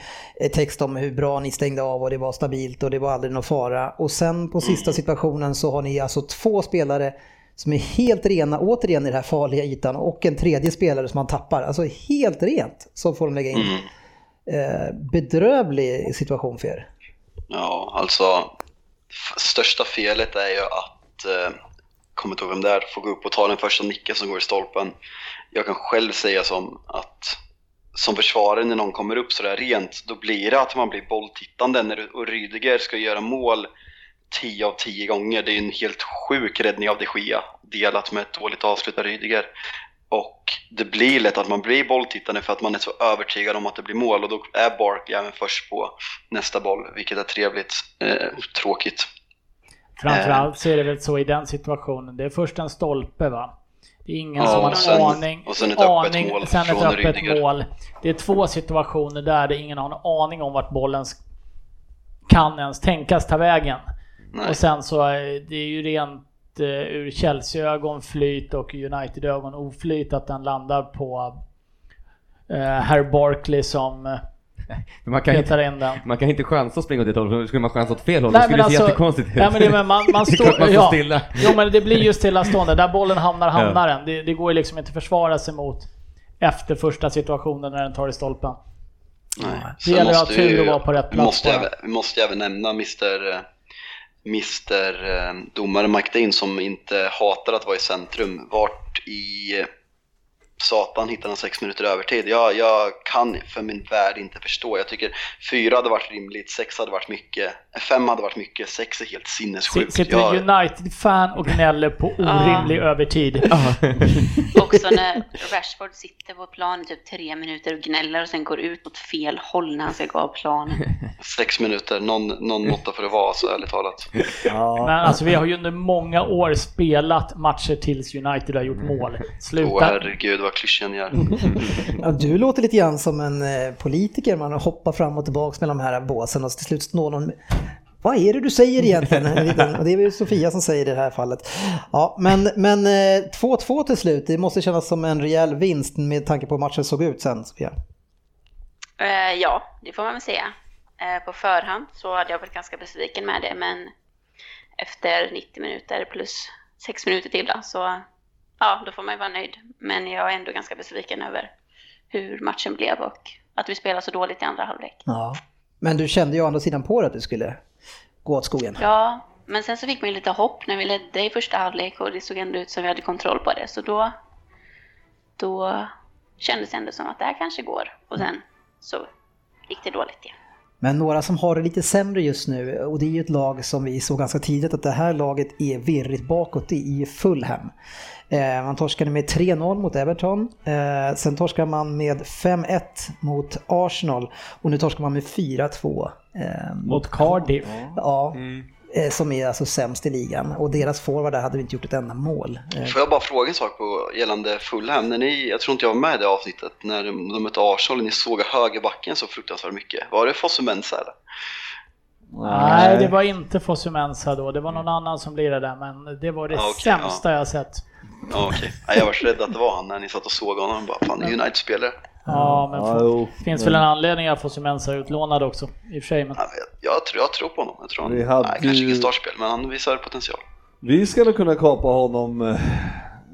[SPEAKER 2] eh, text om hur bra ni stängde av och det var stabilt och det var aldrig någon fara. Och sen på sista situationen så har ni alltså två spelare som är helt rena, återigen i den här farliga ytan, och en tredje spelare som man tappar. Alltså helt rent så får de lägga
[SPEAKER 4] Mm.
[SPEAKER 2] in. Eh, bedrövlig situation för er.
[SPEAKER 4] Ja, alltså f- största felet är ju att, eh, kommer inte ihåg vem det är, får gå upp och ta den första nicken som går i stolpen. Jag kan själv säga som att som försvarare när någon kommer upp sådär rent, då blir det att man blir bolltittande. När, du- och Rydiger ska göra mål 10 av 10 gånger. Det är ju en helt sjuk räddning av de Gea, delat med ett dåligt avslut av Rydiger. Och det blir lätt att man blir bolltittande för att man är så övertygad om att det blir mål och då är Barkley även först på nästa boll, vilket är trevligt. Eh, tråkigt.
[SPEAKER 5] Framförallt så är det väl så i den situationen. Det är först en stolpe va? Det är ingen
[SPEAKER 4] Ja,
[SPEAKER 5] som har
[SPEAKER 4] och sen-
[SPEAKER 5] någon aning.
[SPEAKER 4] och sen ett öppet
[SPEAKER 5] aning,
[SPEAKER 4] mål
[SPEAKER 5] sen ett
[SPEAKER 4] från
[SPEAKER 5] öppet
[SPEAKER 4] Rydiger.
[SPEAKER 5] mål. Det är två situationer där, där ingen har någon aning om vart bollen sk- kan ens tänkas ta vägen.
[SPEAKER 4] Nej.
[SPEAKER 5] Och sen så, är det är ju rent eh, ur Chelsea-ögon flyt och United-ögon oflyt att den landar på eh, herr Barkley som eh,
[SPEAKER 3] Men man, kan
[SPEAKER 5] petar
[SPEAKER 3] inte,
[SPEAKER 5] in den.
[SPEAKER 3] man kan inte chansa att springa åt ett håll, för skulle man chansa åt fel håll, då skulle det se jättekonstigt ut.
[SPEAKER 5] alltså- nej, men det, men man, man
[SPEAKER 3] Det är
[SPEAKER 5] står,
[SPEAKER 3] klart man står
[SPEAKER 5] ja.
[SPEAKER 3] stilla.
[SPEAKER 5] Jo men det blir ju stillastående. Där bollen hamnar hamnar den. Det, det går ju liksom inte att försvara sig mot efter första situationen när den tar i stolpen.
[SPEAKER 4] Nej.
[SPEAKER 5] Det gäller att ha tur och vara på rätt plats
[SPEAKER 4] Måste
[SPEAKER 5] bara.
[SPEAKER 4] jag, vi måste jag även nämna Mr. eh, Mr. eh, Domare Mike Dean som inte hatar att vara i centrum. Vart i satan hittar han sex minuter övertid. Jag, jag kan för min värld inte förstå. Jag tycker fyra hade varit rimligt, sex hade varit mycket, eh, fem hade varit mycket, sex är helt sinnessjukt.
[SPEAKER 5] Sitter
[SPEAKER 4] Jag-
[SPEAKER 5] en United-fan och gnäller på
[SPEAKER 4] Ah.
[SPEAKER 5] orimlig övertid.
[SPEAKER 7] Också när Rashford sitter på planen typ tre minuter och gnäller och sen går ut åt fel håll när han ska gå av planen.
[SPEAKER 4] Sex minuter, någon, någon måtta får det vara, så ärligt talat.
[SPEAKER 5] Men alltså vi har ju under många år spelat matcher tills United har gjort mål.
[SPEAKER 4] Åh
[SPEAKER 5] Sluta.
[SPEAKER 4] herregud vad klyschen gör.
[SPEAKER 2] Ja, du låter lite grann som en eh, politiker, man hoppar fram och tillbaka mellan de här båsen och till slut snår någon... Vad är det du säger egentligen? En liten- Och det är väl Sofia som säger det i det här fallet. Ja, men men eh, 2-2 till slut, det måste kännas som en rejäl vinst med tanke på hur matchen såg ut sen. Sofia.
[SPEAKER 7] Eh, ja, det får man väl säga. Eh, på förhand så hade jag varit ganska besviken med det, men efter 90 minuter plus 6 minuter till då, så ja, då får man ju vara nöjd. Men jag är ändå ganska besviken över hur matchen blev och att vi spelar så dåligt i andra halvlek.
[SPEAKER 2] Ja. Men du kände ju å andra sidan på dig att du skulle gå åt skogen.
[SPEAKER 7] Ja, men sen så fick man ju lite hopp när vi ledde i första halvlek och det såg ändå ut som vi hade kontroll på det, så då, då kändes det ändå som att det här kanske går. Och sen så gick det dåligt igen.
[SPEAKER 2] Men några som har det lite sämre just nu, och det är ju ett lag som vi såg ganska tidigt att det här laget är virrigt bakåt, det är ju Fulham. Eh, man torskade med 3-0 mot Everton, eh, sen torskar man med 5-1 mot Arsenal och nu torskar man med 4-2. Eh,
[SPEAKER 5] Mot Cardiff.
[SPEAKER 2] ja, eh, som är alltså sämst i ligan. Och deras forward där hade vi inte gjort ett enda mål. Eh,
[SPEAKER 4] Får jag bara fråga en sak på, gällande Fulham? När ni, jag tror inte jag var med i det avsnittet när de, de mötte Arsenal, ni såg högerbacken så fruktansvärt mycket. Var det Fosu Mensah eller?
[SPEAKER 5] Nej, det var inte Fosumensa då. Det var någon annan som lirade där, men det var det
[SPEAKER 4] Ja, Ah, okej,
[SPEAKER 5] sämsta jag sett.
[SPEAKER 4] Ja, okej. Nej, Jag var så rädd att det var han när ni satt och såg honom. Bara, fan, United-spelare.
[SPEAKER 5] Ja, men
[SPEAKER 6] Ja, jo.
[SPEAKER 5] det finns väl en anledning att Fosumensa är utlånad också. I och för sig, men...
[SPEAKER 4] Ja, Jag, jag, tror, jag tror på honom. Jag tror han,
[SPEAKER 6] Vi hade
[SPEAKER 4] nej, kanske
[SPEAKER 6] ju-
[SPEAKER 4] ingen startspel, men han visar potential.
[SPEAKER 6] Vi ska nog kunna kapa honom eh,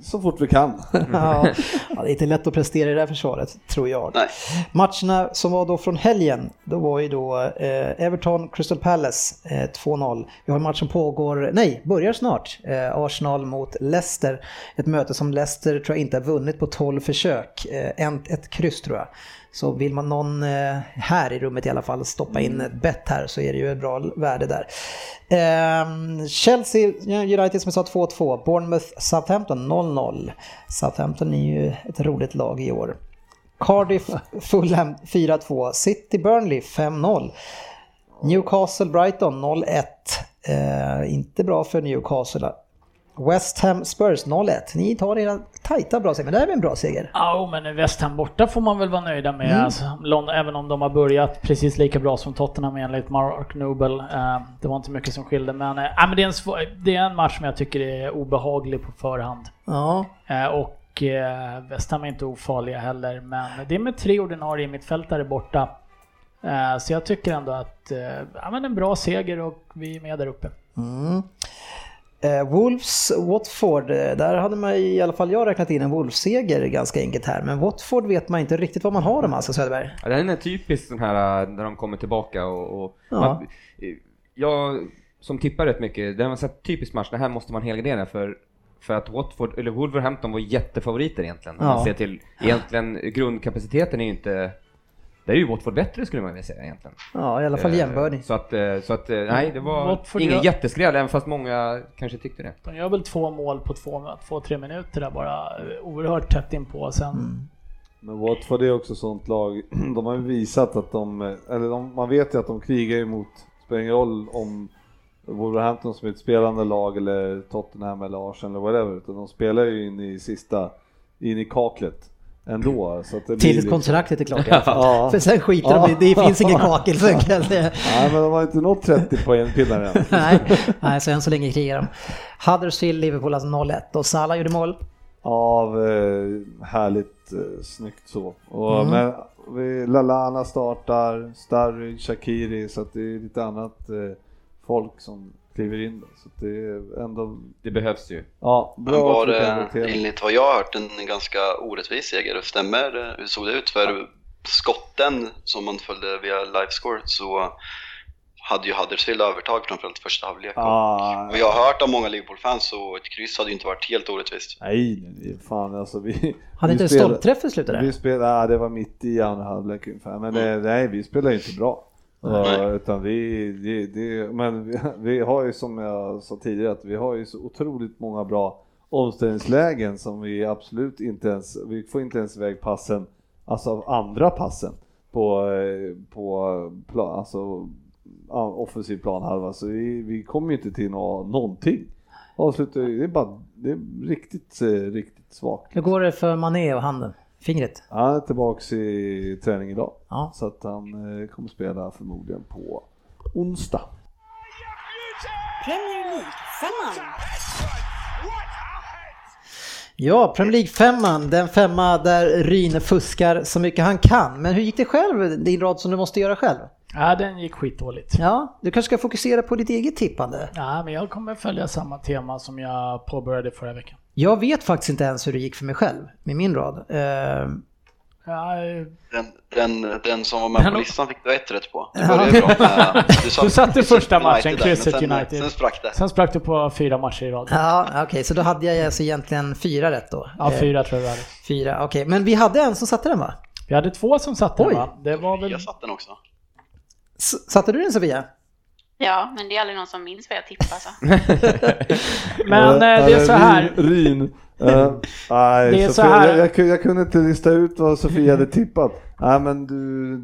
[SPEAKER 6] så fort vi kan.
[SPEAKER 2] ja, det är inte lätt att prestera i det här försvaret, tror jag.
[SPEAKER 4] Nej.
[SPEAKER 2] Matcherna som var då från helgen, då var ju då eh, Everton Crystal Palace eh, 2-0. Vi har en match som pågår, nej, börjar snart. Eh, Arsenal mot Leicester. Ett möte som Leicester tror jag inte har vunnit på 12 försök. Eh, en, ett kryss tror jag. Så vill man någon eh, här i rummet i alla fall stoppa in ett bett här så är det ju ett bra värde där. Ehm, Chelsea United som jag sa 2-2. Bournemouth Southampton 0-0. Southampton är ju ett roligt lag i år. Cardiff Fulham 4-2, City Burnley 5-0, Newcastle Brighton 0-1, eh, inte bra för Newcastle. West Ham Spurs 0-1. Ni tar era tajta bra seger, men det här är en bra seger.
[SPEAKER 5] Ja, men West Ham borta får man väl vara nöjda med. Alltså, London, även om de har börjat precis lika bra som Tottenham enligt Mark Noble. Eh, det var inte mycket som skilde, men, eh, ja, men det, är en svår, det är en match som jag tycker är obehaglig på förhand.
[SPEAKER 2] Ja,
[SPEAKER 5] Eh, och eh, West Ham är inte ofarliga heller, men det är med tre ordinarie mittfältare borta. Eh, så jag tycker ändå att eh, ja, men en bra seger och vi är med där uppe.
[SPEAKER 2] Mm. Eh, Wolves, Watford, eh, där hade man i alla fall jag räknat in en Wolves-seger ganska enkelt här. Men Watford vet man inte riktigt vad man har dem alltså Söderberg.
[SPEAKER 3] Ja, den är typisk sån här äh, när de kommer tillbaka och... och
[SPEAKER 2] Ja.
[SPEAKER 3] man, eh, jag som tippar rätt mycket, det var en sån här typisk match, det här måste man helgardera för för att Watford, eller Wolverhampton var jättefavoriter egentligen. Om
[SPEAKER 2] Ja.
[SPEAKER 3] man ser till, egentligen grundkapaciteten är ju inte... Där är ju Watford bättre skulle man vilja säga egentligen.
[SPEAKER 2] Ja, i alla fall
[SPEAKER 3] Eh,
[SPEAKER 2] jämbördig.
[SPEAKER 3] Så att, eh, så att eh, nej, det var
[SPEAKER 5] Watford
[SPEAKER 3] ingen
[SPEAKER 5] gör-
[SPEAKER 3] jätteskräll, även fast många kanske tyckte det.
[SPEAKER 5] De gör väl två mål på två, två tre minuter där bara. eh, Oerhört tätt inpå. Sen
[SPEAKER 2] Mm.
[SPEAKER 6] Men Watford är också sånt lag, de har ju visat att de, eller de, man vet ju att de krigar emot, spelar ingen roll om Wolverhampton som är ett spelande lag eller Tottenham eller Arsenal eller whatever, utan de spelar ju in i sista, in i kaklet ändå. Så att det blir
[SPEAKER 2] Tills
[SPEAKER 6] liksom-
[SPEAKER 2] kontraktet är klart i alla fall.
[SPEAKER 6] Ja.
[SPEAKER 2] För sen skiter
[SPEAKER 6] Ja.
[SPEAKER 2] de i, det finns ingen kakel. Så kan jag säga.
[SPEAKER 6] Nej men de har inte nått 30 poäng pinnar än.
[SPEAKER 2] Nej. Nej, så än så länge krigar de. Huddersfield, Liverpool alltså 0-1 och Salah gjorde mål.
[SPEAKER 6] Av eh, härligt eh, snyggt så. Och,
[SPEAKER 2] Mm.
[SPEAKER 6] Men vi, Lallana startar, Starry, Shakiri så att det är lite annat eh, folk som kliver in. Då. Så att det är ändå
[SPEAKER 3] Det behövs ju.
[SPEAKER 6] ja,
[SPEAKER 4] Men
[SPEAKER 6] bra
[SPEAKER 4] var
[SPEAKER 6] att vi kan
[SPEAKER 4] det,
[SPEAKER 6] notera.
[SPEAKER 4] enligt vad jag har hört, en ganska orättvis seger. Stämmer eh, Hur såg det ut? För skotten som man följde via livescore så hade ju Huddersfield övertag framförallt första halvlek.
[SPEAKER 6] Ah,
[SPEAKER 4] Och jag har hört av många Liverpool-fans så ett kryss hade ju inte varit helt orättvist.
[SPEAKER 6] nej, nej, fan alltså vi...
[SPEAKER 2] Hade
[SPEAKER 6] vi
[SPEAKER 2] inte en
[SPEAKER 6] spelade-
[SPEAKER 2] stolpträff i slutet
[SPEAKER 6] Vi
[SPEAKER 2] där?
[SPEAKER 6] spelade, ja, det var mitt i andra halvlek ungefär, men det, nej vi spelar ju inte bra.
[SPEAKER 4] Nej.
[SPEAKER 6] Uh, utan vi, det, det, men vi, vi har ju som jag sa tidigare att vi har ju så otroligt många bra omställningslägen som vi absolut inte ens, vi får inte ens iväg passen, alltså av andra passen på, eh, på plan, alltså ja, offensiv planhalva så vi, vi kommer ju inte till nå, någonting. Avslutar ju- det är bara, det är riktigt, eh, riktigt svagt.
[SPEAKER 2] Hur går det för Mané och handen? Fingret?
[SPEAKER 6] Han är tillbaks i träning idag.
[SPEAKER 2] Ja.
[SPEAKER 6] Så att han eh, kommer spela förmodligen på onsdag.
[SPEAKER 1] Premier League-femman.
[SPEAKER 2] Ja, Premier League-femman, den femma där Ryn fuskar så mycket han kan. Men hur gick det själv, din rad som du måste göra själv?
[SPEAKER 5] Ja, den gick skitdåligt.
[SPEAKER 2] Ja, du kanske ska fokusera på ditt eget tippande?
[SPEAKER 5] Ja, men jag kommer följa samma tema som jag påbörjade förra veckan.
[SPEAKER 2] Jag vet faktiskt inte ens hur det gick för mig själv med min rad. Eh,
[SPEAKER 5] Ja, eh,
[SPEAKER 4] Den, den, den som var med
[SPEAKER 5] Men-
[SPEAKER 4] på listan fick du ett rätt på. Det började bra Eh, med,
[SPEAKER 5] Du satte
[SPEAKER 4] krysset
[SPEAKER 5] första
[SPEAKER 4] United
[SPEAKER 5] matchen,
[SPEAKER 4] där,
[SPEAKER 5] krysset
[SPEAKER 4] men sen,
[SPEAKER 5] United.
[SPEAKER 4] Sen sprack det.
[SPEAKER 5] sen sprack du på fyra matcher i rad.
[SPEAKER 2] ja, okej, så då hade jag alltså egentligen fyra rätt då.
[SPEAKER 5] Ja,
[SPEAKER 2] Eh,
[SPEAKER 5] fyra tror jag det hade.
[SPEAKER 2] fyra, okej. Men vi hade en som satte den va?
[SPEAKER 5] Vi hade två som satte den
[SPEAKER 2] Oj.
[SPEAKER 5] va? Det var väl...
[SPEAKER 4] Jag satt den också.
[SPEAKER 2] S- satte du den Sofia?
[SPEAKER 7] Ja, men det är aldrig någon som minns vad jag alltså. tippar så.
[SPEAKER 5] Men eh, det är så här.
[SPEAKER 6] Ryn. eh, nej,
[SPEAKER 5] Det är
[SPEAKER 6] Sofia,
[SPEAKER 5] så här.
[SPEAKER 6] Jag, jag, kunde- jag kunde inte lista ut vad Sofia hade tippat. Nej men du,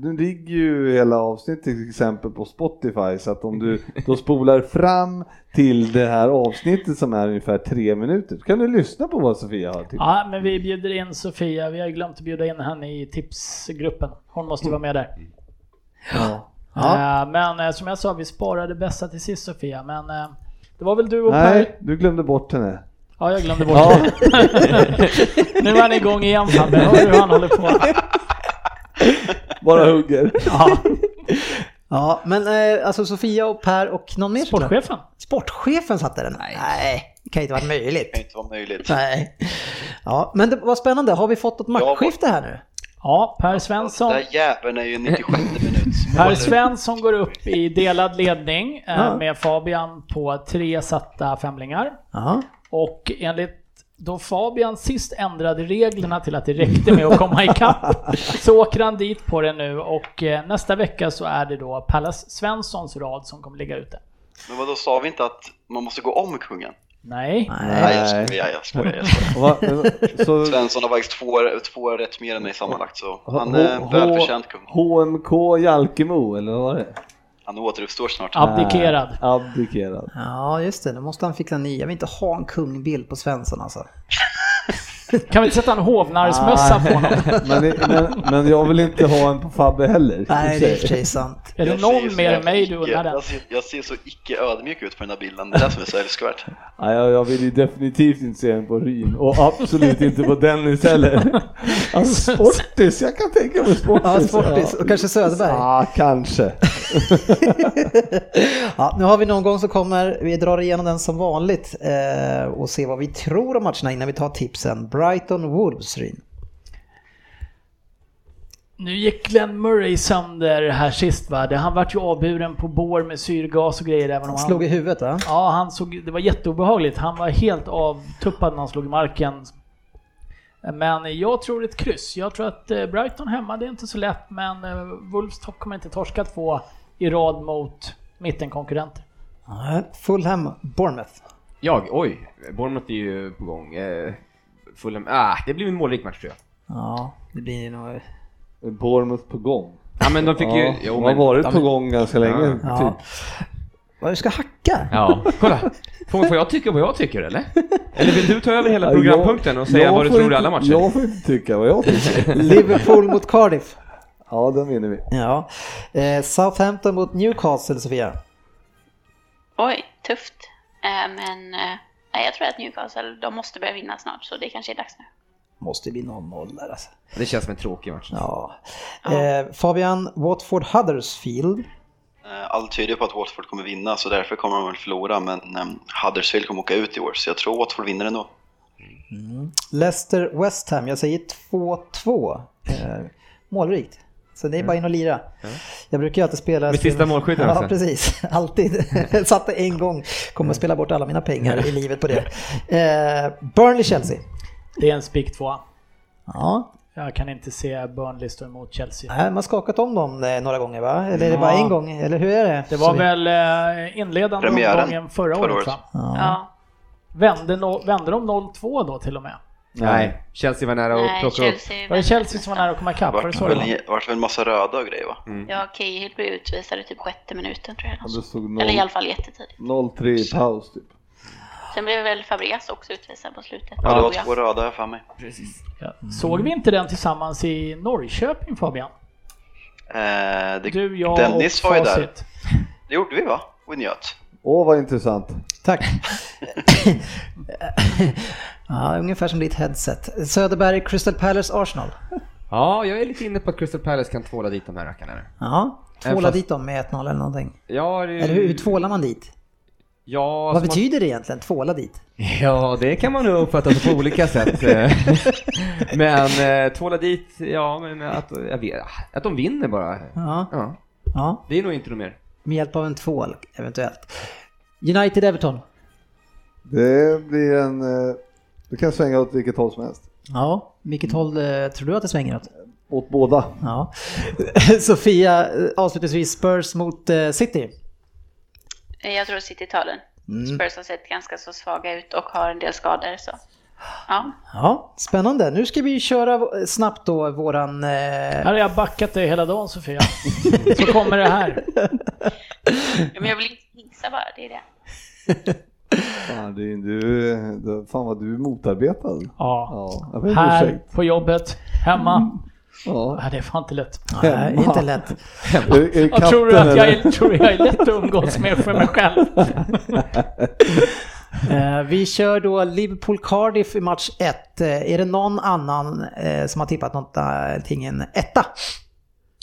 [SPEAKER 6] nu ligger ju hela avsnittet till exempel på Spotify så att om du då spolar fram till det här avsnittet som är ungefär tre minuter så kan du lyssna på vad Sofia har tippat.
[SPEAKER 5] Ja, men vi bjuder in Sofia. Vi har glömt att bjuda in henne i tipsgruppen. Hon måste ju vara med där.
[SPEAKER 6] Ja.
[SPEAKER 2] Ja.
[SPEAKER 5] Eh, Men eh, som jag sa, vi sparade bästa till sist Sofia. Men eh, det var väl du och Per?
[SPEAKER 6] Nej, du glömde bort henne.
[SPEAKER 5] Ja, jag glömde bort det. Nu är han igång igen Fabbe. Hör du hur han håller på?
[SPEAKER 6] Bara hugger.
[SPEAKER 2] Ja, men eh, alltså Sofia och Per och någon mer?
[SPEAKER 5] Sportchefen.
[SPEAKER 2] Sportchefen satte den? Nej. det kan inte vara
[SPEAKER 4] Det kan ju
[SPEAKER 2] möjligt.
[SPEAKER 4] inte vara möjligt.
[SPEAKER 2] Nej. Ja, men det var spännande. Har vi fått ett matchskifte här nu?
[SPEAKER 5] Ja, Per Svensson.
[SPEAKER 4] Den där jäveln är ju 96 minut.
[SPEAKER 5] Per Svensson går upp i delad ledning eh,
[SPEAKER 2] Ja.
[SPEAKER 5] med Fabian på tre satta femlingar.
[SPEAKER 2] Ja.
[SPEAKER 5] Och enligt då Fabian sist ändrade reglerna till att det räckte med att komma ikapp så åker han dit på det nu och eh, nästa vecka så är det då Pallas Svenssons rad som kommer ligga ute.
[SPEAKER 4] Men vadå, sa vi inte att man måste gå om kungen?
[SPEAKER 5] Nej.
[SPEAKER 2] Nej.
[SPEAKER 4] Nej, jag skojar, jag skojar, jag skojar.
[SPEAKER 6] Va, så,
[SPEAKER 4] Svensson har faktiskt två, två rätt mer än mig sammanlagt, så han
[SPEAKER 6] H-
[SPEAKER 4] är
[SPEAKER 6] H-
[SPEAKER 4] välförtjänt kung.
[SPEAKER 6] HMK Jalkemo, eller vad var det?
[SPEAKER 4] Han återuppstår snart.
[SPEAKER 5] Abdikerad.
[SPEAKER 6] Nej, abdikerad.
[SPEAKER 2] Ja, just det. Då måste han fixa en ny. Jag vill inte ha en kungbild på Svensson alltså.
[SPEAKER 5] Kan vi inte sätta en hovnarrsmössa på honom?
[SPEAKER 6] Men, det- men, men jag vill inte ha en på Fabbe heller.
[SPEAKER 2] Nej, det är i och för sig sant.
[SPEAKER 5] Är det
[SPEAKER 4] Jag ser ju
[SPEAKER 5] någon
[SPEAKER 4] så
[SPEAKER 5] mer än
[SPEAKER 4] jävla
[SPEAKER 5] mig du
[SPEAKER 4] icke-
[SPEAKER 5] undrar den?
[SPEAKER 4] Jag ser, jag ser så icke ödmjuk ut på den här bilden, det är det som är så älskvärt.
[SPEAKER 6] Nej, jag, jag vill ju definitivt inte se en på Ryn och absolut inte på Dennis heller. Alltså, sportis, jag kan tänka mig sportis.
[SPEAKER 2] Ja, Sportis och kanske Söderberg.
[SPEAKER 6] Ja, kanske.
[SPEAKER 2] Ja, nu har vi någon gång som kommer, vi drar igenom den som vanligt eh, och ser vad vi tror om matcherna innan vi tar tipsen. Brighton Wolves, Ryn.
[SPEAKER 5] Nu gick Glenn Murray sönder här sist va? Det- Han vart ju avburen på bår med syrgas och grejer även om
[SPEAKER 2] Han
[SPEAKER 5] han...
[SPEAKER 2] slog i huvudet va?
[SPEAKER 5] Ja, han såg... Det var jätteobehagligt. Han var helt avtuppad när han slog i marken. Men jag tror ett kryss. Jag tror att eh, Brighton hemma, det är inte så lätt men eh, Wolves topp kommer inte torska två i rad mot mittenkonkurrenter.
[SPEAKER 2] Nej, Fulham Bournemouth.
[SPEAKER 3] Jag? Oj, Bournemouth är ju på gång. Eh, Fulham, ah, det blir en målrik match tror jag.
[SPEAKER 2] Ja, det blir nog...
[SPEAKER 6] Bournemouth på gång.
[SPEAKER 3] Ja men de fick
[SPEAKER 6] Ja,
[SPEAKER 3] ju...
[SPEAKER 6] de har varit på gång ganska länge.
[SPEAKER 2] Ja.
[SPEAKER 6] Typ.
[SPEAKER 2] Vad du ska hacka?
[SPEAKER 3] Ja, kolla. Får får jag tycka vad jag tycker eller? Eller vill du ta över hela
[SPEAKER 6] Ja, jag-
[SPEAKER 3] programpunkten och säga
[SPEAKER 6] jag
[SPEAKER 3] vad du
[SPEAKER 6] får
[SPEAKER 3] tror i
[SPEAKER 6] inte-
[SPEAKER 3] alla matcher?
[SPEAKER 6] Jag får inte tycka vad jag tycker.
[SPEAKER 2] Liverpool mot Cardiff.
[SPEAKER 6] Ja, den vinner vi.
[SPEAKER 2] Ja. Eh, Southampton mot Newcastle, Sofia.
[SPEAKER 7] Oj, tufft. Eh, Men eh, nej, jag tror att Newcastle, de måste börja vinna snart så det kanske är dags nu.
[SPEAKER 2] Måste bli 0-0 där alltså.
[SPEAKER 3] Det känns som en tråkig match.
[SPEAKER 2] Ja. Eh, Fabian, Watford Huddersfield.
[SPEAKER 4] Eh, Allt tyder på att Watford kommer vinna, så därför kommer de väl förlora, men eh, Huddersfield kommer åka ut i år, så jag tror Watford vinner ändå.
[SPEAKER 2] Leicester West Ham. Jag säger 2-2. Eh, målrikt. Så det är bara in och lira. Jag brukar ju alltid spela...
[SPEAKER 3] Med sista målskytten
[SPEAKER 2] Ja,
[SPEAKER 3] också.
[SPEAKER 2] precis. Alltid. Satte en gång. Kommer att spela bort alla mina pengar i livet på det. Eh, Burnley-Chelsea.
[SPEAKER 5] Det är en spik tvåa.
[SPEAKER 2] Ja,
[SPEAKER 5] Jag kan inte se Burnley stå emot Chelsea.
[SPEAKER 2] nej, man har skakat om dem eh, några gånger va? Eller är det bara
[SPEAKER 5] Ja.
[SPEAKER 2] en gång? Eller hur är det?
[SPEAKER 5] Det var
[SPEAKER 2] Så-
[SPEAKER 5] väl eh, inledande
[SPEAKER 4] Premiären
[SPEAKER 5] omgången förra,
[SPEAKER 4] förra
[SPEAKER 5] året
[SPEAKER 4] året.
[SPEAKER 5] va?
[SPEAKER 7] Ja.
[SPEAKER 5] Vände, no- vände de 0-2 då till och med?
[SPEAKER 3] Nej, Chelsea var nära att
[SPEAKER 7] Nej,
[SPEAKER 3] plocka upp.
[SPEAKER 7] Chelsea
[SPEAKER 5] Var det
[SPEAKER 7] vann.
[SPEAKER 5] Chelsea som var nära att komma ikapp? Var det
[SPEAKER 4] Vart
[SPEAKER 5] så det var?
[SPEAKER 4] väl, vart väl en massa röda och grejer va?
[SPEAKER 7] Ja, Cahill blev utvisad i typ sjätte minuten tror jag.
[SPEAKER 6] Ja, Det stod
[SPEAKER 7] Eller i alla
[SPEAKER 6] 0-
[SPEAKER 7] fall jättetidigt.
[SPEAKER 6] 0-3 i paus typ.
[SPEAKER 7] Sen blev väl Fabregas också utvisad på slutet.
[SPEAKER 4] Ja, det var
[SPEAKER 7] tror jag.
[SPEAKER 4] två röda här för mig.
[SPEAKER 5] Ja. Såg vi inte den tillsammans i Norrköping Fabian?
[SPEAKER 4] Eh, det,
[SPEAKER 5] Du, jag
[SPEAKER 4] Dennis
[SPEAKER 5] och
[SPEAKER 4] var ju där.
[SPEAKER 5] Facit.
[SPEAKER 4] Det gjorde vi va? Och njöt.
[SPEAKER 6] Åh vad intressant.
[SPEAKER 2] Tack. ja, ungefär som ditt headset. Söderberg, Crystal Palace, Arsenal.
[SPEAKER 3] Ja, jag är lite inne på att Crystal Palace kan tvåla dit de här rackarna. nu.
[SPEAKER 2] Ja, tvåla
[SPEAKER 3] Även fast-
[SPEAKER 2] dit dem med 1-0 eller någonting.
[SPEAKER 3] Ja, det-
[SPEAKER 2] Eller hur, hur tvålar man dit?
[SPEAKER 3] Ja,
[SPEAKER 2] Vad
[SPEAKER 3] som att-
[SPEAKER 2] betyder det egentligen, tvåla dit?
[SPEAKER 3] Ja, det kan man nog uppfatta på olika sätt. Eh, men eh, tvåla dit, ja, men att, jag vet, att de vinner bara.
[SPEAKER 2] Ja,
[SPEAKER 3] Ja,
[SPEAKER 2] ja,
[SPEAKER 3] det är nog inte något mer.
[SPEAKER 2] med hjälp av en tvål eventuellt. United Everton.
[SPEAKER 6] Det blir en... eh, Det kan svänga åt vilket håll som helst.
[SPEAKER 2] Ja, vilket håll eh, tror du att det svänger åt?
[SPEAKER 6] Åt båda.
[SPEAKER 2] Ja. Sofia, eh, avslutningsvis Spurs mot eh, City.
[SPEAKER 7] Eh, Jag tror City tar den. Spurs har sett ganska så svaga ut och har en del skador så. Ja,
[SPEAKER 2] Ja, spännande. Nu ska vi köra eh, snabbt då våran... Eh,
[SPEAKER 5] Här har jag backat dig hela dagen Sofia. Så kommer det här.
[SPEAKER 7] Ja, men jag vill inte gissa bara, det är det.
[SPEAKER 6] Fan, det är, du, det- fan vad du är motarbetad.
[SPEAKER 5] Ja.
[SPEAKER 6] Ja, jag ber om
[SPEAKER 5] Här,
[SPEAKER 6] ursäkt.
[SPEAKER 5] på jobbet, hemma.
[SPEAKER 6] Ja.
[SPEAKER 5] Ja, det är fan inte lätt.
[SPEAKER 2] nej, inte lätt.
[SPEAKER 6] Är, är
[SPEAKER 5] Ja, tror du
[SPEAKER 6] katten,
[SPEAKER 5] att jag
[SPEAKER 6] eller?
[SPEAKER 5] är, tror du jag är lätt att umgås med för mig själv?
[SPEAKER 2] Eh, vi kör då Liverpool-Cardiff i match 1. Eh, är det någon annan eh, som har tippat någonting än etta?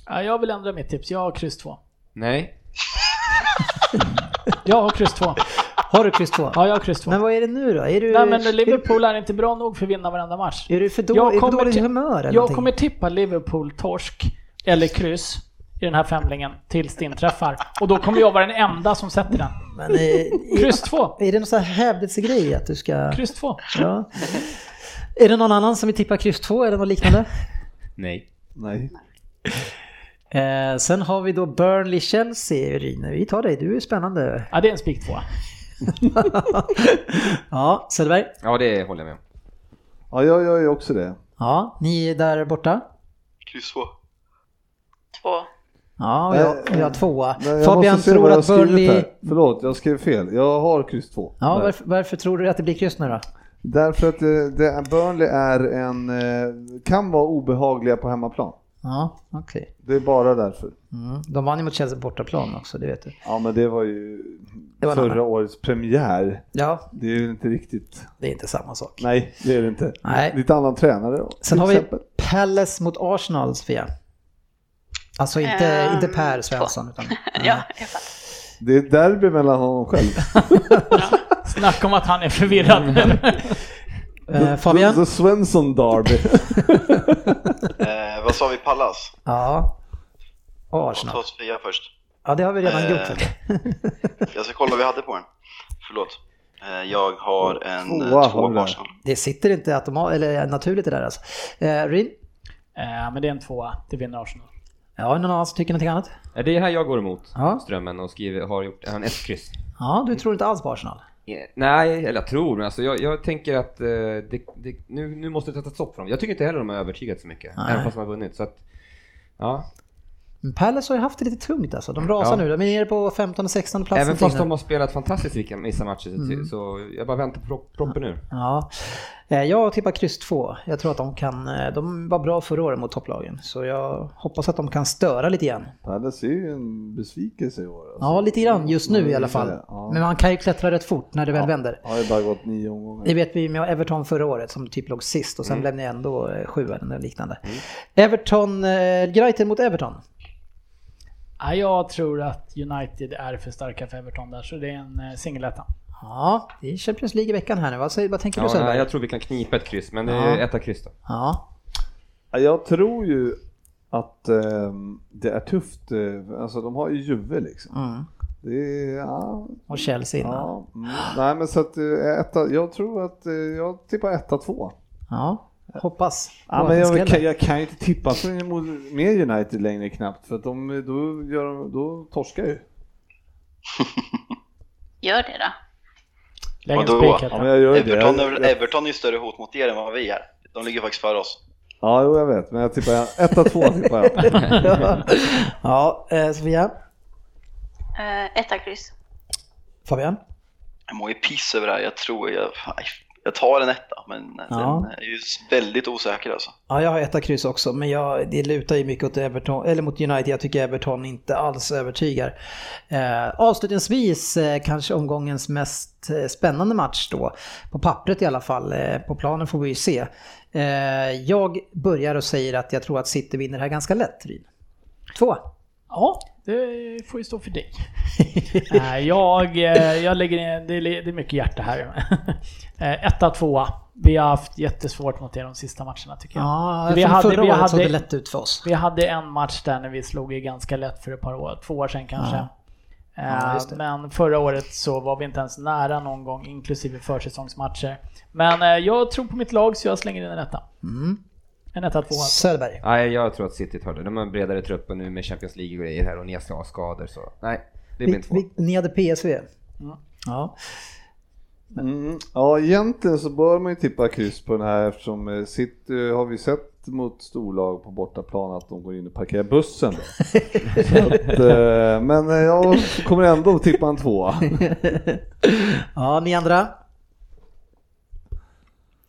[SPEAKER 5] Ja, jag vill ändra mitt tips. Jag har kryss 2.
[SPEAKER 3] Nej.
[SPEAKER 5] Jag har kryss 2.
[SPEAKER 2] Har du kryss 2?
[SPEAKER 5] Ja, jag har kryss 2.
[SPEAKER 2] Men vad är det nu då? Är du,
[SPEAKER 5] Nej men
[SPEAKER 2] är,
[SPEAKER 5] Liverpool är inte bra nog för att vinna varenda match.
[SPEAKER 2] du- är du för då,
[SPEAKER 5] Jag
[SPEAKER 2] är du på
[SPEAKER 5] kommer
[SPEAKER 2] dåligt
[SPEAKER 5] till-
[SPEAKER 2] humör eller
[SPEAKER 5] Jag
[SPEAKER 2] någonting?
[SPEAKER 5] kommer tippa Liverpool-torsk, eller kryss, i den här femlingen tills det inträffar. Och då kommer jag vara den enda som sätter den.
[SPEAKER 2] Men, eh,
[SPEAKER 5] Kryss
[SPEAKER 2] är,
[SPEAKER 5] 2!
[SPEAKER 2] är det någon sån här hävdelsegrej att du ska...
[SPEAKER 5] Kryss 2!
[SPEAKER 2] Ja. Är det någon annan som vill tippa kryss 2 eller något liknande?
[SPEAKER 3] Nej.
[SPEAKER 6] Nej.
[SPEAKER 2] Eh, sen har vi då Burnley-Chelsea, Ryn. Vi tar dig, du är spännande.
[SPEAKER 5] Ja, det är en spik 2.
[SPEAKER 2] ja, Söderberg.
[SPEAKER 3] Ja, det håller jag med om.
[SPEAKER 6] Ja, jag gör ju också det.
[SPEAKER 2] Ja, ni är där borta.
[SPEAKER 4] Kryss två.
[SPEAKER 7] Två.
[SPEAKER 2] Ja, och
[SPEAKER 6] Nej,
[SPEAKER 2] jag, och jag tvåa.
[SPEAKER 6] Nej, jag
[SPEAKER 2] Fabian
[SPEAKER 6] måste se
[SPEAKER 2] tror
[SPEAKER 6] vad jag
[SPEAKER 2] att
[SPEAKER 6] har skrivit
[SPEAKER 2] Burnley...
[SPEAKER 6] här. Förlåt, jag skrev fel. Jag har kryss 2.
[SPEAKER 2] Ja, varför, varför tror du att det blir kryss nu då?
[SPEAKER 6] Därför att det, det, är- Burnley är en, eh, kan vara obehagliga på hemmaplan.
[SPEAKER 2] Ja, okej.
[SPEAKER 6] Det är bara därför.
[SPEAKER 2] Mm. De vann ju mot Chelsea på bortaplan också, det vet du.
[SPEAKER 6] Ja men det var ju
[SPEAKER 2] Det var en
[SPEAKER 6] förra
[SPEAKER 2] annan.
[SPEAKER 6] årets premiär.
[SPEAKER 2] Ja,
[SPEAKER 6] Det är ju inte riktigt.
[SPEAKER 2] det är inte samma sak.
[SPEAKER 6] Nej, det är det inte.
[SPEAKER 2] Nej.
[SPEAKER 6] Lite annan tränare då,
[SPEAKER 2] Sen
[SPEAKER 6] till
[SPEAKER 2] har vi
[SPEAKER 6] exempel.
[SPEAKER 2] Palace mot Arsenal, Sofia. Alltså inte,
[SPEAKER 7] Ehm,
[SPEAKER 2] inte Per Svensson, utan...
[SPEAKER 7] Ja, jag fattar.
[SPEAKER 6] Det är ett derby mellan honom själv.
[SPEAKER 5] Snacka om att han är förvirrad.
[SPEAKER 6] Mm.
[SPEAKER 2] Eh,
[SPEAKER 6] The
[SPEAKER 2] Fabian?
[SPEAKER 6] Svensson Derby.
[SPEAKER 4] Eh, vad sa vi, Pallas?
[SPEAKER 2] Ja.
[SPEAKER 4] Ta
[SPEAKER 2] Arsenal.
[SPEAKER 4] Sofia först.
[SPEAKER 2] Ja, det har vi redan
[SPEAKER 4] Eh,
[SPEAKER 2] gjort. vet du.
[SPEAKER 4] Jag ska kolla vad vi hade på den. Förlåt. Eh, jag har en
[SPEAKER 6] Tvåa
[SPEAKER 4] eh,
[SPEAKER 6] har
[SPEAKER 4] två
[SPEAKER 6] du där.
[SPEAKER 4] varsin.
[SPEAKER 2] Det sitter inte automat, eller naturligt det där alltså. Eh, Rin?
[SPEAKER 5] Eh, men det är en tvåa. Det vinner Arsenal.
[SPEAKER 2] Ja, någon annan som tycker någonting annat?
[SPEAKER 3] Ja, Det är här jag går emot
[SPEAKER 2] Ja.
[SPEAKER 3] strömmen och skriver, har gjort han ett kryss.
[SPEAKER 2] Ja, du tror inte alls på Arsenal?
[SPEAKER 3] Eh, Nej, eller jag tror, men alltså jag, jag tänker att eh, det, det, nu, nu måste det sätta stopp för dem. Jag tycker inte heller de har övertygat så mycket,
[SPEAKER 2] Nej.
[SPEAKER 3] även fast de har vunnit. Så att, ja.
[SPEAKER 2] Men Palace har ju haft det lite tungt alltså. De rasar
[SPEAKER 3] Ja.
[SPEAKER 2] nu. De är nere på 15 och 16 plats. Mm.
[SPEAKER 3] Även
[SPEAKER 2] någonting
[SPEAKER 3] fast de
[SPEAKER 2] nu.
[SPEAKER 3] har spelat fantastiskt vilka- vissa matcher, så, så jag bara väntar på pro- proppen ur.
[SPEAKER 2] Ja. Eh, Jag tippar kryss 2. Jag tror att de kan... eh, De var bra förra året mot topplagen. Så jag hoppas att de kan störa lite igen.
[SPEAKER 6] Palace är ju en besvikelse i år. alltså.
[SPEAKER 2] Ja, lite grann just nu i alla fall.
[SPEAKER 6] Ja.
[SPEAKER 2] Men man kan ju klättra rätt fort när det väl vänder.
[SPEAKER 6] Har ju bara gått nio
[SPEAKER 2] Det
[SPEAKER 6] omgångar.
[SPEAKER 2] vet vi med Everton förra året som typ låg sist och
[SPEAKER 3] Mm.
[SPEAKER 2] sen blev ni ändå eh, sjua eller liknande. Everton, eh, United mot Everton.
[SPEAKER 5] Ja, jag tror att United är för starka för Everton där, så det är en eh, singeletta.
[SPEAKER 2] Ja, det är Champions League i veckan här nu. Vad, säger, vad tänker du
[SPEAKER 3] Ja,
[SPEAKER 2] Söderberg?
[SPEAKER 3] nej, jag tror vi kan knipa ett kryss, men det är
[SPEAKER 2] Ja.
[SPEAKER 3] ett kryss då.
[SPEAKER 2] Ja,
[SPEAKER 6] Ja, Jag tror ju att ehm, det är tufft. eh, Alltså de har ju Juve liksom.
[SPEAKER 8] Mm.
[SPEAKER 6] Det är, ja,
[SPEAKER 8] Och Chelsea innan. Ja.
[SPEAKER 6] ja, mm. Nej men så att eh, etta, jag tror att eh, jag tippar etta, två.
[SPEAKER 8] Hoppas. på
[SPEAKER 6] Ja,
[SPEAKER 8] att
[SPEAKER 6] men
[SPEAKER 8] det
[SPEAKER 6] jag,
[SPEAKER 8] smäller.
[SPEAKER 6] kan, jag kan ju inte tippa för mot- med United längre knappt för att de, då, gör, de- då torskar ju.
[SPEAKER 7] Gör det då.
[SPEAKER 5] Lägg en
[SPEAKER 4] Vadå?
[SPEAKER 5] spik
[SPEAKER 6] Ja,
[SPEAKER 5] heter
[SPEAKER 6] men
[SPEAKER 5] det.
[SPEAKER 6] jag gör ju det.
[SPEAKER 4] Everton, är-
[SPEAKER 6] Jag, jag,
[SPEAKER 4] Everton är ju större hot mot er än vad vi är. De ligger faktiskt före oss.
[SPEAKER 6] ja, jo, jag vet, men jag tippar etta, två tippar jag.
[SPEAKER 2] ja, eh, Sofia?
[SPEAKER 7] Eh, etta kryss.
[SPEAKER 2] Fabian?
[SPEAKER 4] Jag mår ju piss över det här. Jag tror jag... aj, Jag tar en etta, men
[SPEAKER 2] Ja.
[SPEAKER 4] den är ju väldigt osäker alltså.
[SPEAKER 2] Ja, jag har etta kryss också, men jag, det lutar ju mycket åt Everton, eller mot United. Jag tycker Everton inte alls övertygar. Eh, avslutningsvis eh, kanske omgångens mest eh, spännande match då. På pappret i alla fall. Eh, på planen får vi ju se. Eh, jag börjar och säger att jag tror att City vinner det här ganska lätt, Ryn. Två.
[SPEAKER 5] Ja, det får ju stå för dig. Nej, jag, eh, jag lägger in, det är, det är mycket hjärta här. Eh, Etta, tvåa. Vi har haft jättesvårt mot er de sista matcherna tycker jag.
[SPEAKER 2] Ja,
[SPEAKER 5] Vi
[SPEAKER 2] från
[SPEAKER 5] hade-
[SPEAKER 2] förra
[SPEAKER 5] vi
[SPEAKER 2] året såg
[SPEAKER 5] hade-
[SPEAKER 2] det lätt ut för oss.
[SPEAKER 5] Vi hade en match där när vi slog ju ganska lätt för ett par år, två år sedan kanske. Eh,
[SPEAKER 2] Ja, just det.
[SPEAKER 5] Men förra året så var vi inte ens nära någon gång, inklusive försäsongsmatcher. Men eh, jag tror på mitt lag så jag slänger in en etta.
[SPEAKER 2] Mm.
[SPEAKER 5] En etta, tvåa.
[SPEAKER 2] Söderberg.
[SPEAKER 3] Nej, jag tror att City tar det. De har en bredare trupp och nu med Champions League och grejer här och Nias har skador så nej, det blir
[SPEAKER 2] Vi,
[SPEAKER 3] inte två.
[SPEAKER 2] vi, ni hade PSV. Ja.
[SPEAKER 6] Mm. Ja, egentligen så bör man ju tippa kryss på den här eftersom eh, sitt eh, har vi sett mot storlag på bortaplan att de går in och parkerar bussen. Då. så att, eh, men eh, jag kommer ändå att tippa en tvåa.
[SPEAKER 2] ja, ni andra?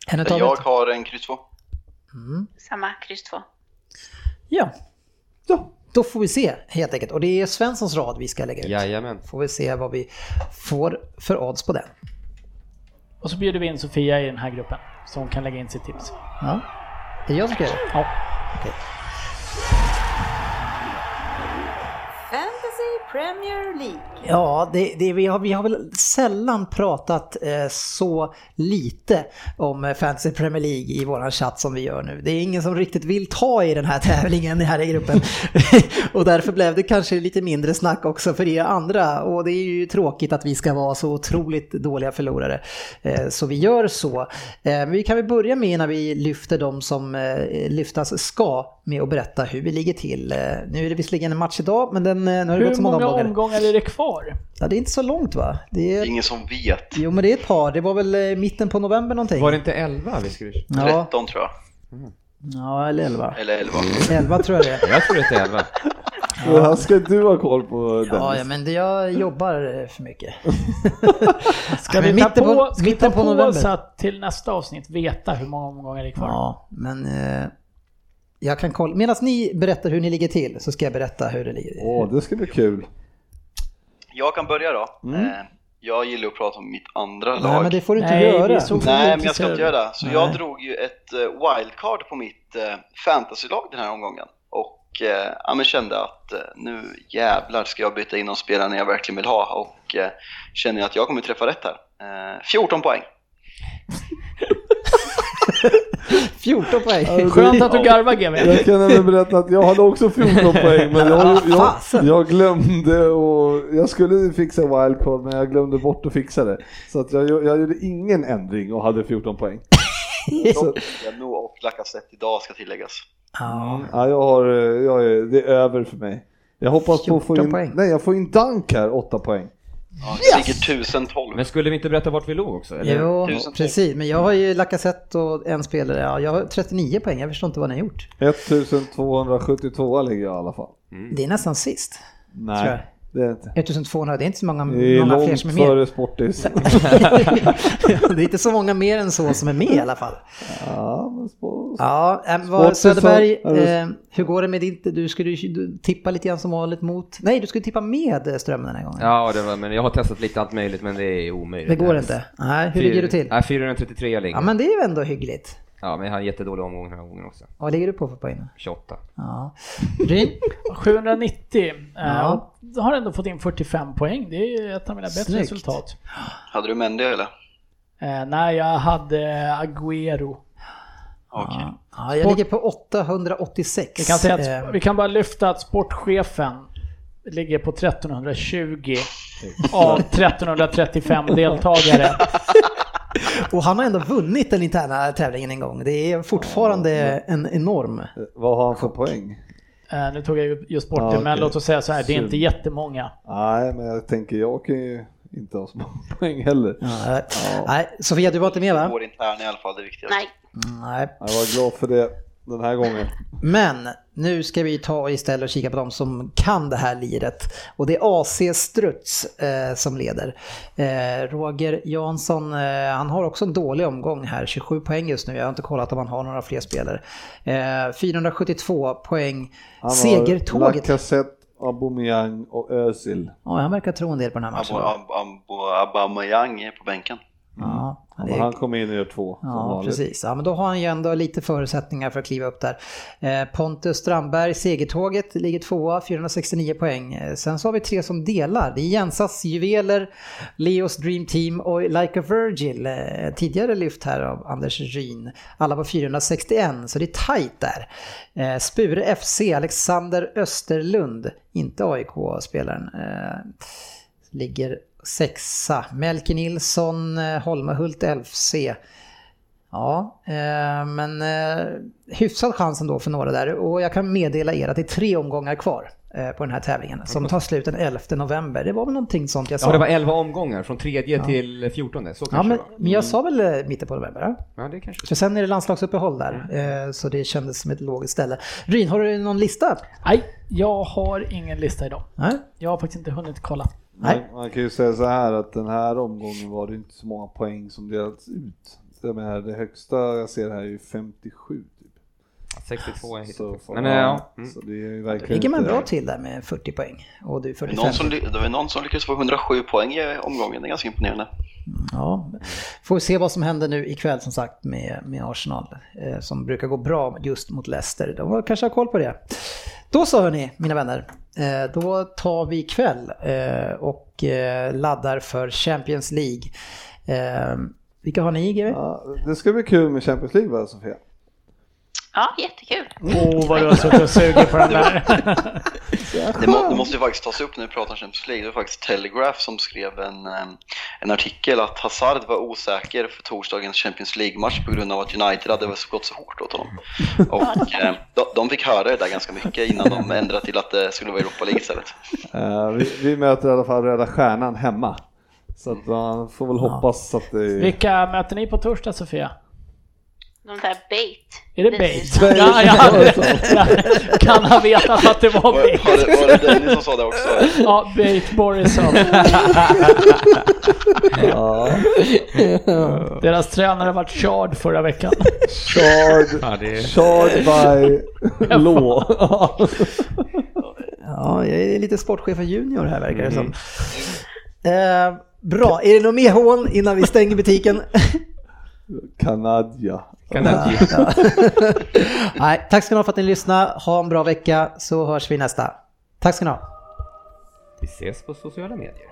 [SPEAKER 2] En utav
[SPEAKER 4] Jag
[SPEAKER 2] ett.
[SPEAKER 4] har en kryss två.
[SPEAKER 7] Samma, kryss två.
[SPEAKER 2] Ja. ja. Då får vi se helt enkelt. Och det är Svenssons rad vi ska lägga ut.
[SPEAKER 3] Jajamän.
[SPEAKER 2] Får vi se vad vi får för odds på den.
[SPEAKER 5] Och så bjuder vi in Sofia i den här gruppen, så hon kan lägga in sitt tips.
[SPEAKER 2] Ja. Det är jag som ska göra det.
[SPEAKER 5] Ja.
[SPEAKER 1] Fantasy Premier League.
[SPEAKER 2] Ja, det, det, vi, har, vi har väl sällan pratat eh, så lite om eh, Fantasy Premier League i våran chatt som vi gör nu. Det är ingen som riktigt vill ta i den här tävlingen här i gruppen. och därför blev det kanske lite mindre snack också för er andra. Och det är ju tråkigt att vi ska vara så otroligt dåliga förlorare. Eh, så vi gör så. Eh, men vi kan väl börja med när vi lyfter de som eh, lyftas ska med att berätta hur vi ligger till. Eh, nu är det visserligen en match idag, men den, eh, nu har det gått
[SPEAKER 5] Hur
[SPEAKER 2] så många
[SPEAKER 5] många
[SPEAKER 2] omgångar.
[SPEAKER 5] omgångar är det kvar?
[SPEAKER 2] Ja, det är inte så långt va? Det
[SPEAKER 4] Det är
[SPEAKER 2] är...
[SPEAKER 4] ingen som vet.
[SPEAKER 2] Jo men det är ett par, det var väl eh, mitten på november någonting?
[SPEAKER 3] Var det inte 11 vi skulle...
[SPEAKER 2] Ja,
[SPEAKER 4] 13 tror jag.
[SPEAKER 2] ja eller 11.
[SPEAKER 4] Eller 11.
[SPEAKER 2] 11 tror jag det är.
[SPEAKER 3] Jag tror det är 11.
[SPEAKER 6] Och här ska du ha koll på Dennis.
[SPEAKER 2] Ja, ja men det, jag jobbar eh, för mycket.
[SPEAKER 5] Ska
[SPEAKER 2] men
[SPEAKER 5] vi ta
[SPEAKER 2] mitten på-
[SPEAKER 5] på, ska vi
[SPEAKER 2] mitten
[SPEAKER 5] ta
[SPEAKER 2] på
[SPEAKER 5] på,
[SPEAKER 2] november?
[SPEAKER 5] så att till nästa avsnitt veta hur många omgångar det är kvar?
[SPEAKER 2] Ja, men eh, jag kan kolla. Medan ni berättar hur ni ligger till så ska jag berätta hur det ligger.
[SPEAKER 6] Åh, det ska bli kul.
[SPEAKER 4] Jag kan börja då. Eh, Jag gillar att prata om mitt andra
[SPEAKER 2] Mm. Nej
[SPEAKER 4] lag.
[SPEAKER 2] men det får du inte
[SPEAKER 5] Nej, vi
[SPEAKER 2] göra.
[SPEAKER 5] är så-
[SPEAKER 4] Nej, men jag ska inte
[SPEAKER 5] intresserad.
[SPEAKER 4] göra det. Så jag drog ju ett eh, wildcard på mitt eh, fantasylag den här omgången. Och eh, ja, men kände att eh, nu jävlar ska jag byta in de spelarna jag verkligen vill ha. Och eh, känner att jag kommer träffa rätt här. Eh, 14 poäng.
[SPEAKER 2] 14 poäng.
[SPEAKER 5] Skönt att du garvar GW.
[SPEAKER 6] Jag kan även berätta att jag hade också 14 poäng men jag, jag, jag glömde och jag skulle fixa wildcard men jag glömde bort att fixa det. Så att jag, jag gjorde ingen ändring och hade 14 poäng. Så,
[SPEAKER 4] Janu och Lacazette idag ska tilläggas.
[SPEAKER 2] Ja.
[SPEAKER 6] ja, jag har, eh, jag är, det är över för mig. Jag hoppas på att få
[SPEAKER 2] 14
[SPEAKER 6] in,
[SPEAKER 2] poäng.
[SPEAKER 6] nej jag får in Dunk här, 8 poäng.
[SPEAKER 4] Ja, jag ligger 1012.
[SPEAKER 3] Men skulle vi inte berätta vart vi låg också? Eller?
[SPEAKER 2] Jo,
[SPEAKER 4] Tusen tack.
[SPEAKER 2] precis. Men jag har ju Lacazette och en spelare. Ja, jag har 39 poäng, jag förstår inte vad ni har gjort.
[SPEAKER 6] 1272 ligger jag i alla fall.
[SPEAKER 2] Det är nästan sist. Tror jag.
[SPEAKER 6] Nej, det är inte.
[SPEAKER 2] 1200, det är inte så många,
[SPEAKER 6] Det är
[SPEAKER 2] många fler som är
[SPEAKER 6] långt
[SPEAKER 2] med.
[SPEAKER 6] före Sportis.
[SPEAKER 2] det är inte så många mer än så som är med i alla fall.
[SPEAKER 6] Ja, men spår,
[SPEAKER 2] Ja, äh, vad,
[SPEAKER 6] Sporten som-
[SPEAKER 2] Söderberg,
[SPEAKER 6] Ja, det-
[SPEAKER 2] eh, hur går det med ditt? Du skulle ju du tippa lite grann som vanligt mot... Nej, du skulle tippa med eh, Strömmen den här gången.
[SPEAKER 3] Ja, det var, men jag har testat lite allt möjligt men det är omöjligt.
[SPEAKER 2] det går inte. Nej, hur
[SPEAKER 3] Fyra-
[SPEAKER 2] ligger du till?
[SPEAKER 3] Nej, 433 ligger.
[SPEAKER 2] Ja, men det är ju ändå hyggligt.
[SPEAKER 3] Ja, men jag har en jättedålig omgång den här gången också.
[SPEAKER 2] Vad ligger du på för poäng? då?
[SPEAKER 3] 28.
[SPEAKER 2] Ja. Ryn?
[SPEAKER 5] 790.
[SPEAKER 2] Ja.
[SPEAKER 5] Ja. Jag eh, har ändå fått in 45 poäng. Det är ju ett av mina bättre
[SPEAKER 2] Snyggt.
[SPEAKER 5] resultat.
[SPEAKER 4] Hade du Mendy eller?
[SPEAKER 5] Eh, nej, jag hade eh, Agüero.
[SPEAKER 4] Okej.
[SPEAKER 2] Ja, jag
[SPEAKER 5] Sport-
[SPEAKER 2] ligger på 886.
[SPEAKER 5] Vi kan, säga
[SPEAKER 2] Eh,
[SPEAKER 5] att, vi kan bara lyfta att sportchefen ligger på 1320 av 1335 deltagare.
[SPEAKER 2] Och han har ändå vunnit den interna tävlingen en gång. Det är fortfarande en enorm.
[SPEAKER 6] Vad har han för poäng?
[SPEAKER 5] Eh, Nu tog jag ju just bort
[SPEAKER 6] Ja,
[SPEAKER 5] det, men
[SPEAKER 6] okej.
[SPEAKER 5] låt oss säga så här, det är
[SPEAKER 6] Synd.
[SPEAKER 5] inte jättemånga.
[SPEAKER 6] Nej, men jag tänker jag kan ju inte ha så många poäng heller.
[SPEAKER 2] Nej, Nej, Sofia du var inte med va?
[SPEAKER 4] Vår interna i alla fall, det viktigaste.
[SPEAKER 7] Nej,
[SPEAKER 2] Nej.
[SPEAKER 6] Jag var glad för det den här gången.
[SPEAKER 2] Men nu ska vi ta istället och kika på de som kan det här liret. Och det är AC Struts eh, som leder. Eh, Roger Jansson, eh, han har också en dålig omgång här, 27 poäng just nu. Jag har inte kollat om han har några fler spelare. Eh, 472 poäng.
[SPEAKER 6] Han har
[SPEAKER 2] Segertåget.
[SPEAKER 6] Lacazette, Aubameyang och Özil.
[SPEAKER 2] Ja, han verkar tro en del på den här matchen.
[SPEAKER 4] Abo- Ab- Abo- Abamayang är på bänken.
[SPEAKER 2] Ja, det
[SPEAKER 6] Men
[SPEAKER 2] är-
[SPEAKER 6] han kom in och gör två. som
[SPEAKER 2] Ja,
[SPEAKER 6] vanligt.
[SPEAKER 2] precis. Ja, men då har han ju ändå lite förutsättningar för att kliva upp där. Eh, Pontus Strandberg, segertåget, ligger tvåa, 469 poäng. Eh, Sen så har vi tre som delar. Det är Jensas Juveler, Leos Dream Team och Like a Virgil. eh, Tidigare lyft här av Anders Ryn. Alla på 461, så det är tajt där. Eh, Spure FC, Alexander Österlund, inte AIK-spelaren. Eh, ligger sexa. Melke Nilsson, eh, Holmahult LFC. Ja, eh, men eh, hyfsad chans ändå för några där. Och jag kan meddela er att det är tre omgångar kvar eh, på den här tävlingen som tar slut den 11 november. Det var väl någonting sånt jag sa.
[SPEAKER 3] Ja, det var 11 omgångar, från tredje till fjortonde, så kanske
[SPEAKER 2] Ja, men,
[SPEAKER 3] det var.
[SPEAKER 2] men jag sa väl eh, mitten på november? ja?
[SPEAKER 3] Ja, det kanske
[SPEAKER 2] För sen är det landslagsuppehåll där, eh, så det kändes som ett logiskt ställe. Ryn, har du någon lista?
[SPEAKER 5] Nej, jag har ingen lista idag.
[SPEAKER 2] Nej?
[SPEAKER 5] Jag har faktiskt inte hunnit kolla.
[SPEAKER 2] Nej.
[SPEAKER 6] Man, man kan ju säga så här att den här omgången var det inte så många poäng som delats ut. Jag menar, det högsta jag ser här är ju 57. Typ.
[SPEAKER 3] 62 jag hittade.
[SPEAKER 6] Så,
[SPEAKER 3] också.
[SPEAKER 6] fan,
[SPEAKER 3] Men eh, ja, mm.
[SPEAKER 6] så det är ju verkligen
[SPEAKER 2] ligger man
[SPEAKER 6] inte-
[SPEAKER 2] bra till där med 40 poäng och du
[SPEAKER 4] Det är
[SPEAKER 2] 45.
[SPEAKER 4] någon som ly- Det var någon som lyckades få 107 poäng i omgången, det är ganska imponerande.
[SPEAKER 2] Ja, får vi se vad som händer nu ikväll som sagt med, med Arsenal eh, som brukar gå bra just mot Leicester. De har- kanske har koll på det. Då så hörni, mina vänner. Eh, då tar vi ikväll eh, och eh, laddar för Champions League. Eh, vilka har ni GW?
[SPEAKER 6] Ja, det ska bli kul med Champions League va Sofia?
[SPEAKER 7] ja jättekul.
[SPEAKER 5] Åh, vad du har suttit och sugit på den där.
[SPEAKER 4] Det, må, det måste ju faktiskt tas upp när vi pratar om Champions League. Det var faktiskt Telegraph som skrev en, eh, en artikel att Hazard var osäker för torsdagens Champions League-match på grund av att United hade gått så hårt åt honom. Och eh, de, de fick höra det där ganska mycket innan de ändrade till att det skulle vara Europa League istället.
[SPEAKER 6] Eh, vi, vi möter i alla fall Röda Stjärnan hemma. Så att man får väl hoppas att det...
[SPEAKER 5] Vilka möter ni på torsdag Sofia?
[SPEAKER 7] De där bait.
[SPEAKER 5] Är det
[SPEAKER 7] Vi-
[SPEAKER 5] Bait? Ja, jag hade, jag kan ha vetat att det var
[SPEAKER 4] Var,
[SPEAKER 5] Bait.
[SPEAKER 4] var, det, var det Dennis som sa det också?
[SPEAKER 5] Ja, Bait Borisov.
[SPEAKER 6] Ja,
[SPEAKER 5] Deras tränare var Chard förra veckan.
[SPEAKER 6] charred,
[SPEAKER 3] Ja, det är...
[SPEAKER 6] charred by law.
[SPEAKER 2] Ja, jag är lite sportchef och junior här verkar det som.
[SPEAKER 5] Mm.
[SPEAKER 2] Eh, bra, är det något mer hån innan vi stänger butiken?
[SPEAKER 6] Kanadja.
[SPEAKER 3] Kan det inte-
[SPEAKER 2] Nej, tack ska ni ha för att ni lyssnade. Ha en bra vecka så hörs vi nästa. Tack ska ni ha.
[SPEAKER 3] Vi ses på sociala medier.